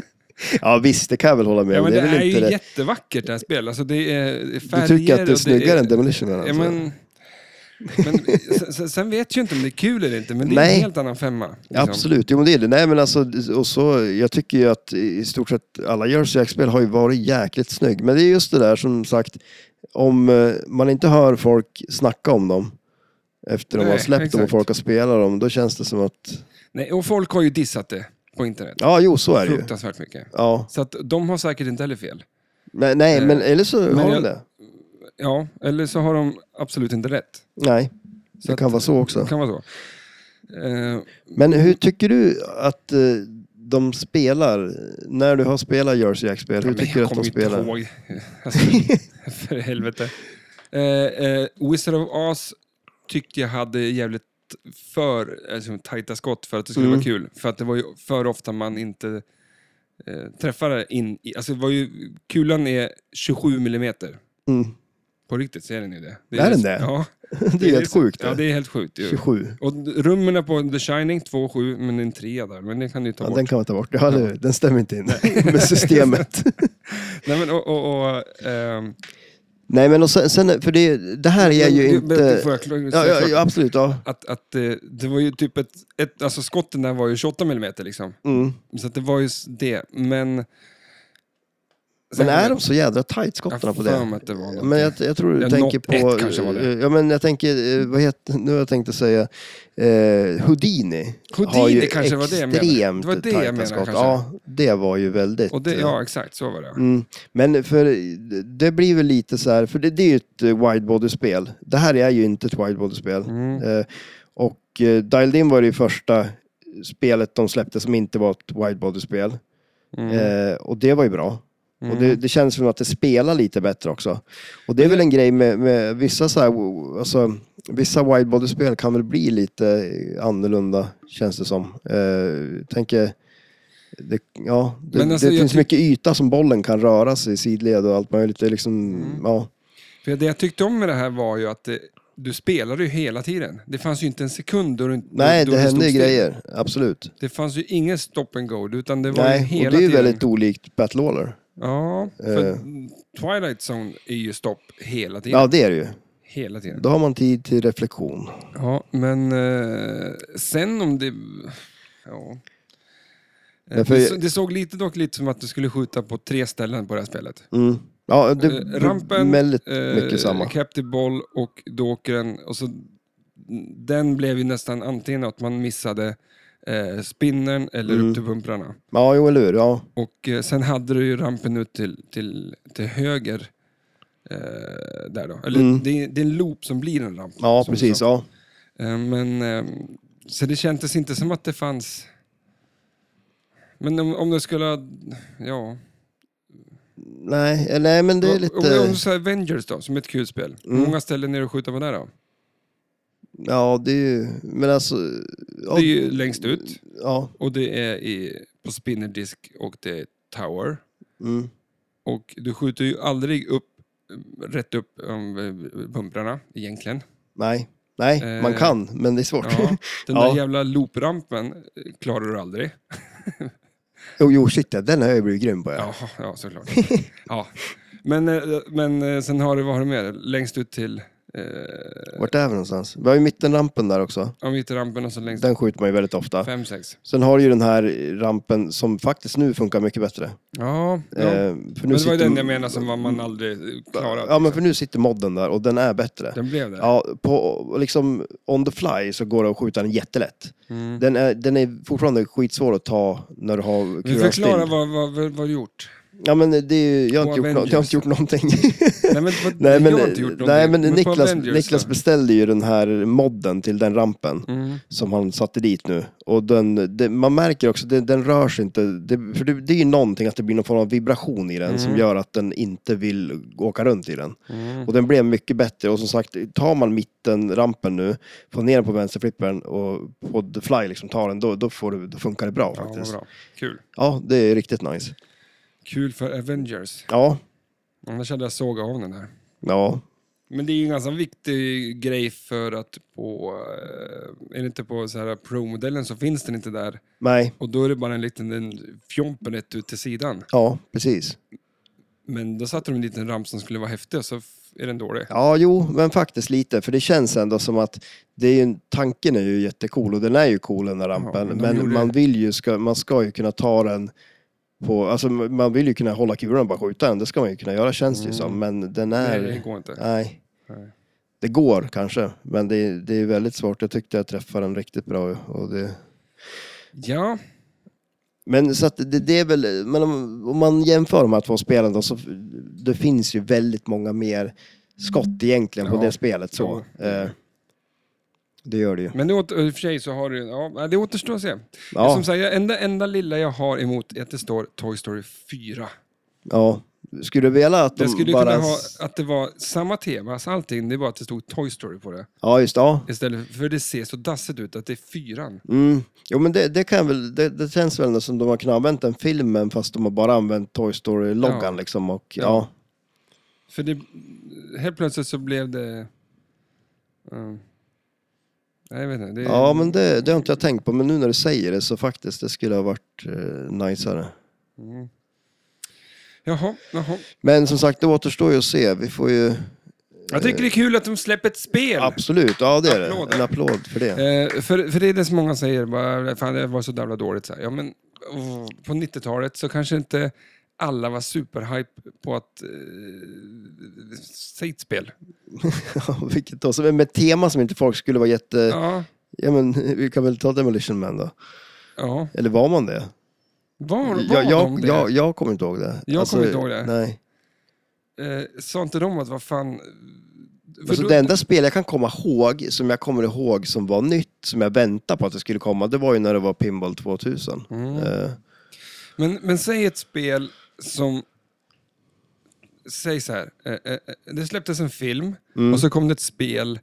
[SPEAKER 2] ja, visst, det kan jag väl hålla med
[SPEAKER 1] Ja,
[SPEAKER 2] om.
[SPEAKER 1] men det,
[SPEAKER 2] det är väl
[SPEAKER 1] är
[SPEAKER 2] inte
[SPEAKER 1] ju
[SPEAKER 2] det.
[SPEAKER 1] jättevackert det här spelet. Alltså, det är
[SPEAKER 2] Du
[SPEAKER 1] färger
[SPEAKER 2] tycker att det är
[SPEAKER 1] och
[SPEAKER 2] snyggare än Demolition Man?
[SPEAKER 1] Ja,
[SPEAKER 2] Alltså.
[SPEAKER 1] men, men sen, sen vet jag inte om det är kul eller inte, men det är
[SPEAKER 2] Nej.
[SPEAKER 1] en helt annan femma. liksom.
[SPEAKER 2] Absolut, jo men det är det. Nej, men alltså, och så, jag tycker ju att i stort sett alla Jersey Jack-spel har ju varit jäkligt snygg. Men det är just det där som sagt, om eh, man inte hör folk snacka om dem efter de
[SPEAKER 1] Nej,
[SPEAKER 2] har släppt dem och
[SPEAKER 1] exakt.
[SPEAKER 2] folk har spelat dem, då känns det som att,
[SPEAKER 1] Nej, och folk har ju dissat det på internet.
[SPEAKER 2] ja jo så är det ju.
[SPEAKER 1] Fruktansvärt mycket.
[SPEAKER 2] Ja.
[SPEAKER 1] Så att de har säkert inte heller fel.
[SPEAKER 2] Men, nej,
[SPEAKER 1] Eh,
[SPEAKER 2] men eller så har de
[SPEAKER 1] jag-
[SPEAKER 2] det.
[SPEAKER 1] Ja, eller så har de absolut inte rätt.
[SPEAKER 2] Nej,
[SPEAKER 1] Så
[SPEAKER 2] det kan
[SPEAKER 1] att-
[SPEAKER 2] vara så också.
[SPEAKER 1] Det kan vara så. Eh,
[SPEAKER 2] Men hur tycker du att eh, de spelar, när du har spelat Jersey Jack-spel, hur
[SPEAKER 1] men
[SPEAKER 2] tycker du
[SPEAKER 1] jag
[SPEAKER 2] att de
[SPEAKER 1] kommer inte
[SPEAKER 2] spelar?
[SPEAKER 1] ihåg. Alltså, för helvete. Eh, eh, Wizard of Oz tyckte jag hade jävligt för alltså, tajta skott för att det skulle
[SPEAKER 2] Mm.
[SPEAKER 1] vara kul. För att det var ju för ofta man inte eh, träffade in i... Alltså, det var ju, kulan är 27 millimeter.
[SPEAKER 2] Mm.
[SPEAKER 1] På riktigt så är den ju det. det
[SPEAKER 2] Är den
[SPEAKER 1] just-
[SPEAKER 2] det?
[SPEAKER 1] Ja.
[SPEAKER 2] Det är helt sjukt.
[SPEAKER 1] Ja,
[SPEAKER 2] det.
[SPEAKER 1] det är helt sjukt. ju.
[SPEAKER 2] 27.
[SPEAKER 1] Och rummen på The Shining 2,7 men det är en trea där. Men det kan du ju ta
[SPEAKER 2] Ja,
[SPEAKER 1] bort.
[SPEAKER 2] den kan man ta bort. Ja, eller hur? Den stämmer inte in med systemet.
[SPEAKER 1] Nej, men, och, och, och, ehm,
[SPEAKER 2] Nej, men och sen, sen, för det, det här är
[SPEAKER 1] men-
[SPEAKER 2] ju
[SPEAKER 1] men-
[SPEAKER 2] inte...
[SPEAKER 1] Får jag klar-
[SPEAKER 2] Ja, ja, ja, absolut. Ja.
[SPEAKER 1] Att, att eh, det var ju typ ett, ett... Alltså skotten där var ju 28 mm liksom.
[SPEAKER 2] Mm.
[SPEAKER 1] Så att det var ju s- det. Men...
[SPEAKER 2] Men är de så jädra tight skottarna
[SPEAKER 1] Jag
[SPEAKER 2] på
[SPEAKER 1] har för
[SPEAKER 2] det?
[SPEAKER 1] mig att det var något.
[SPEAKER 2] Men jag, jag tror du
[SPEAKER 1] Ja,
[SPEAKER 2] tänker
[SPEAKER 1] Knopp
[SPEAKER 2] på... eh,
[SPEAKER 1] ett kanske var det.
[SPEAKER 2] Ja, men jag tänker, eh, vad heter, nu har jag tänkt att säga, eh, Houdini. har
[SPEAKER 1] Houdini
[SPEAKER 2] ju
[SPEAKER 1] kanske var det jag menade.
[SPEAKER 2] extremt
[SPEAKER 1] Det var det jag
[SPEAKER 2] tajta
[SPEAKER 1] menade
[SPEAKER 2] skott.
[SPEAKER 1] kanske.
[SPEAKER 2] Ja, det var ju väldigt...
[SPEAKER 1] Och det,
[SPEAKER 2] eh,
[SPEAKER 1] ja, exakt. Så var det.
[SPEAKER 2] Mm. Men för det blir väl lite så här, för det, det är ju ett eh, widebody-spel. Det här är ju inte ett widebody-spel.
[SPEAKER 1] Mm.
[SPEAKER 2] Eh, och eh, Dialed In var det ju första spelet de släppte som inte var ett widebody-spel.
[SPEAKER 1] Mm.
[SPEAKER 2] Eh, och det var ju bra. Och det, det känns som att det spelar lite bättre också. Och det är väl en grej med, med vissa så här, alltså, vissa widebody-spel kan väl bli lite annorlunda känns det som. Eh, tänker, det, ja, det,
[SPEAKER 1] Men alltså,
[SPEAKER 2] det
[SPEAKER 1] jag
[SPEAKER 2] finns
[SPEAKER 1] tyck-
[SPEAKER 2] mycket yta som bollen kan röra sig i sidled och allt möjligt. Det är liksom,
[SPEAKER 1] Mm.
[SPEAKER 2] ja.
[SPEAKER 1] För det jag tyckte om med det här var ju att det, du spelade ju hela tiden. Det fanns ju inte en sekund då du inte...
[SPEAKER 2] Nej,
[SPEAKER 1] då
[SPEAKER 2] det
[SPEAKER 1] du stod
[SPEAKER 2] händer ju
[SPEAKER 1] still.
[SPEAKER 2] grejer, absolut.
[SPEAKER 1] Det fanns ju ingen stop and go, utan det var ju
[SPEAKER 2] Nej,
[SPEAKER 1] hela
[SPEAKER 2] och det är ju
[SPEAKER 1] tiden.
[SPEAKER 2] väldigt olikt Battle Waller.
[SPEAKER 1] Ja, för
[SPEAKER 2] Eh.
[SPEAKER 1] Twilight Zone är ju stopp hela tiden.
[SPEAKER 2] Ja, det är det ju.
[SPEAKER 1] Hela tiden.
[SPEAKER 2] Då har man tid till reflektion.
[SPEAKER 1] Ja, men eh, sen om det... Ja. Eh,
[SPEAKER 2] Ja, för-
[SPEAKER 1] det, så- det såg lite dock lite som att du skulle skjuta på tre ställen på det här spelet.
[SPEAKER 2] Mm. Ja, det,
[SPEAKER 1] Eh, Rampen,
[SPEAKER 2] väldigt
[SPEAKER 1] eh,
[SPEAKER 2] mycket samma.
[SPEAKER 1] Captive Ball och Dokern. Och så, den blev ju nästan antingen att man missade eh, spinnern eller
[SPEAKER 2] Mm.
[SPEAKER 1] upp till pumprarna.
[SPEAKER 2] Ja, jo, eller hur. Ja.
[SPEAKER 1] Och eh, sen hade du ju rampen ut till, till, till höger. Eh, där då. Eller
[SPEAKER 2] Mm.
[SPEAKER 1] det, är- det är en loop som blir en ramp.
[SPEAKER 2] Ja,
[SPEAKER 1] som du
[SPEAKER 2] precis.
[SPEAKER 1] sa.
[SPEAKER 2] Ja.
[SPEAKER 1] Eh, men, eh, så det kändes inte som att det fanns... Men om, om du skulle ha... Ja.
[SPEAKER 2] Nej, eh, nej, men det är
[SPEAKER 1] Om, om du
[SPEAKER 2] lite...
[SPEAKER 1] säger Avengers då, som är ett kul spel. Hur
[SPEAKER 2] Mm.
[SPEAKER 1] många ställen är det att skjuta på där då?
[SPEAKER 2] Ja, det är ju... Men alltså... Ja,
[SPEAKER 1] Det är ju längst ut
[SPEAKER 2] ja,
[SPEAKER 1] och det är i, på spinnerdisk och det är tower.
[SPEAKER 2] mm,
[SPEAKER 1] Och du skjuter ju aldrig upp, eh, rätt upp um, pumprarna egentligen.
[SPEAKER 2] nej. Nej,
[SPEAKER 1] Eh,
[SPEAKER 2] man kan, men det är svårt.
[SPEAKER 1] Ja, den
[SPEAKER 2] Ja.
[SPEAKER 1] där jävla looprampen eh, klarar du aldrig.
[SPEAKER 2] jo, jo, shit ja, den har jag ju blivit grym på. Ja.
[SPEAKER 1] Ja, ja såklart. ja. Men, eh, men eh, sen har du, vad har du med Längst ut till... Eh,
[SPEAKER 2] Vart är vi någonstans? Vi har ju mittenrampen där också.
[SPEAKER 1] ja, mitt i rampen och så längst
[SPEAKER 2] Den skjuter man ju väldigt ofta.
[SPEAKER 1] fem sex
[SPEAKER 2] Sen har du ju den här rampen som faktiskt nu funkar mycket bättre.
[SPEAKER 1] Ja, ja.
[SPEAKER 2] Eh, för
[SPEAKER 1] men det var ju
[SPEAKER 2] sitter-
[SPEAKER 1] den jag menade som var man aldrig klarade.
[SPEAKER 2] Ja, men för nu sitter modden där och den är bättre.
[SPEAKER 1] Den blev det.
[SPEAKER 2] Ja, på, liksom on the fly så går det att skjuta den jättelätt.
[SPEAKER 1] Mm.
[SPEAKER 2] Den är, den är fortfarande skitsvår att ta när du har
[SPEAKER 1] Men
[SPEAKER 2] kulan still.
[SPEAKER 1] förklara vad, vad, vad, vad du gjort.
[SPEAKER 2] Ja, men det är ju, jag, har
[SPEAKER 1] Och
[SPEAKER 2] inte gjort, nå-
[SPEAKER 1] Avengers.
[SPEAKER 2] jag har inte gjort någonting.
[SPEAKER 1] Nej, men, vad,
[SPEAKER 2] nej, men,
[SPEAKER 1] jag har inte gjort någonting.
[SPEAKER 2] nej, men,
[SPEAKER 1] på
[SPEAKER 2] Niklas,
[SPEAKER 1] Avengers,
[SPEAKER 2] Niklas
[SPEAKER 1] då?
[SPEAKER 2] beställde ju den här modden till den rampen.
[SPEAKER 1] Mm.
[SPEAKER 2] som han satte dit nu. Och den, det, man märker också, den, den rör sig inte. Det, för det, det är ju någonting att det blir någon form av vibration i den
[SPEAKER 1] Mm.
[SPEAKER 2] som gör att den inte vill åka runt i den. Och den blev mycket bättre. Och som sagt, tar man mitten rampen nu, får ner den på vänsterflippern och på the fly liksom tar den, då, då, får det, då funkar det bra
[SPEAKER 1] Ja, vad
[SPEAKER 2] faktiskt. Ja,
[SPEAKER 1] bra. Kul.
[SPEAKER 2] det är riktigt nice.
[SPEAKER 1] Kul för Avengers.
[SPEAKER 2] Ja,
[SPEAKER 1] Annars hade jag sågat av den här.
[SPEAKER 2] ja.
[SPEAKER 1] Men det är ju en ganska viktig grej för att på... eh, Är det inte på så här Pro-modellen så finns den inte där.
[SPEAKER 2] Nej,
[SPEAKER 1] Och då är det bara en liten en fjompen rätt ut till sidan.
[SPEAKER 2] ja, precis.
[SPEAKER 1] Men då satte de dit en ramp som skulle vara häftig och så f- är den dålig.
[SPEAKER 2] Ja, jo, men faktiskt lite. För det känns ändå som att det är ju, en- tanken är ju jättecool och den är ju cool den där rampen.
[SPEAKER 1] Ja, men de
[SPEAKER 2] men
[SPEAKER 1] gjorde-
[SPEAKER 2] man vill ju, ska, man ska ju kunna ta den på, alltså man vill ju kunna hålla kulan och bara skjuta den. Det ska man ju kunna göra känns det ju som. Men den är,
[SPEAKER 1] Nej, Mm. det går inte.
[SPEAKER 2] nej.
[SPEAKER 1] Nej.
[SPEAKER 2] Det går kanske, men det, är- det är väldigt svårt. Jag tyckte jag träffade den riktigt bra. Och det...
[SPEAKER 1] Ja,
[SPEAKER 2] Men så att det, det är väl, men om, om man jämför de här två spelen då, så f- det finns ju väldigt många mer skott egentligen på
[SPEAKER 1] Ja.
[SPEAKER 2] det spelet. Så. Eh, det gör det ju.
[SPEAKER 1] men det åter, i och för sig så har du... Ja, det återstår att se.
[SPEAKER 2] Ja,
[SPEAKER 1] Som sagt, det enda, enda lilla jag har emot är att det står Toy Story 4.
[SPEAKER 2] ja. Skulle du vilja att de
[SPEAKER 1] Jag skulle
[SPEAKER 2] Mm, bara...
[SPEAKER 1] kunna ha att det var samma tema, alltså allting, det var att det stod Toy Story på det.
[SPEAKER 2] Ja, just det. Ja.
[SPEAKER 1] Istället för, för det ser så dassigt ut att det är fyran.
[SPEAKER 2] Mm. Jo, men det, det, kan väl, det, det känns väl som de har kunnat använt den filmen fast de har bara använt Toy Story-loggan
[SPEAKER 1] Ja.
[SPEAKER 2] liksom. Och, ja.
[SPEAKER 1] Ja. För det, helt plötsligt så blev det... Mm. Nej, jag vet inte. Det,
[SPEAKER 2] Ja, men det, det har inte jag tänkt på. Men nu när du säger det så faktiskt, det skulle ha varit eh, najsare.
[SPEAKER 1] Jaha, jaha.
[SPEAKER 2] Men som sagt, det återstår ju att se. Vi får ju... Eh.
[SPEAKER 1] Jag tycker det är kul att de släpper ett spel.
[SPEAKER 2] Absolut, ja det är det.
[SPEAKER 1] Applåder.
[SPEAKER 2] En applåd för det.
[SPEAKER 1] Eh, för, för det är det som många säger, bara, fan det var så jävla dåligt. Så här. Ja, men, oh, på 90-talet så kanske inte alla var superhype på att... Eh, säg ett spel.
[SPEAKER 2] Ja, Vilket då, som är med ett tema som inte folk skulle vara jätte... Ja.
[SPEAKER 1] Ja,
[SPEAKER 2] men vi kan väl ta Demolition Man då.
[SPEAKER 1] ja.
[SPEAKER 2] Eller var man det?
[SPEAKER 1] Var, var
[SPEAKER 2] jag,
[SPEAKER 1] de
[SPEAKER 2] jag,
[SPEAKER 1] det?
[SPEAKER 2] jag, jag kommer inte ihåg det. Alltså,
[SPEAKER 1] Jag kommer inte ihåg det.
[SPEAKER 2] Nej.
[SPEAKER 1] Eh, sa inte de att vad fan... för
[SPEAKER 2] Alltså,
[SPEAKER 1] då-
[SPEAKER 2] det enda spel jag kan komma ihåg, som jag kommer ihåg som var nytt, som jag väntade på att det skulle komma, det var ju när det var Pinball 2000.
[SPEAKER 1] Mm,
[SPEAKER 2] Eh,
[SPEAKER 1] men, men säg ett spel som... Säg så här. Eh, eh, eh, det släpptes en film
[SPEAKER 2] Mm.
[SPEAKER 1] och så kom det ett spel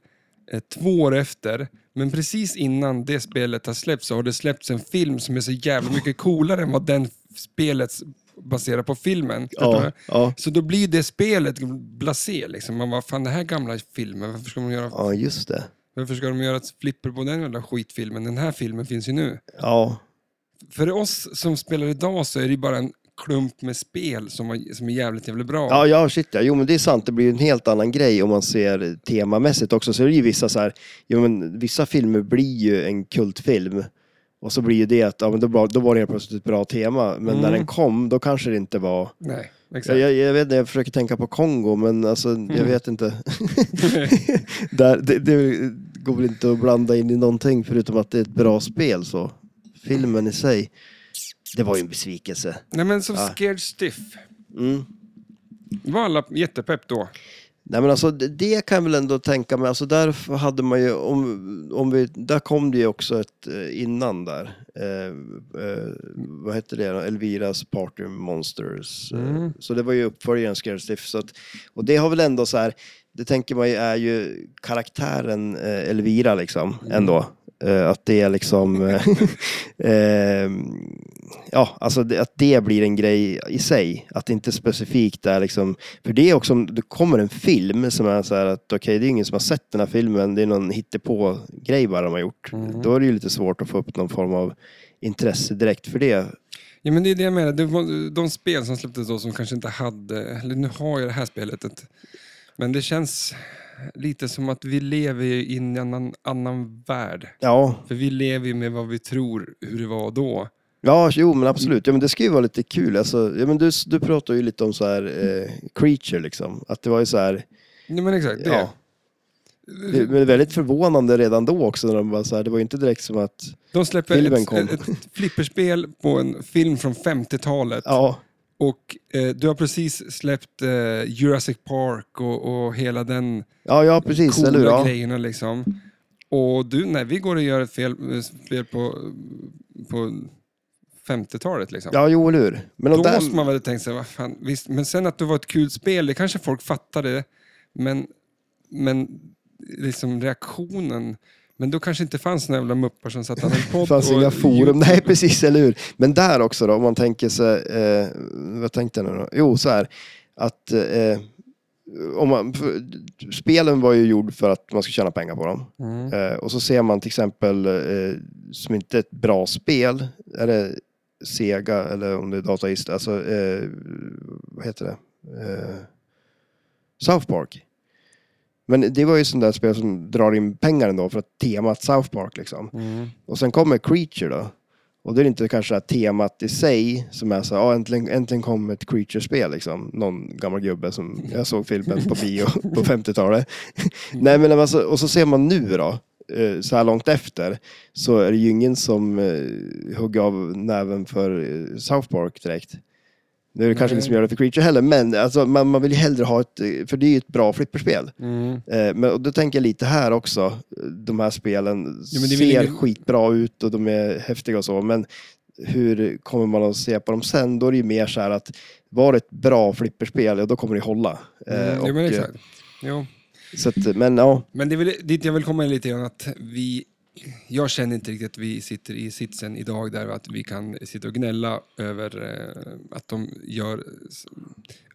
[SPEAKER 1] eh, två år efter. Men precis innan det spelet har släppts så har det släppts en film som är så jävla mycket coolare än vad den f- spelet s- baserar på filmen. Förstår
[SPEAKER 2] ja,
[SPEAKER 1] du?
[SPEAKER 2] ja.
[SPEAKER 1] Så då blir det spelet blasé. Liksom. Man bara, fan det här gamla filmen, varför ska man göra
[SPEAKER 2] ja, just det.
[SPEAKER 1] Varför ska de göra ett flipper på den jävla skitfilmen? Den här filmen finns ju nu.
[SPEAKER 2] Ja,
[SPEAKER 1] För oss som spelar idag så är det ju bara en klump med spel som, har- som är jävligt jävla bra.
[SPEAKER 2] Ja, ja, shit ja. Jo, men det är sant. Det blir ju en helt annan grej om man ser temamässigt också. Så är det ju vissa så här, jo, men vissa filmer blir ju en kultfilm. Och så blir ju det att, ja men då, var- då var det helt plötsligt ett bra tema. Men när den kom, då kanske det inte var...
[SPEAKER 1] Nej, exakt.
[SPEAKER 2] Jag, jag, jag vet inte, jag försöker tänka på Kongo, men alltså jag vet inte. Där, det, det går väl inte att blanda in i någonting förutom att det är ett bra spel så. Filmen i sig, det var ju en besvikelse.
[SPEAKER 1] Nej men som Scared Stiff.
[SPEAKER 2] Mm.
[SPEAKER 1] Var alla jättepepp då?
[SPEAKER 2] Nej men alltså det- det kan jag väl ändå tänka mig, alltså där f- hade man ju, om, om vi, där kom det ju också ett eh, innan där, eh, eh, vad hette det, då? Elviras Party Monsters, eh, så det var ju uppföljaren Scared Stiff, så att, och det har väl ändå så här, det tänker man ju är ju karaktären eh, Elvira liksom, ändå, eh, att det är liksom, eh, eh, ja alltså det, att det blir en grej i sig, att det inte specifikt är liksom, för det är också om det kommer en film som är så här att okej, det är ingen som har sett den här filmen, det är någon hittepå-grej bara de har gjort. Då är det ju lite svårt att få upp någon form av intresse direkt för det.
[SPEAKER 1] Ja men det är det jag menar. Det var de spel som släpptes då som kanske inte hade... Eller nu har jag det här spelet. inte. Men det känns lite som att vi lever ju i en annan, annan värld.
[SPEAKER 2] Ja,
[SPEAKER 1] För vi lever ju med vad vi tror hur det var då.
[SPEAKER 2] ja jo men absolut. Ja, men det ska ju vara lite kul. Alltså, ja, men du, du pratar ju lite om så här eh, creature liksom, att det var ju så här,
[SPEAKER 1] Nej men exakt, det.
[SPEAKER 2] ja. Det, men det är väldigt förvånande redan då också när de bara så här, det var ju inte direkt som att,
[SPEAKER 1] De släpper
[SPEAKER 2] Filmen
[SPEAKER 1] ett,
[SPEAKER 2] kom.
[SPEAKER 1] ett, ett flipperspel på en film från 50-talet
[SPEAKER 2] ja,
[SPEAKER 1] Och eh, du har precis släppt eh, Jurassic Park och, och hela den
[SPEAKER 2] Ja, ja precis. eller hur?
[SPEAKER 1] coola
[SPEAKER 2] Ja.
[SPEAKER 1] grejerna liksom. Och du, nej, vi går och gör ett fel, eh, spel på, på 50-talet liksom.
[SPEAKER 2] ja, jo, eller hur? Men
[SPEAKER 1] Då
[SPEAKER 2] om den...
[SPEAKER 1] måste man väl tänka sig, vad fan, visst, men sen att det var ett kul spel, det kanske folk fattade, men, men liksom reaktionen, men då kanske inte fanns några jävla muppar som satt och hade en podd.
[SPEAKER 2] Det fanns
[SPEAKER 1] och-
[SPEAKER 2] inga forum. Nej, precis, eller hur? Men där också då, om man tänker sig, eh, vad tänkte jag nu då? Jo, så här, att eh, om man, för, spelen var ju gjord för att man ska tjäna pengar på dem.
[SPEAKER 1] Mm.
[SPEAKER 2] Eh, och så ser man till exempel, eh, som inte är ett bra spel, är det Sega eller om det är Dataist, alltså eh, vad heter det? Eh, South Park. Men det var ju sånt där spel som drar in pengar ändå för att temat South Park liksom.
[SPEAKER 1] Mm.
[SPEAKER 2] Och sen kommer Creature då. Och det är inte kanske det här temat i sig som är så här, ja äntligen, äntligen kom ett Creature-spel liksom. Någon gammal gubbe som, jag såg filmen på bio på 50-talet. Nej men alltså, och så ser man nu då, eh, så här långt efter, så är det ju ingen som eh, hugger av näven för eh, South Park direkt. Nu är det kanske
[SPEAKER 1] Nej.
[SPEAKER 2] ingen som gör det för Creature heller, men alltså, man, man vill ju hellre ha ett, eh, för det är ju ett bra flipperspel.
[SPEAKER 1] Mm.
[SPEAKER 2] Eh, Men och då tänker jag lite här också. eh, De här spelen
[SPEAKER 1] Jo, men det är väl
[SPEAKER 2] ser
[SPEAKER 1] ingen-
[SPEAKER 2] skitbra ut och de är häftiga och så, men hur kommer man att se på dem sen? Då är det ju mer så här att var det ett bra flipperspel, ja, då kommer det hålla. Eh,
[SPEAKER 1] Mm. Jo,
[SPEAKER 2] och,
[SPEAKER 1] men exakt. Jo.
[SPEAKER 2] eh, Så att, men ja,
[SPEAKER 1] Men det är väl dit jag vill komma lite grann att vi, jag känner inte riktigt att vi sitter i sitsen idag där att vi kan sitta och gnälla över eh, att de gör,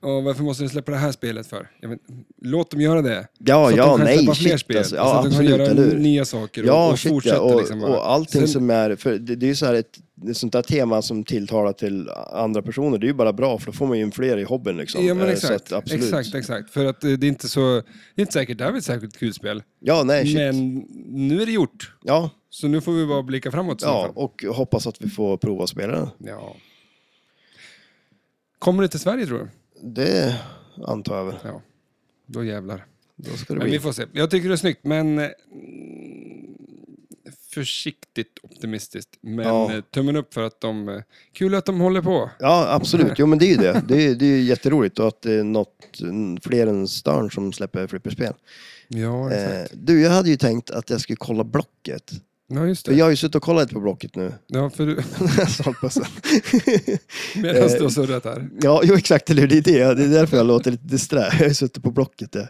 [SPEAKER 1] Ja, varför måste de släppa det här spelet för? Ja, men, låt dem göra det.
[SPEAKER 2] ja,
[SPEAKER 1] så att
[SPEAKER 2] ja
[SPEAKER 1] de kan
[SPEAKER 2] nej,
[SPEAKER 1] släppa
[SPEAKER 2] shit
[SPEAKER 1] fler spel.
[SPEAKER 2] alltså.
[SPEAKER 1] så
[SPEAKER 2] Ja,
[SPEAKER 1] att
[SPEAKER 2] absolut,
[SPEAKER 1] de kan
[SPEAKER 2] eller
[SPEAKER 1] göra
[SPEAKER 2] hur?
[SPEAKER 1] nya saker och, och
[SPEAKER 2] shit,
[SPEAKER 1] fortsätta.
[SPEAKER 2] och,
[SPEAKER 1] liksom bara.
[SPEAKER 2] och allting
[SPEAKER 1] Sen-
[SPEAKER 2] som är, för det, det är ju så här ett, ett sånt där tema som tilltalar till andra personer, det är ju bara bra för då får man ju in fler i hobbyn liksom.
[SPEAKER 1] Ja, men
[SPEAKER 2] Eh,
[SPEAKER 1] exakt,
[SPEAKER 2] så att, absolut.
[SPEAKER 1] exakt, exakt. För att eh, det är inte så, det är inte säkert, det här är ett särskilt kul spel.
[SPEAKER 2] Ja, nej, shit.
[SPEAKER 1] Men nu är det gjort,
[SPEAKER 2] Ja,
[SPEAKER 1] så nu får vi bara blicka framåt. i så
[SPEAKER 2] Ja,
[SPEAKER 1] fall.
[SPEAKER 2] och hoppas att vi får prova att spela den.
[SPEAKER 1] ja. Kommer det till Sverige tror du?
[SPEAKER 2] Det antar jag väl.
[SPEAKER 1] Ja, då jävlar.
[SPEAKER 2] Då ska det
[SPEAKER 1] Men vi
[SPEAKER 2] bli.
[SPEAKER 1] får se. Jag tycker det är snyggt, men eh, försiktigt optimistiskt. Men
[SPEAKER 2] Ja.
[SPEAKER 1] eh, tummen upp för att de... eh, Kul att de håller på.
[SPEAKER 2] Ja, absolut. Jo, men det är ju det. Det är, det är ju jätteroligt och att det är något mm, fler än Stern som släpper flipperspel.
[SPEAKER 1] Ja, exakt.
[SPEAKER 2] Eh, du, jag hade ju tänkt att jag skulle kolla Blocket.
[SPEAKER 1] Ja, just
[SPEAKER 2] För
[SPEAKER 1] det.
[SPEAKER 2] jag har ju suttit och kollat på Blocket nu.
[SPEAKER 1] Ja, för du,
[SPEAKER 2] Så hoppas jag.
[SPEAKER 1] medan
[SPEAKER 2] Eh,
[SPEAKER 1] du har surrat här.
[SPEAKER 2] ja, jo, exakt. Eller hur? Det är det. Det är därför jag låter lite disträ. Jag har ju suttit på Blocket. Ja.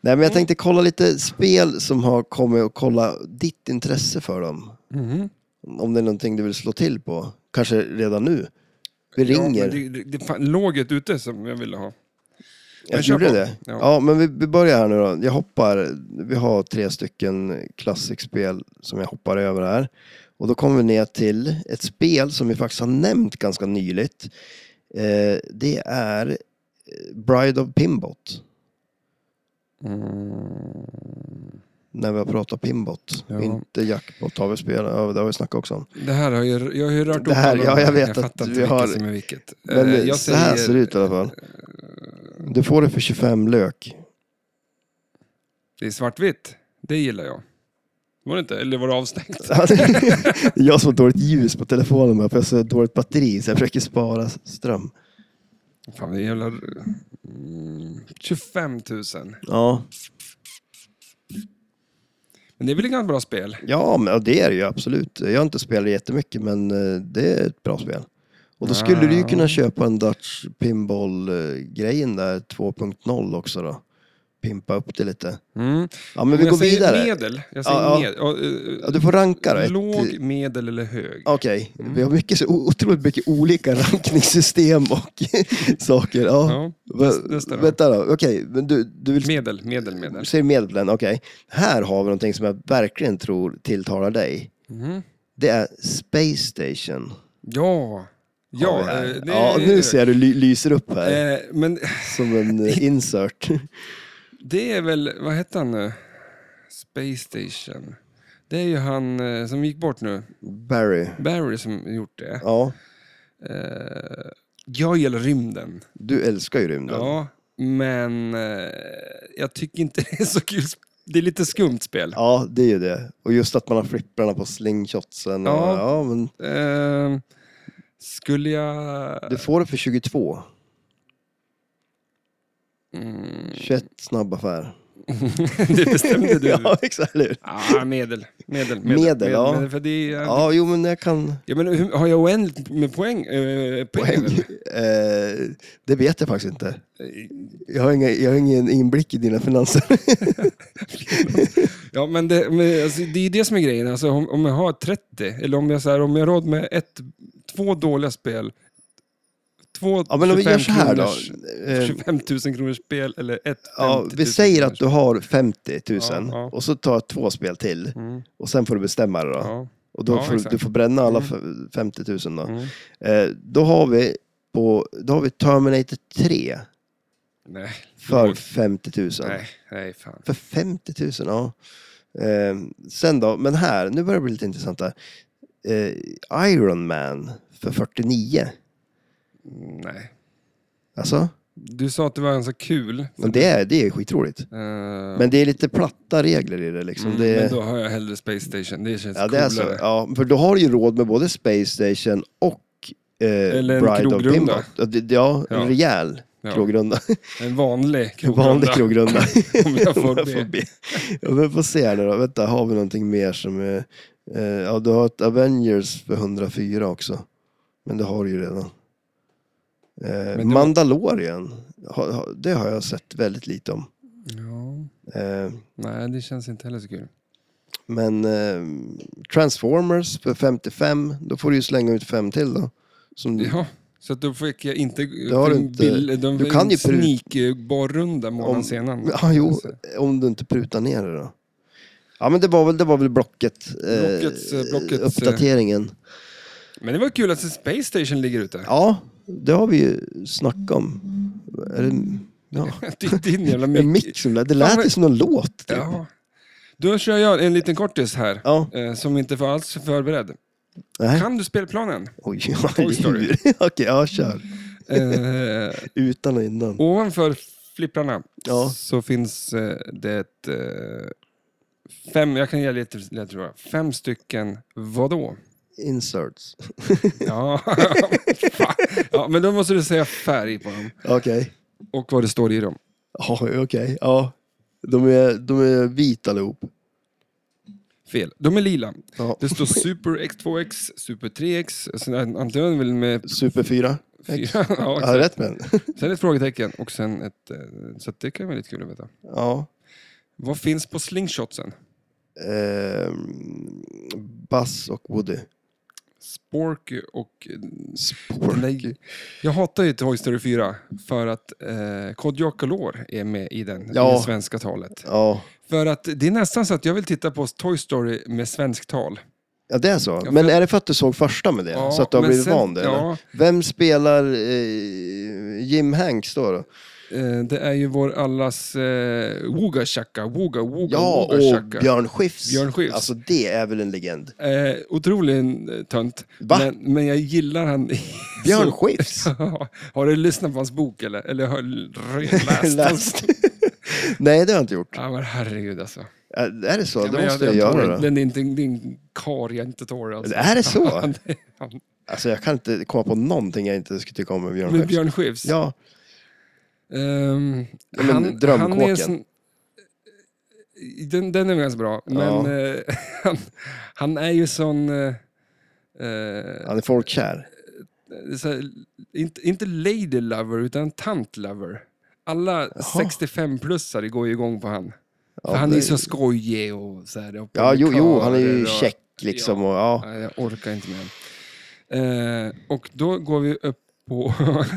[SPEAKER 2] Nej, men jag tänkte kolla lite spel som har kommit och kolla ditt intresse för dem.
[SPEAKER 1] Mhm.
[SPEAKER 2] Om det är någonting du vill slå till på. Kanske redan nu. Vi
[SPEAKER 1] Ja,
[SPEAKER 2] ringer.
[SPEAKER 1] men det, det, det fan, låg ett ute som jag ville ha.
[SPEAKER 2] jag
[SPEAKER 1] men kör
[SPEAKER 2] gjorde
[SPEAKER 1] på.
[SPEAKER 2] det.
[SPEAKER 1] Ja.
[SPEAKER 2] Ja, men vi, vi börjar här nu då. Jag hoppar. Vi har tre stycken klassikspel som jag hoppar över här. Och då kommer vi ner till ett spel som vi faktiskt har nämnt ganska nyligt. Eh, det är eh, Bride of Pimbot. Mm. När vi har pratat Pimbot.
[SPEAKER 1] Ja.
[SPEAKER 2] Inte Jackpot har vi spelat. Ja, det har vi snackat också om.
[SPEAKER 1] Det här har jag, jag har ju rört upp
[SPEAKER 2] Det här-
[SPEAKER 1] alla
[SPEAKER 2] ja,
[SPEAKER 1] de här.
[SPEAKER 2] jag vet
[SPEAKER 1] jag
[SPEAKER 2] att
[SPEAKER 1] fattar
[SPEAKER 2] vi
[SPEAKER 1] inte
[SPEAKER 2] har-
[SPEAKER 1] vilket som är vilket.
[SPEAKER 2] Men
[SPEAKER 1] Eh, jag
[SPEAKER 2] så här
[SPEAKER 1] säger- eh,
[SPEAKER 2] ser det ut i alla fall. Du får det för 25 lök.
[SPEAKER 1] Det är svartvitt. Det gillar jag. Var det inte? Eller var det avstängt?
[SPEAKER 2] Ja, det- jag som har dåligt ljus på telefonen bara, för jag har så dåligt batteri så jag försöker spara ström.
[SPEAKER 1] Fan, det är jävla... Mm, 25 000.
[SPEAKER 2] Ja,
[SPEAKER 1] Men det är väl ett ganska bra spel?
[SPEAKER 2] ja men, ja, det är det ju absolut. Jag har inte spelat jättemycket men eh, det är ett bra spel. Och då skulle du ju
[SPEAKER 1] Ja.
[SPEAKER 2] kunna köpa en Dutch Pinball-grejen där 2.0 också då. Pimpa upp det lite.
[SPEAKER 1] Mm.
[SPEAKER 2] Ja men vi
[SPEAKER 1] jag
[SPEAKER 2] går
[SPEAKER 1] säger
[SPEAKER 2] vidare.
[SPEAKER 1] medel. Jag säger
[SPEAKER 2] Ja, ja.
[SPEAKER 1] med, och, eh,
[SPEAKER 2] Ja, du får ranka då. ett- eh,
[SPEAKER 1] Låg, Mm. medel eller hög.
[SPEAKER 2] Okej, vi har mycket, så- o- otroligt mycket olika rankningssystem och saker. Ja.
[SPEAKER 1] Ja,
[SPEAKER 2] Va-
[SPEAKER 1] nästa då.
[SPEAKER 2] Vänta då, okej, men du, du vill
[SPEAKER 1] Medel, medel, medel.
[SPEAKER 2] Säger medelblend, okej. Här har vi någonting som jag verkligen tror tilltalar dig.
[SPEAKER 1] Mhm.
[SPEAKER 2] Det är Space Station.
[SPEAKER 1] Ja,
[SPEAKER 2] Har vi
[SPEAKER 1] ja.
[SPEAKER 2] här.
[SPEAKER 1] eh, det
[SPEAKER 2] ja
[SPEAKER 1] är-
[SPEAKER 2] nu ser jag du ly- lyser upp här.
[SPEAKER 1] Eh, Men
[SPEAKER 2] Som en eh, insert.
[SPEAKER 1] det är väl, vad hette han nu? Space Station. Det är ju han eh, som gick bort nu.
[SPEAKER 2] Barry.
[SPEAKER 1] Barry som gjort det.
[SPEAKER 2] Ja,
[SPEAKER 1] Eh, Jag gillar rymden.
[SPEAKER 2] du älskar ju rymden.
[SPEAKER 1] Ja, men eh, jag tycker inte det är så kul. sp- Det är lite skumt spel.
[SPEAKER 2] Ja, det är ju det. Och just att man har flipprarna på slingshotsen. Och,
[SPEAKER 1] Ja.
[SPEAKER 2] ja, men
[SPEAKER 1] Eh, Ehm, skulle jag...
[SPEAKER 2] du får det för 22.
[SPEAKER 1] Mm.
[SPEAKER 2] 21 snabb affär.
[SPEAKER 1] det bestämde du. ja.
[SPEAKER 2] ja, exakt. eller hur?
[SPEAKER 1] ah, medel. Medel, medel,
[SPEAKER 2] Medel, ja.
[SPEAKER 1] för det är, ja.
[SPEAKER 2] Ja, jo men jag kan...
[SPEAKER 1] men hur, har jag oändligt med poäng? Eh, poäng.
[SPEAKER 2] Poäng. Eh, det vet jag faktiskt inte. Jag har, inga, jag har ingen inblick i dina finanser.
[SPEAKER 1] Ja, men det, men, alltså, det är ju det som är grejen. Alltså, om, om jag har 30, eller om jag, så här, om jag har råd med ett, två dåliga spel, två
[SPEAKER 2] Ja, men om vi gör så här då.
[SPEAKER 1] 25
[SPEAKER 2] Eh,
[SPEAKER 1] 25 000 kronors spel eller ett 50
[SPEAKER 2] Ja,
[SPEAKER 1] 000
[SPEAKER 2] vi säger att du
[SPEAKER 1] kronors
[SPEAKER 2] har 50 000
[SPEAKER 1] Ja, ja.
[SPEAKER 2] och så tar jag två spel till
[SPEAKER 1] spel. Mm,
[SPEAKER 2] och sen får du bestämma dig då.
[SPEAKER 1] ja.
[SPEAKER 2] Och då
[SPEAKER 1] Ja,
[SPEAKER 2] får, du-
[SPEAKER 1] exakt.
[SPEAKER 2] du får bränna alla f- 50 000 då. Eh, då, har vi på, då har vi Terminator 3
[SPEAKER 1] Nej,
[SPEAKER 2] för
[SPEAKER 1] Oj.
[SPEAKER 2] 50 000.
[SPEAKER 1] nej, nej fan.
[SPEAKER 2] För 50 000, ja. Eh, sen då, men här, nu börjar det bli lite intressant här. Eh, Iron Man för 49.
[SPEAKER 1] Nej.
[SPEAKER 2] Alltså,
[SPEAKER 1] Du sa att det var ganska kul.
[SPEAKER 2] men det är, det är skitroligt.
[SPEAKER 1] men,
[SPEAKER 2] Men det är lite platta regler i det liksom.
[SPEAKER 1] mm,
[SPEAKER 2] det,
[SPEAKER 1] men då har jag hellre Space Station. Det känns
[SPEAKER 2] Ja, det
[SPEAKER 1] coolare.
[SPEAKER 2] är alltså så. Ja, för då har du ju råd med både Space Station och eh,
[SPEAKER 1] Eller en
[SPEAKER 2] Bride of
[SPEAKER 1] krogrunda.
[SPEAKER 2] Timbuk. Ja, det- Ja, en
[SPEAKER 1] Ja.
[SPEAKER 2] rejäl
[SPEAKER 1] Ja.
[SPEAKER 2] krogrunda.
[SPEAKER 1] En vanlig
[SPEAKER 2] En
[SPEAKER 1] krogrunda.
[SPEAKER 2] vanlig krogrunda.
[SPEAKER 1] Om jag får
[SPEAKER 2] Jag
[SPEAKER 1] be.
[SPEAKER 2] be. Ja, men får se här nu då. Vänta, har vi någonting mer som är... Eh, ja, du har ett Avengers för 104 också. Men det har du ju redan. Eh,
[SPEAKER 1] det var-
[SPEAKER 2] Mandalorian, ha, ha, det har jag sett väldigt lite om.
[SPEAKER 1] Ja,
[SPEAKER 2] Eh,
[SPEAKER 1] nej, det känns inte heller så kul.
[SPEAKER 2] Men eh, Transformers för 55, då får du ju slänga ut fem till då. Som du,
[SPEAKER 1] Ja, så att då fick jag inte...
[SPEAKER 2] Mm. har
[SPEAKER 1] en
[SPEAKER 2] du inte.
[SPEAKER 1] bild- de,
[SPEAKER 2] Du kan ju prut-
[SPEAKER 1] Sneakborrunda månaden
[SPEAKER 2] Om-
[SPEAKER 1] senare.
[SPEAKER 2] ja, jo, om du inte prutar ner det då. Ja, men det var väl, det var väl blocket, eh,
[SPEAKER 1] Blockets, eh, blockets,
[SPEAKER 2] uppdateringen.
[SPEAKER 1] Men det var kul att Space Station ligger ute.
[SPEAKER 2] Ja, det har vi ju snackat om. Är det, ja.
[SPEAKER 1] Din- Din jävla mick.
[SPEAKER 2] En mick som lät, det
[SPEAKER 1] Ja,
[SPEAKER 2] lät
[SPEAKER 1] men-
[SPEAKER 2] ju som någon låt. Typ. Ja.
[SPEAKER 1] Ja. Då kör jag en liten kortis här.
[SPEAKER 2] Ja,
[SPEAKER 1] eh, Som inte var alls förberedd.
[SPEAKER 2] nej.
[SPEAKER 1] Kan du spelplanen?
[SPEAKER 2] Oj, ja,
[SPEAKER 1] Toy Story.
[SPEAKER 2] djur. Okej, ja, kör.
[SPEAKER 1] Eh,
[SPEAKER 2] Utan och innan.
[SPEAKER 1] ovanför flipprarna
[SPEAKER 2] Ja.
[SPEAKER 1] så finns eh, det ett, eh, fem, jag kan ge lite, lite tror jag. fem stycken vadå?
[SPEAKER 2] Inserts.
[SPEAKER 1] Ja. Fan. ja, men då måste du säga färg på dem
[SPEAKER 2] Okej.
[SPEAKER 1] och vad det står i dem.
[SPEAKER 2] Ja, okej. Ja. De är, de är vita allihop.
[SPEAKER 1] Fel. De är lila.
[SPEAKER 2] Ja.
[SPEAKER 1] Det står Super X2X, Super 3X, sen antingen väl med
[SPEAKER 2] Super 4.
[SPEAKER 1] fyra. Ja,
[SPEAKER 2] Ja,
[SPEAKER 1] exakt.
[SPEAKER 2] rätt med den.
[SPEAKER 1] sen ett frågetecken och sen ett... eh, Så att det kan vara lite kul att veta.
[SPEAKER 2] Ja.
[SPEAKER 1] Vad finns på slingshotsen?
[SPEAKER 2] Ehm, Buzz och Woody.
[SPEAKER 1] Sporky och
[SPEAKER 2] Sporky.
[SPEAKER 1] Nej. Jag hatar ju Toy Story 4 för att eh, Kodjo Lår är med i den, i
[SPEAKER 2] Ja.
[SPEAKER 1] det svenska talet.
[SPEAKER 2] Ja.
[SPEAKER 1] För att det är nästan så att jag vill titta på Toy Story med svenskt tal.
[SPEAKER 2] ja, det är så.
[SPEAKER 1] för-
[SPEAKER 2] Men är det för att du såg första med det?
[SPEAKER 1] Ja,
[SPEAKER 2] så att du har
[SPEAKER 1] men
[SPEAKER 2] blivit
[SPEAKER 1] sen-
[SPEAKER 2] van det? eller?
[SPEAKER 1] Ja,
[SPEAKER 2] Vem spelar eh, Jim Hanks då? då?
[SPEAKER 1] eh, det är ju vår allas eh, Woga Chaka, Woga, Woga,
[SPEAKER 2] Ja,
[SPEAKER 1] Woga
[SPEAKER 2] och
[SPEAKER 1] Chaka.
[SPEAKER 2] Björn Skifs.
[SPEAKER 1] Björn Skifs.
[SPEAKER 2] Alltså det är väl en legend.
[SPEAKER 1] Eh, otroligt eh, tönt.
[SPEAKER 2] Va?
[SPEAKER 1] Men, men jag gillar han.
[SPEAKER 2] Björn
[SPEAKER 1] så-
[SPEAKER 2] Skifs?
[SPEAKER 1] har du lyssnat på hans bok eller? Eller har du läst hans?
[SPEAKER 2] Läst. Nej, det har jag inte gjort.
[SPEAKER 1] Ja, men herregud alltså.
[SPEAKER 2] Äh, Är det så?
[SPEAKER 1] Ja,
[SPEAKER 2] det
[SPEAKER 1] men
[SPEAKER 2] måste jag,
[SPEAKER 1] tar
[SPEAKER 2] göra
[SPEAKER 1] den.
[SPEAKER 2] då.
[SPEAKER 1] Den är inte din kar jag inte tål. Alltså.
[SPEAKER 2] Är det så?
[SPEAKER 1] Ja, det är han.
[SPEAKER 2] Alltså jag kan inte komma på någonting jag inte skulle tycka om med Björn
[SPEAKER 1] Med
[SPEAKER 2] Skifs.
[SPEAKER 1] Björn Skifs?
[SPEAKER 2] Ja,
[SPEAKER 1] Ehm,
[SPEAKER 2] Ja, men Drömkåken.
[SPEAKER 1] en sån- den, den är ganska bra, men eh, han, han är ju sån... eh, eh,
[SPEAKER 2] han är folkkär.
[SPEAKER 1] så här, inte, inte lady lover, utan tant lover. Alla 65-plussare går ju igång på han.
[SPEAKER 2] Ja,
[SPEAKER 1] För han är
[SPEAKER 2] det-
[SPEAKER 1] ju så skojig och så här. och
[SPEAKER 2] Ja, jo, jo, han är ju
[SPEAKER 1] och-
[SPEAKER 2] check liksom.
[SPEAKER 1] Ja.
[SPEAKER 2] Och, ja.
[SPEAKER 1] Nej, jag orkar inte med honom. Eh, och då går vi upp på...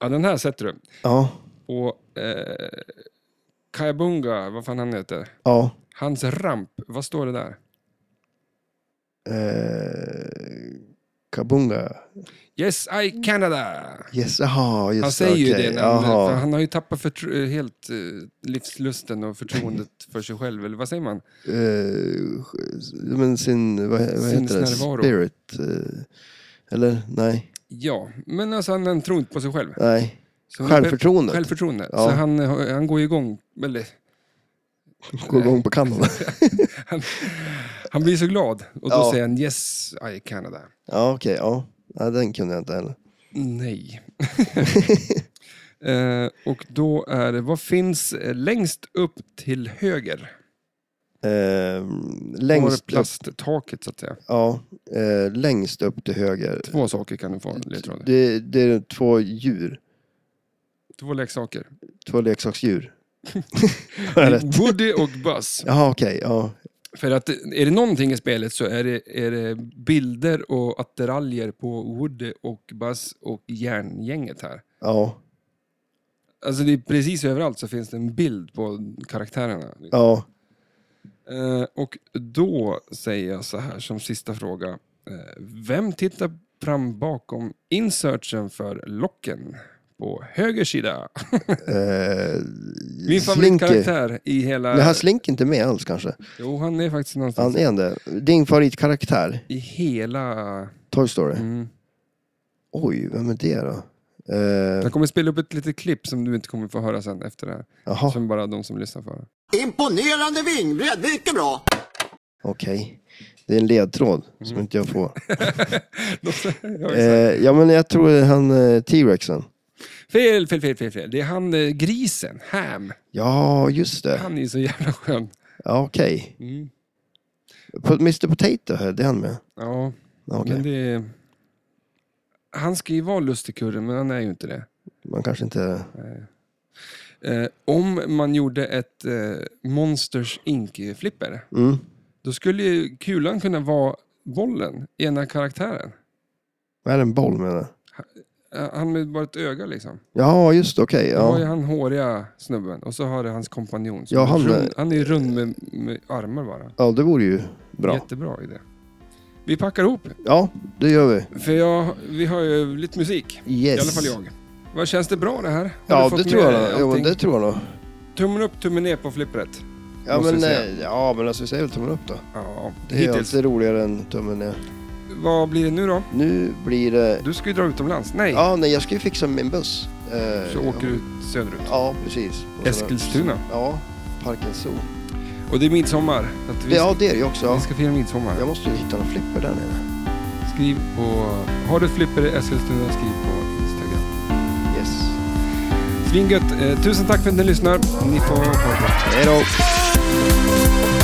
[SPEAKER 1] ja, den här sätter du.
[SPEAKER 2] Ja,
[SPEAKER 1] På eh, Kayabunga, vad fan han heter.
[SPEAKER 2] ja.
[SPEAKER 1] Hans ramp, vad står det där?
[SPEAKER 2] Eh, Kabunga.
[SPEAKER 1] Yes, I Canada!
[SPEAKER 2] Yes, aha, just
[SPEAKER 1] Han säger ju
[SPEAKER 2] okej,
[SPEAKER 1] det, när han,
[SPEAKER 2] jaha.
[SPEAKER 1] för han har ju tappat förtro- helt eh, livslusten och förtroendet för sig själv, eller vad säger man?
[SPEAKER 2] Eh, men sin, vad, vad heter det?
[SPEAKER 1] Sinnesnärvaro.
[SPEAKER 2] Spirit. eh, eller? Nej.
[SPEAKER 1] Ja, men alltså han, han tror inte på sig själv.
[SPEAKER 2] Nej.
[SPEAKER 1] Så han-
[SPEAKER 2] Självförtroendet.
[SPEAKER 1] Självförtroende.
[SPEAKER 2] Ja.
[SPEAKER 1] Så han, eh, han går ju igång, eller
[SPEAKER 2] Gå igång på Kanada.
[SPEAKER 1] Han blir så glad och då
[SPEAKER 2] Ja.
[SPEAKER 1] säger han yes, I Canada.
[SPEAKER 2] ja, okej. ja. Nej, den kunde jag inte heller.
[SPEAKER 1] Nej. Eh, och då är det, vad finns eh, längst upp till höger?
[SPEAKER 2] Eh,
[SPEAKER 1] Längst
[SPEAKER 2] längst, upp,
[SPEAKER 1] plasttaket så att säga.
[SPEAKER 2] ja, eh, längst upp till höger.
[SPEAKER 1] Två saker kan du få ledtråd.
[SPEAKER 2] Det, det är två djur.
[SPEAKER 1] Två leksaker.
[SPEAKER 2] Två leksaksdjur. Har jag rätt?
[SPEAKER 1] Woody och Buzz.
[SPEAKER 2] Jaha, okej. ja.
[SPEAKER 1] För att är det någonting i spelet så är det, är det bilder och attiraljer på Woody och Buzz och järngänget här.
[SPEAKER 2] Ja,
[SPEAKER 1] Alltså det är precis överallt så finns det en bild på karaktärerna.
[SPEAKER 2] ja.
[SPEAKER 1] Eh, och då säger jag så här som sista fråga. Eh, vem tittar fram bakom insertion för locken på höger sida?
[SPEAKER 2] Eh,
[SPEAKER 1] Min favoritkaraktär i hela...
[SPEAKER 2] Men han slinker inte med alls kanske.
[SPEAKER 1] Jo, han är faktiskt någonstans
[SPEAKER 2] Han är det. Din favoritkaraktär,
[SPEAKER 1] i hela...
[SPEAKER 2] Toy Story.
[SPEAKER 1] Mm.
[SPEAKER 2] Oj, vem är det då? Eh,
[SPEAKER 1] Jag kommer spela upp ett litet klipp som du inte kommer få höra sen efter det här.
[SPEAKER 2] Jaha,
[SPEAKER 1] Som bara de som lyssnar får höra.
[SPEAKER 3] Imponerande vingbredd, mycket bra!
[SPEAKER 2] okej. Det är en ledtråd
[SPEAKER 1] Mm.
[SPEAKER 2] som inte jag får.
[SPEAKER 1] Jag
[SPEAKER 2] Eh,
[SPEAKER 1] är så här,
[SPEAKER 2] ja, men jag tror det är han eh, T-rexen.
[SPEAKER 1] fel, fel, fel, fel, fel. Det är han eh, grisen, Ham.
[SPEAKER 2] Ja, just det.
[SPEAKER 1] Han är ju så jävla skön.
[SPEAKER 2] Ja, okej.
[SPEAKER 1] Mm.
[SPEAKER 2] Po- Mr Potato, här, det är han med?
[SPEAKER 1] Ja,
[SPEAKER 2] Ja, okej.
[SPEAKER 1] men det är... Han ska ju vara lustigkurren, men han är ju inte det.
[SPEAKER 2] Man kanske inte...
[SPEAKER 1] Eh, om man gjorde ett eh, Monsters Inc-flipper,
[SPEAKER 2] Mm.
[SPEAKER 1] då skulle ju kulan kunna vara bollen, ena karaktären.
[SPEAKER 2] Vad är det, en boll menar jag?
[SPEAKER 1] Eh, Han med bara ett öga liksom.
[SPEAKER 2] Ja, just det, okej.
[SPEAKER 1] Då har ju
[SPEAKER 2] ja.
[SPEAKER 1] han håriga snubben och så har det hans kompanjon. som
[SPEAKER 2] Ja,
[SPEAKER 1] är
[SPEAKER 2] han-
[SPEAKER 1] rund, han är ju rund med, med armar bara.
[SPEAKER 2] ja, det vore ju bra.
[SPEAKER 1] Jättebra idé. Vi packar ihop,
[SPEAKER 2] Ja, det gör vi.
[SPEAKER 1] för jag, vi har ju lite musik.
[SPEAKER 2] Yes.
[SPEAKER 1] I alla fall jag. Vad Känns det bra det här? Har du
[SPEAKER 2] Ja,
[SPEAKER 1] fått
[SPEAKER 2] det tror
[SPEAKER 1] med
[SPEAKER 2] jag. nog. Jo, men
[SPEAKER 1] allting?
[SPEAKER 2] det tror jag nog.
[SPEAKER 1] Tummen upp, tummen ner på flippret.
[SPEAKER 2] Ja,
[SPEAKER 1] Måste
[SPEAKER 2] men,
[SPEAKER 1] vi
[SPEAKER 2] eh, ja, men alltså vi säger väl tummen upp då.
[SPEAKER 1] Ja,
[SPEAKER 2] Det är ju
[SPEAKER 1] hittills.
[SPEAKER 2] alltid roligare än tummen ner.
[SPEAKER 1] Vad blir det nu då?
[SPEAKER 2] Nu blir det...
[SPEAKER 1] Du ska ju dra utomlands. Nej,
[SPEAKER 2] Ja, nej, jag ska ju fixa min buss. Eh,
[SPEAKER 1] så
[SPEAKER 2] ja.
[SPEAKER 1] åker du söderut.
[SPEAKER 2] Ja, precis. Och så-
[SPEAKER 1] Eskilstuna.
[SPEAKER 2] Ja, Parken Zoo.
[SPEAKER 1] Och det är midsommar. Att vi,
[SPEAKER 2] Det, ja, det är det ju också.
[SPEAKER 1] vi
[SPEAKER 2] Ja.
[SPEAKER 1] ska fira midsommar.
[SPEAKER 2] Jag måste ju hitta någon flipper där nere.
[SPEAKER 1] Skriv på... Har du ett flipper i Eskilstuna, skriv på Instagram.
[SPEAKER 2] Yes.
[SPEAKER 1] Svingött. Eh, tusen tack för att ni lyssnar. Ni får ha det bra.
[SPEAKER 2] Hej då!